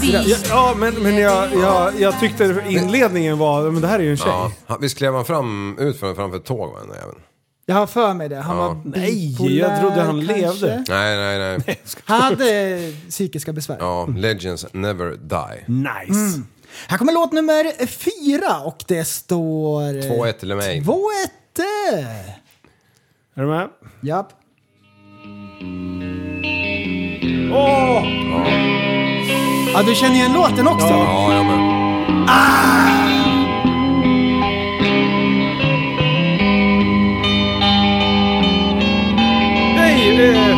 S4: distinkt
S10: Vi
S6: ja, ja, men, men jag, jag, jag tyckte inledningen var... Men det här är ju en tjej.
S7: Ja, han- visst klev han fram, ut från, framför ett tåg va, den där jäveln?
S4: Jag har för mig det. Han var
S6: Nej,
S4: bipolär,
S6: jag trodde han
S4: kanske.
S6: levde.
S7: Nej, nej, nej.
S4: Han hade psykiska besvär.
S7: Ja, Legends never die.
S6: Nice.
S4: Mm. Här kommer låt nummer fyra och det står...
S7: 2-1 till mig.
S4: 2-1.
S6: Är du med?
S4: Japp.
S6: Åh!
S4: Ja, du känner igen låten också?
S7: Ja, ja men.
S6: Nej! eh,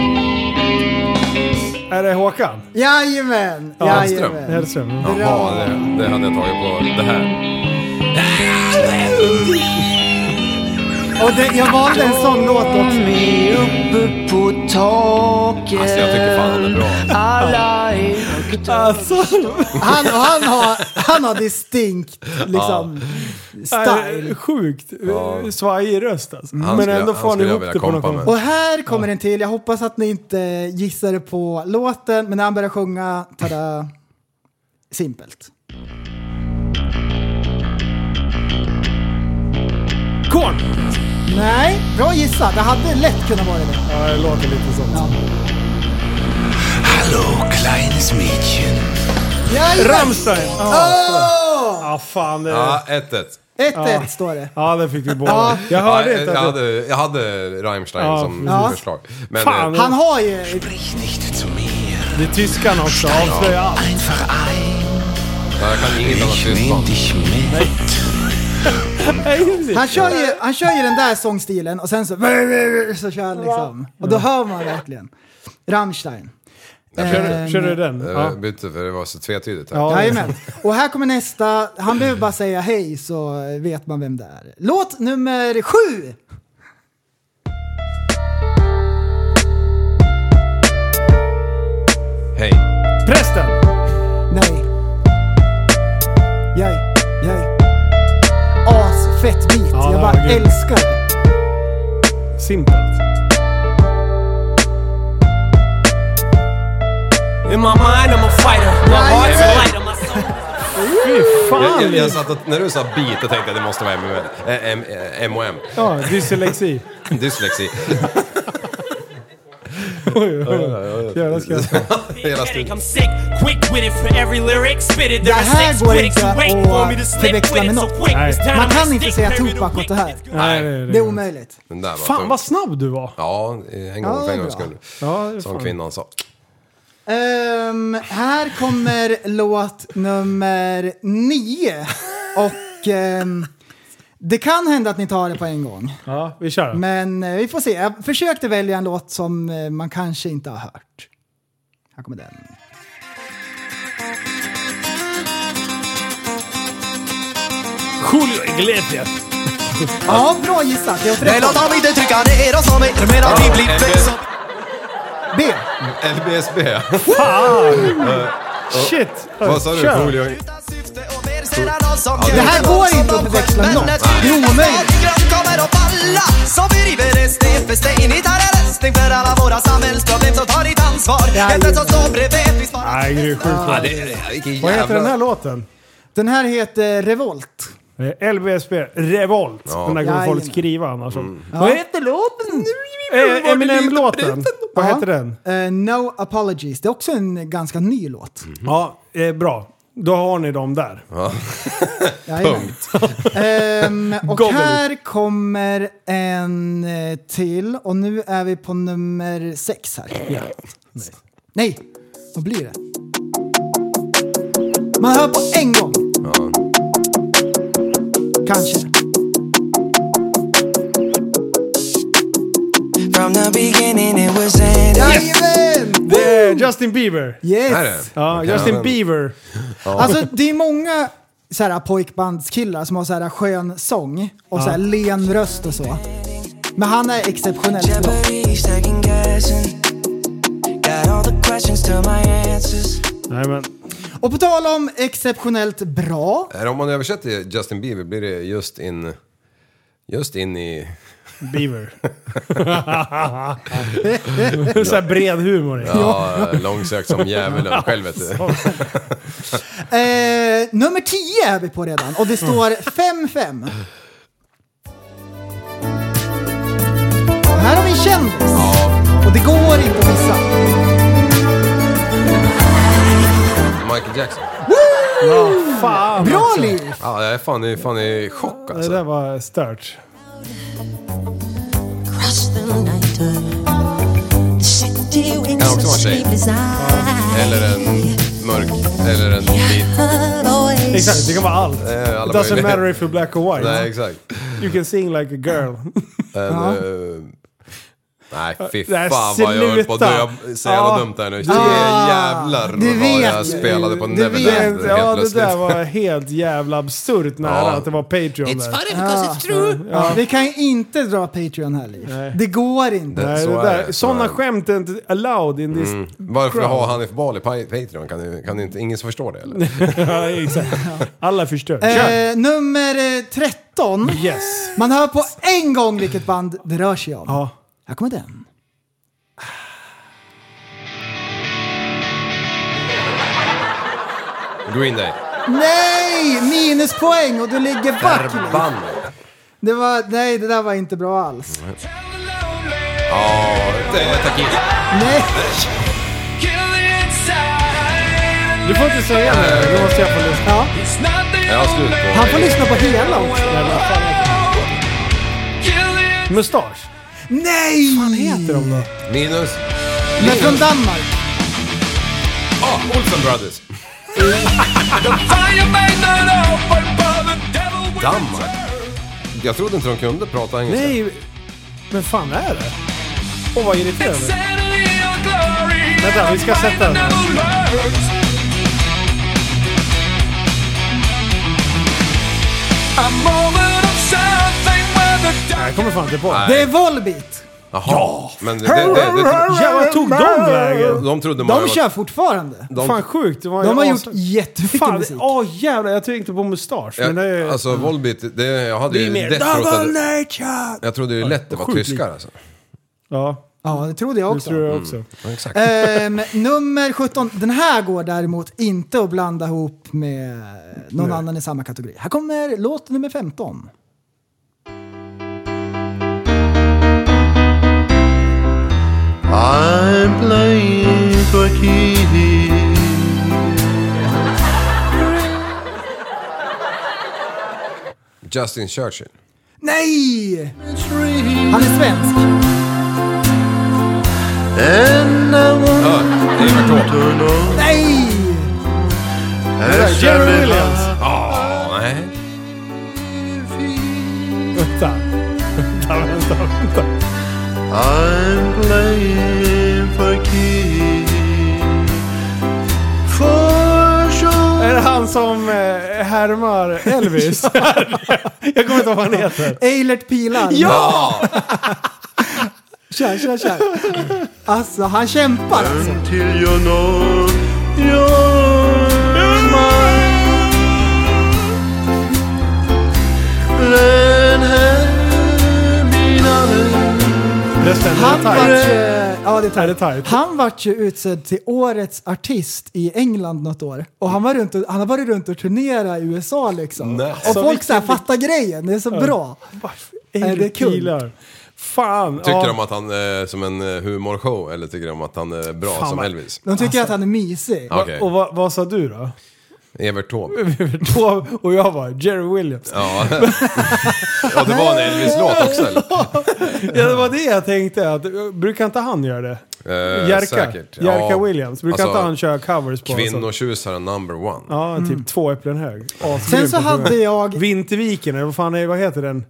S6: Är det Håkan?
S4: Jajamän!
S6: Ja,
S4: jajamän.
S7: Hellström.
S6: Hellström.
S7: Jaha, det, det hade jag tagit på det här.
S4: Och det, jag valde en sån låt också.
S6: Mm.
S8: Vi är uppe på taket.
S7: Alltså jag tycker fan den är bra.
S8: Alla är högt
S4: Han, och han, har, han har distinkt liksom,
S6: Är
S4: style.
S6: Äh, sjukt ja. svajig röst alltså.
S7: Han
S6: Men
S7: skulle,
S6: ändå
S7: ändå
S6: får han
S7: han skulle jag
S6: ihop
S7: vilja
S6: det på något
S7: kompa
S6: sätt.
S7: med.
S4: Och här kommer en till. Jag hoppas att ni inte gissade på låten, men när han börjar sjunga, tada, simpelt.
S6: Korn!
S4: Nej, bra gissat. Det hade lätt kunnat vara det.
S6: Ja, det låter lite sånt.
S4: Ja.
S9: Hallo, kleines Mädchen.
S4: Jajamän!
S6: Rammstein! Ja,
S4: Åh!
S6: ah, fan. Det...
S7: Ja, 1-1.
S4: 1-1 står det.
S6: Ja, det fick vi båda. Jag hörde
S7: Ja,
S6: inte
S7: jag,
S6: att det...
S7: hade, jag hade Rammstein
S6: Ja,
S7: som
S4: precis.
S7: förslag. Men
S6: Fan.
S7: eh,
S4: Han har ju...
S9: Sprich nicht zu mir.
S6: Det är tyskarna också. Avslöja allt.
S9: Einfach ein.
S7: jag kan inget annat
S9: Ich nehm
S7: tystnad.
S9: dich mit.
S4: Han kör, ju, han kör ju den där sångstilen och sen så... Så kör han liksom. Och då hör man verkligen. Rammstein. Ehm,
S6: Kör, du- kör du den? Ja.
S7: Jag eh, bytte för det var så tvetydigt. här.
S6: Ja.
S4: Jajamän. Och här kommer nästa. Han behöver bara säga hej så vet man vem det är. Låt nummer sju!
S7: Hej.
S6: Prästen!
S4: Nej. Jaj, jaj. Asfett beat.
S6: Ja,
S4: Jag
S6: det
S4: bara
S6: var grymt.
S4: älskar det.
S6: Simpelt.
S11: In my mind I'm a fighter, my heart's a lighter, my soul.
S6: Fy
S7: Jag, jag,
S6: fan!
S7: jag satt och, när du sa beat, då tänkte jag att det måste vara M&M. Eh, M- eh, M&M.
S6: Ja, dyslexi.
S7: Dyslexi.
S6: Oj, oj, oj. Jävla skratt.
S7: Hela
S11: Headache,
S7: studion.
S11: I'm sick, quick with it for every lyric, spit it,
S4: Det
S11: there are
S4: här
S11: six
S4: går
S11: critics
S4: inte
S11: who wait
S4: att
S11: for me to slip
S4: förväxla
S11: with
S4: med
S11: it, so
S4: något.
S11: quick,
S6: Nej.
S11: it's time
S4: Man
S11: I
S4: kan
S11: must
S4: inte
S11: stick,
S4: säga
S11: bury the
S4: Tupac åt det här.
S11: weak, it's
S6: Nej, det är
S4: Det är
S6: det.
S4: omöjligt.
S7: Den där var
S6: Fan
S7: tung.
S6: vad snabb du var.
S7: Ja, eh, en
S4: Ja,
S7: gång för en
S4: bra.
S7: gångs skull.
S6: Ja, det är
S7: Som
S6: fan.
S7: kvinnan sa.
S4: Ehm, här kommer låt nummer nio. Och ehm, det kan hända att ni tar det på en gång.
S6: Ja, vi kör.
S4: Men eh, vi får se. Jag försökte välja en låt som eh, man kanske inte har hört. Här kommer den.
S6: Julio Iglesias.
S4: Ja, bra gissat. Jag
S8: Nej, låt
S4: träffade
S8: dem inte trycka ner oss om er medan vi blir flexa.
S4: B.
S7: LBSB.
S6: Shit!
S7: Vad sa du?
S6: Kör.
S7: Julio?
S8: Utan syfte och mer sedan oss som
S4: Det här
S8: gör
S4: går
S8: något som
S4: inte att
S8: de
S4: förväxla
S8: skönt,
S4: med
S8: men
S4: något.
S8: ett
S4: Det är
S8: nytt
S4: omöjligt.
S8: folkgrupp kommer att falla Så vi river en sten för sten hittar en lösning för alla våra samhällsproblem Så ta ditt ansvar,
S4: Ja,
S8: hjälpen
S4: ja.
S8: som står bredvid vi sparar
S6: Nej, det är sjukt
S7: Ja,
S6: bra.
S7: det är det. Vilken
S6: Vad heter
S7: jävla-
S6: den här låten?
S4: Den här heter Revolt.
S6: Eh, LBSB, Revolt.
S7: Ja. Mm.
S6: Den där kommer folk
S4: Jajamän.
S6: skriva annars. Vad heter låten? Eh, Eminem-låten. Vad
S4: Ja.
S6: heter den?
S4: Eh, no Apologies. Det är också en ganska ny låt.
S6: Ja, eh, bra. Då har ni dem där.
S4: Jajamän. Ehm, och
S6: Gobble.
S4: här kommer en eh, till. Och nu är vi på nummer sex här. Nej, vad blir det? Man hör på en gång. Kanske.
S8: From the beginning it was ended
S4: Jajamän!
S6: Det är Eh, Justin Bieber.
S7: Är det?
S4: Yes!
S6: Ja,
S7: Okej,
S6: Justin
S7: men-
S6: Bieber.
S4: Alltså det är många så här, pojkbandskillar som har så här, skön sång och så här, len röst och så. Men han är exceptionellt bra.
S8: Jeopardy, second guessing Got all the questions to my answers
S6: Nej, men.
S4: Och på tal om exceptionellt bra.
S7: Är det Om man översätter Justin Bieber blir det just in... Just in i...
S6: Bieber. Så här bred humor.
S7: Ja, långsökt som djävulen själv vet du.
S4: Eh, nummer 10 är vi på redan och det står 5-5. Och Här har vi en kändis. Och det går inte att missa.
S7: Michael Jackson.
S6: Fan.
S4: Bra liv!
S7: Ja, jag är fan i, fan i chock
S6: Det där
S7: alltså.
S6: var stört.
S7: Kan också vara en tjej. Eller en mörk eller en vit.
S6: Exakt, det kan vara allt.
S7: Eh, alla
S6: It doesn't
S7: möjliga.
S6: matter if you're black or white.
S7: Nej, exakt.
S6: You can sing like a girl.
S7: En,
S6: Ja.
S7: eh, nej, fy
S6: Nej,
S7: fan vad jag höll på att
S6: sluta.
S7: dö. Så jävla
S6: Ja.
S7: dumt där nu. Det
S6: Ah,
S7: jävlar
S6: du
S7: vad
S6: vet ju.
S7: jag spelade på
S6: Du vet.
S7: Neverland helt
S6: Ja, det
S7: plötsligt.
S6: där var helt jävla absurt nära
S7: Ja.
S6: att det var Patreon där.
S4: It's funny because it's true.
S6: Ja.
S4: Vi kan ju inte dra Patreon här Liv. Det går inte.
S6: Nej,
S7: så
S6: det
S7: är
S6: där.
S7: det, så
S6: Sådana
S7: är det.
S6: skämt är inte allowed in this
S7: Mm. Varför
S6: crowd.
S7: har Hanif Bali pa- Patreon? Kan, du, kan du inte, ingen som förstår det eller?
S6: ja, exakt. Alla förstör. Kör.
S4: Eh, nummer eh, 13.
S6: Yes.
S4: Man hör på en gång vilket band det rör sig om.
S6: Ja.
S4: Här kommer den.
S7: Green Day.
S4: Nej! Minuspoäng och du ligger back. Liv.
S7: Förbannat.
S4: Det var, nej, det där var inte bra alls.
S7: Ja, det var Takis.
S4: Nej.
S6: Du får inte säga det.
S7: Eh.
S6: Då måste jag få lyssna.
S4: Ja.
S7: Jag har slut på...
S4: Han får lyssna på hela också.
S6: Mustasch.
S4: Nej! Vad heter
S6: de då?
S7: Minus.
S4: Men från Danmark.
S7: Ah, Olsen Brothers. Danmark. Jag trodde inte de kunde prata engelska.
S6: Nej, men fan är det? Åh, vad irriterande. Vänta, vi ska sätta den här. Nej, Jag kommer fan inte på det.
S4: Det är Volbeat.
S7: Jaha. Ja. Men det, det, det, det,
S6: Ja, vad tog de vägen?
S7: de trodde man
S4: De
S7: ju
S4: kör fortfarande.
S7: de,
S6: Fan sjukt. Det var
S4: De
S6: ju
S4: har gjort
S6: as-
S4: jättemycket
S6: Fan,
S4: musik.
S6: åh jävlar. Jag tänkte på mustasch. Men det är Mm.
S7: ja, Alltså Volbeat, det, jag hade
S6: det är
S7: ju
S6: mer
S7: lätt trott att
S6: double
S7: det-
S6: nature.
S7: Jag trodde ju lätt det var
S6: Sjukt
S7: tyskar alltså.
S6: Ja,
S4: Ja, det trodde jag
S6: det
S4: också.
S6: tror jag också.
S7: Ja, exakt.
S4: Ehm, nummer 17. Den här går däremot inte att blanda ihop med någon annan i samma kategori. Här kommer låt nummer 15.
S9: I'm playing for keys.
S7: Justin Churchill.
S4: Nej! Han är svensk.
S9: And I want
S7: Ja, Eva Taube.
S9: to know.
S4: Nej!
S9: As
S6: Jerry Williams.
S7: Ja, nej.
S6: Vänta. Vänta, vänta, vänta.
S9: I'm playing for keys. For sure.
S6: Är det han som eh, härmar Elvis? jag kommer inte ihåg vad han heter.
S4: Eilert Pilar.
S7: Ja!
S4: Kör, kör, kör. Alltså, han kämpar alltså.
S9: Until you know you're mine. Then have been honest.
S6: Resten
S4: Han vart ju, ja, det
S6: Är
S4: är
S6: det
S4: tight.
S6: tajt?
S4: han vart ju utsedd till årets artist i England något år. Och han, var runt och, han har varit runt och turnerat i USA liksom.
S7: Nej.
S4: Och
S6: Så
S4: folk
S6: vilken-
S4: såhär fattar grejen, det är så bra. Är det kul?
S6: Kilar. Fan.
S7: Tycker
S6: ja.
S7: de att han är som en eh, humorshow eller tycker de att han är bra
S6: Fan,
S7: som
S6: vad-
S7: Elvis?
S4: De tycker att han är mysig.
S7: Ja. Okej.
S6: Och vad, vad sa du då?
S7: Evert Taube.
S6: Då- och jag var Jerry Williams.
S7: Ja. ja, det var en Elvis-låt också eller?
S6: Ja, det var det jag tänkte. Att, eh, brukar inte han göra det?
S7: Eh,
S6: Jerka.
S7: säkert.
S6: Jerka Williams. Brukar
S7: Alltså,
S6: inte han köra covers på? sånt?
S7: Kvinnotjusaren number one.
S6: Ja, typ två äpplen hög. Asgrym
S4: Mm. Sen så
S6: på att sjunga.
S4: hade jag...
S6: Vinterviken, eller vad fan är, vad heter den?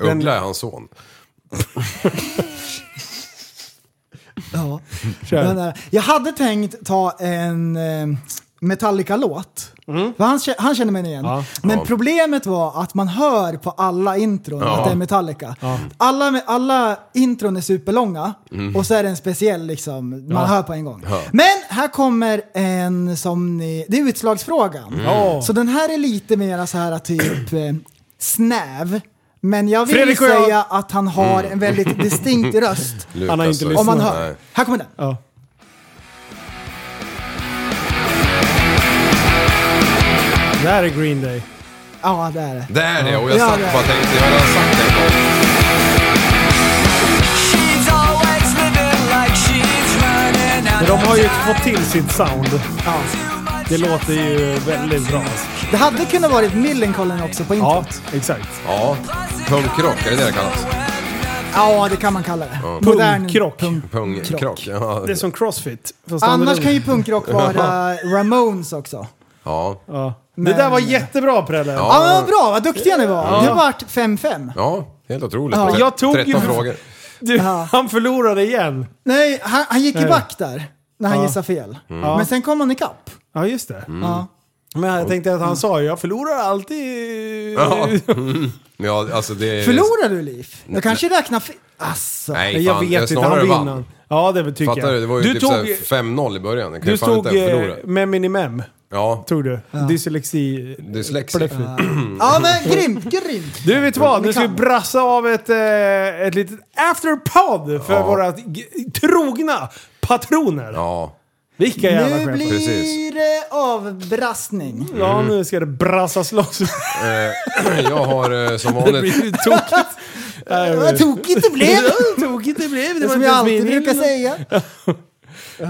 S7: Uggla är hans son.
S4: Ja,
S6: Kör.
S4: den där. Jag hade tänkt ta en eh, Metallica-låt. För han, kä- han känner mig igen.
S6: Ja.
S4: Men
S7: Ja.
S4: problemet var att man hör på alla intron
S7: Ja.
S4: att det är Metallica. Alla, med- alla intron är superlånga och så är det en speciell liksom, man hör på en gång. Men här kommer en som ni... Det är utslagsfrågan.
S6: Ja.
S4: Så den här är lite mer så här typ eh, snäv. Men jag vill
S6: Fredrik och jag-
S4: säga att han har en väldigt distinkt röst.
S7: Lukas,
S6: Han har inte
S7: så-
S6: lyssnat.
S4: Om man
S7: Nej.
S4: hör. Här kommer den.
S6: Ja. Det här är Green Day.
S4: Ja, det är det.
S7: Det är det och jag
S4: Ja,
S7: satt
S4: det är
S7: bara och tänkte, jag har sagt det en gång.
S6: Men de har ju fått till sitt sound.
S4: Ja.
S6: Det låter ju väldigt bra.
S4: Det hade kunnat varit Millencolin också på
S6: Ja,
S4: introt.
S6: exakt.
S7: Ja, punkrock, är det det det kallas?
S4: Ja, det kan man kalla det.
S7: Ja.
S4: Modern
S7: Pungkrock.
S4: pungkrock.
S7: Pungkrock, ja.
S6: Mm. Det är som crossfit. fast
S4: Annars
S6: annorlunda.
S4: kan ju punkrock vara Ramones också.
S7: Ja.
S6: Ja. Det där var jättebra Prelle.
S4: Ja, men vad bra, vad duktiga ni var.
S7: Ja.
S4: Det vart 5-5.
S7: Ja, helt otroligt.
S4: Ja.
S7: Tre-
S4: Jag tog ju-
S7: 13 frågor.
S6: Du, han förlorade igen.
S4: Nej, han, han gick i
S6: Nej.
S4: back där när han
S6: Ja.
S4: gissade fel.
S6: Mm.
S4: Men sen kom han ikapp.
S6: Ja, just det.
S7: Mm.
S4: Ja.
S6: Men jag tänkte att han sa ju, jag förlorar alltid...
S7: Ja. Mm. ja, alltså det...
S4: Förlorar du Liv? Jag
S7: Nej.
S4: kanske räknar fel. Asså.
S7: Nej,
S6: Jag vet inte,
S7: snarare
S6: han
S7: vann.
S6: vinner. Ja, det tycker
S7: Fattar
S6: jag.
S7: du? Det var ju
S6: Du
S7: typ
S6: tog-
S7: så här 5-0 i början. Det kan
S6: Du
S7: ju fan
S6: stod
S7: inte en förlora.
S6: eh, med minimem.
S7: Ja,
S6: Tog du. Dyslexi...
S7: dyslexi. Mm.
S4: Ja men grymt, grymt.
S6: Du vet vad,
S4: Ni
S6: nu ska vi
S4: kan.
S6: brassa av ett, eh, ett litet afterpod för
S7: Ja.
S6: våra g- trogna patroner.
S7: Ja.
S6: Vilka jävla
S4: Nu
S6: skämt. Mm.
S4: blir det avbrassning.
S6: Ja, nu ska det brassas loss.
S7: Eh, Jag har eh, som
S6: Det
S7: vanligt...
S6: blir ju tokigt. Nej,
S4: Vad tokigt det blev!
S6: Ja, tokigt det blev.
S4: Det
S6: var
S4: som
S6: inte
S4: jag
S6: ens
S4: alltid
S6: meningen.
S4: brukar säga.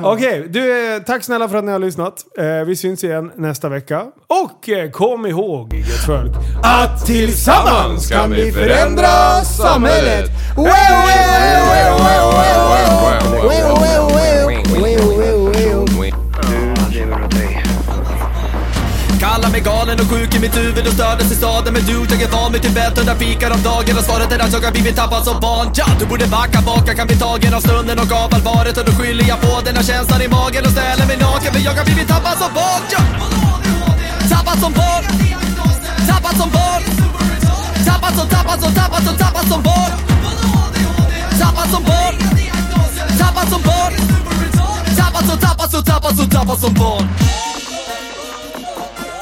S6: Okej, du, eh, tack snälla för att ni har lyssnat. Eh, vi syns igen nästa vecka. Och eh, kom ihåg, gött folk, att tillsammans
S7: Kan vi
S4: Förändra samhället! Wow, wow, wow, wow, wow, wow, wow, wow, wow, wow.
S1: Du lever åt dig.
S2: Kallar mig galen och sjuk i mitt huvud och stördes i staden Men du, jag är van vid Tibet under fikar om dagen Och svaret är att jag har blivit tappad som barn ja, Du borde backa bak, jag kan bli tagen av stunden och av allvaret Och då skyller jag på den här känslan i magen och ställer mig naken För jag har blivit tappad som barn ja. Tappad som barn Tappad som barn Tappad som, tappad som, tappad som, tappad som barn Tappad som barn Tappad som barn Tappad som, tappad som, tappad som, tappad som barn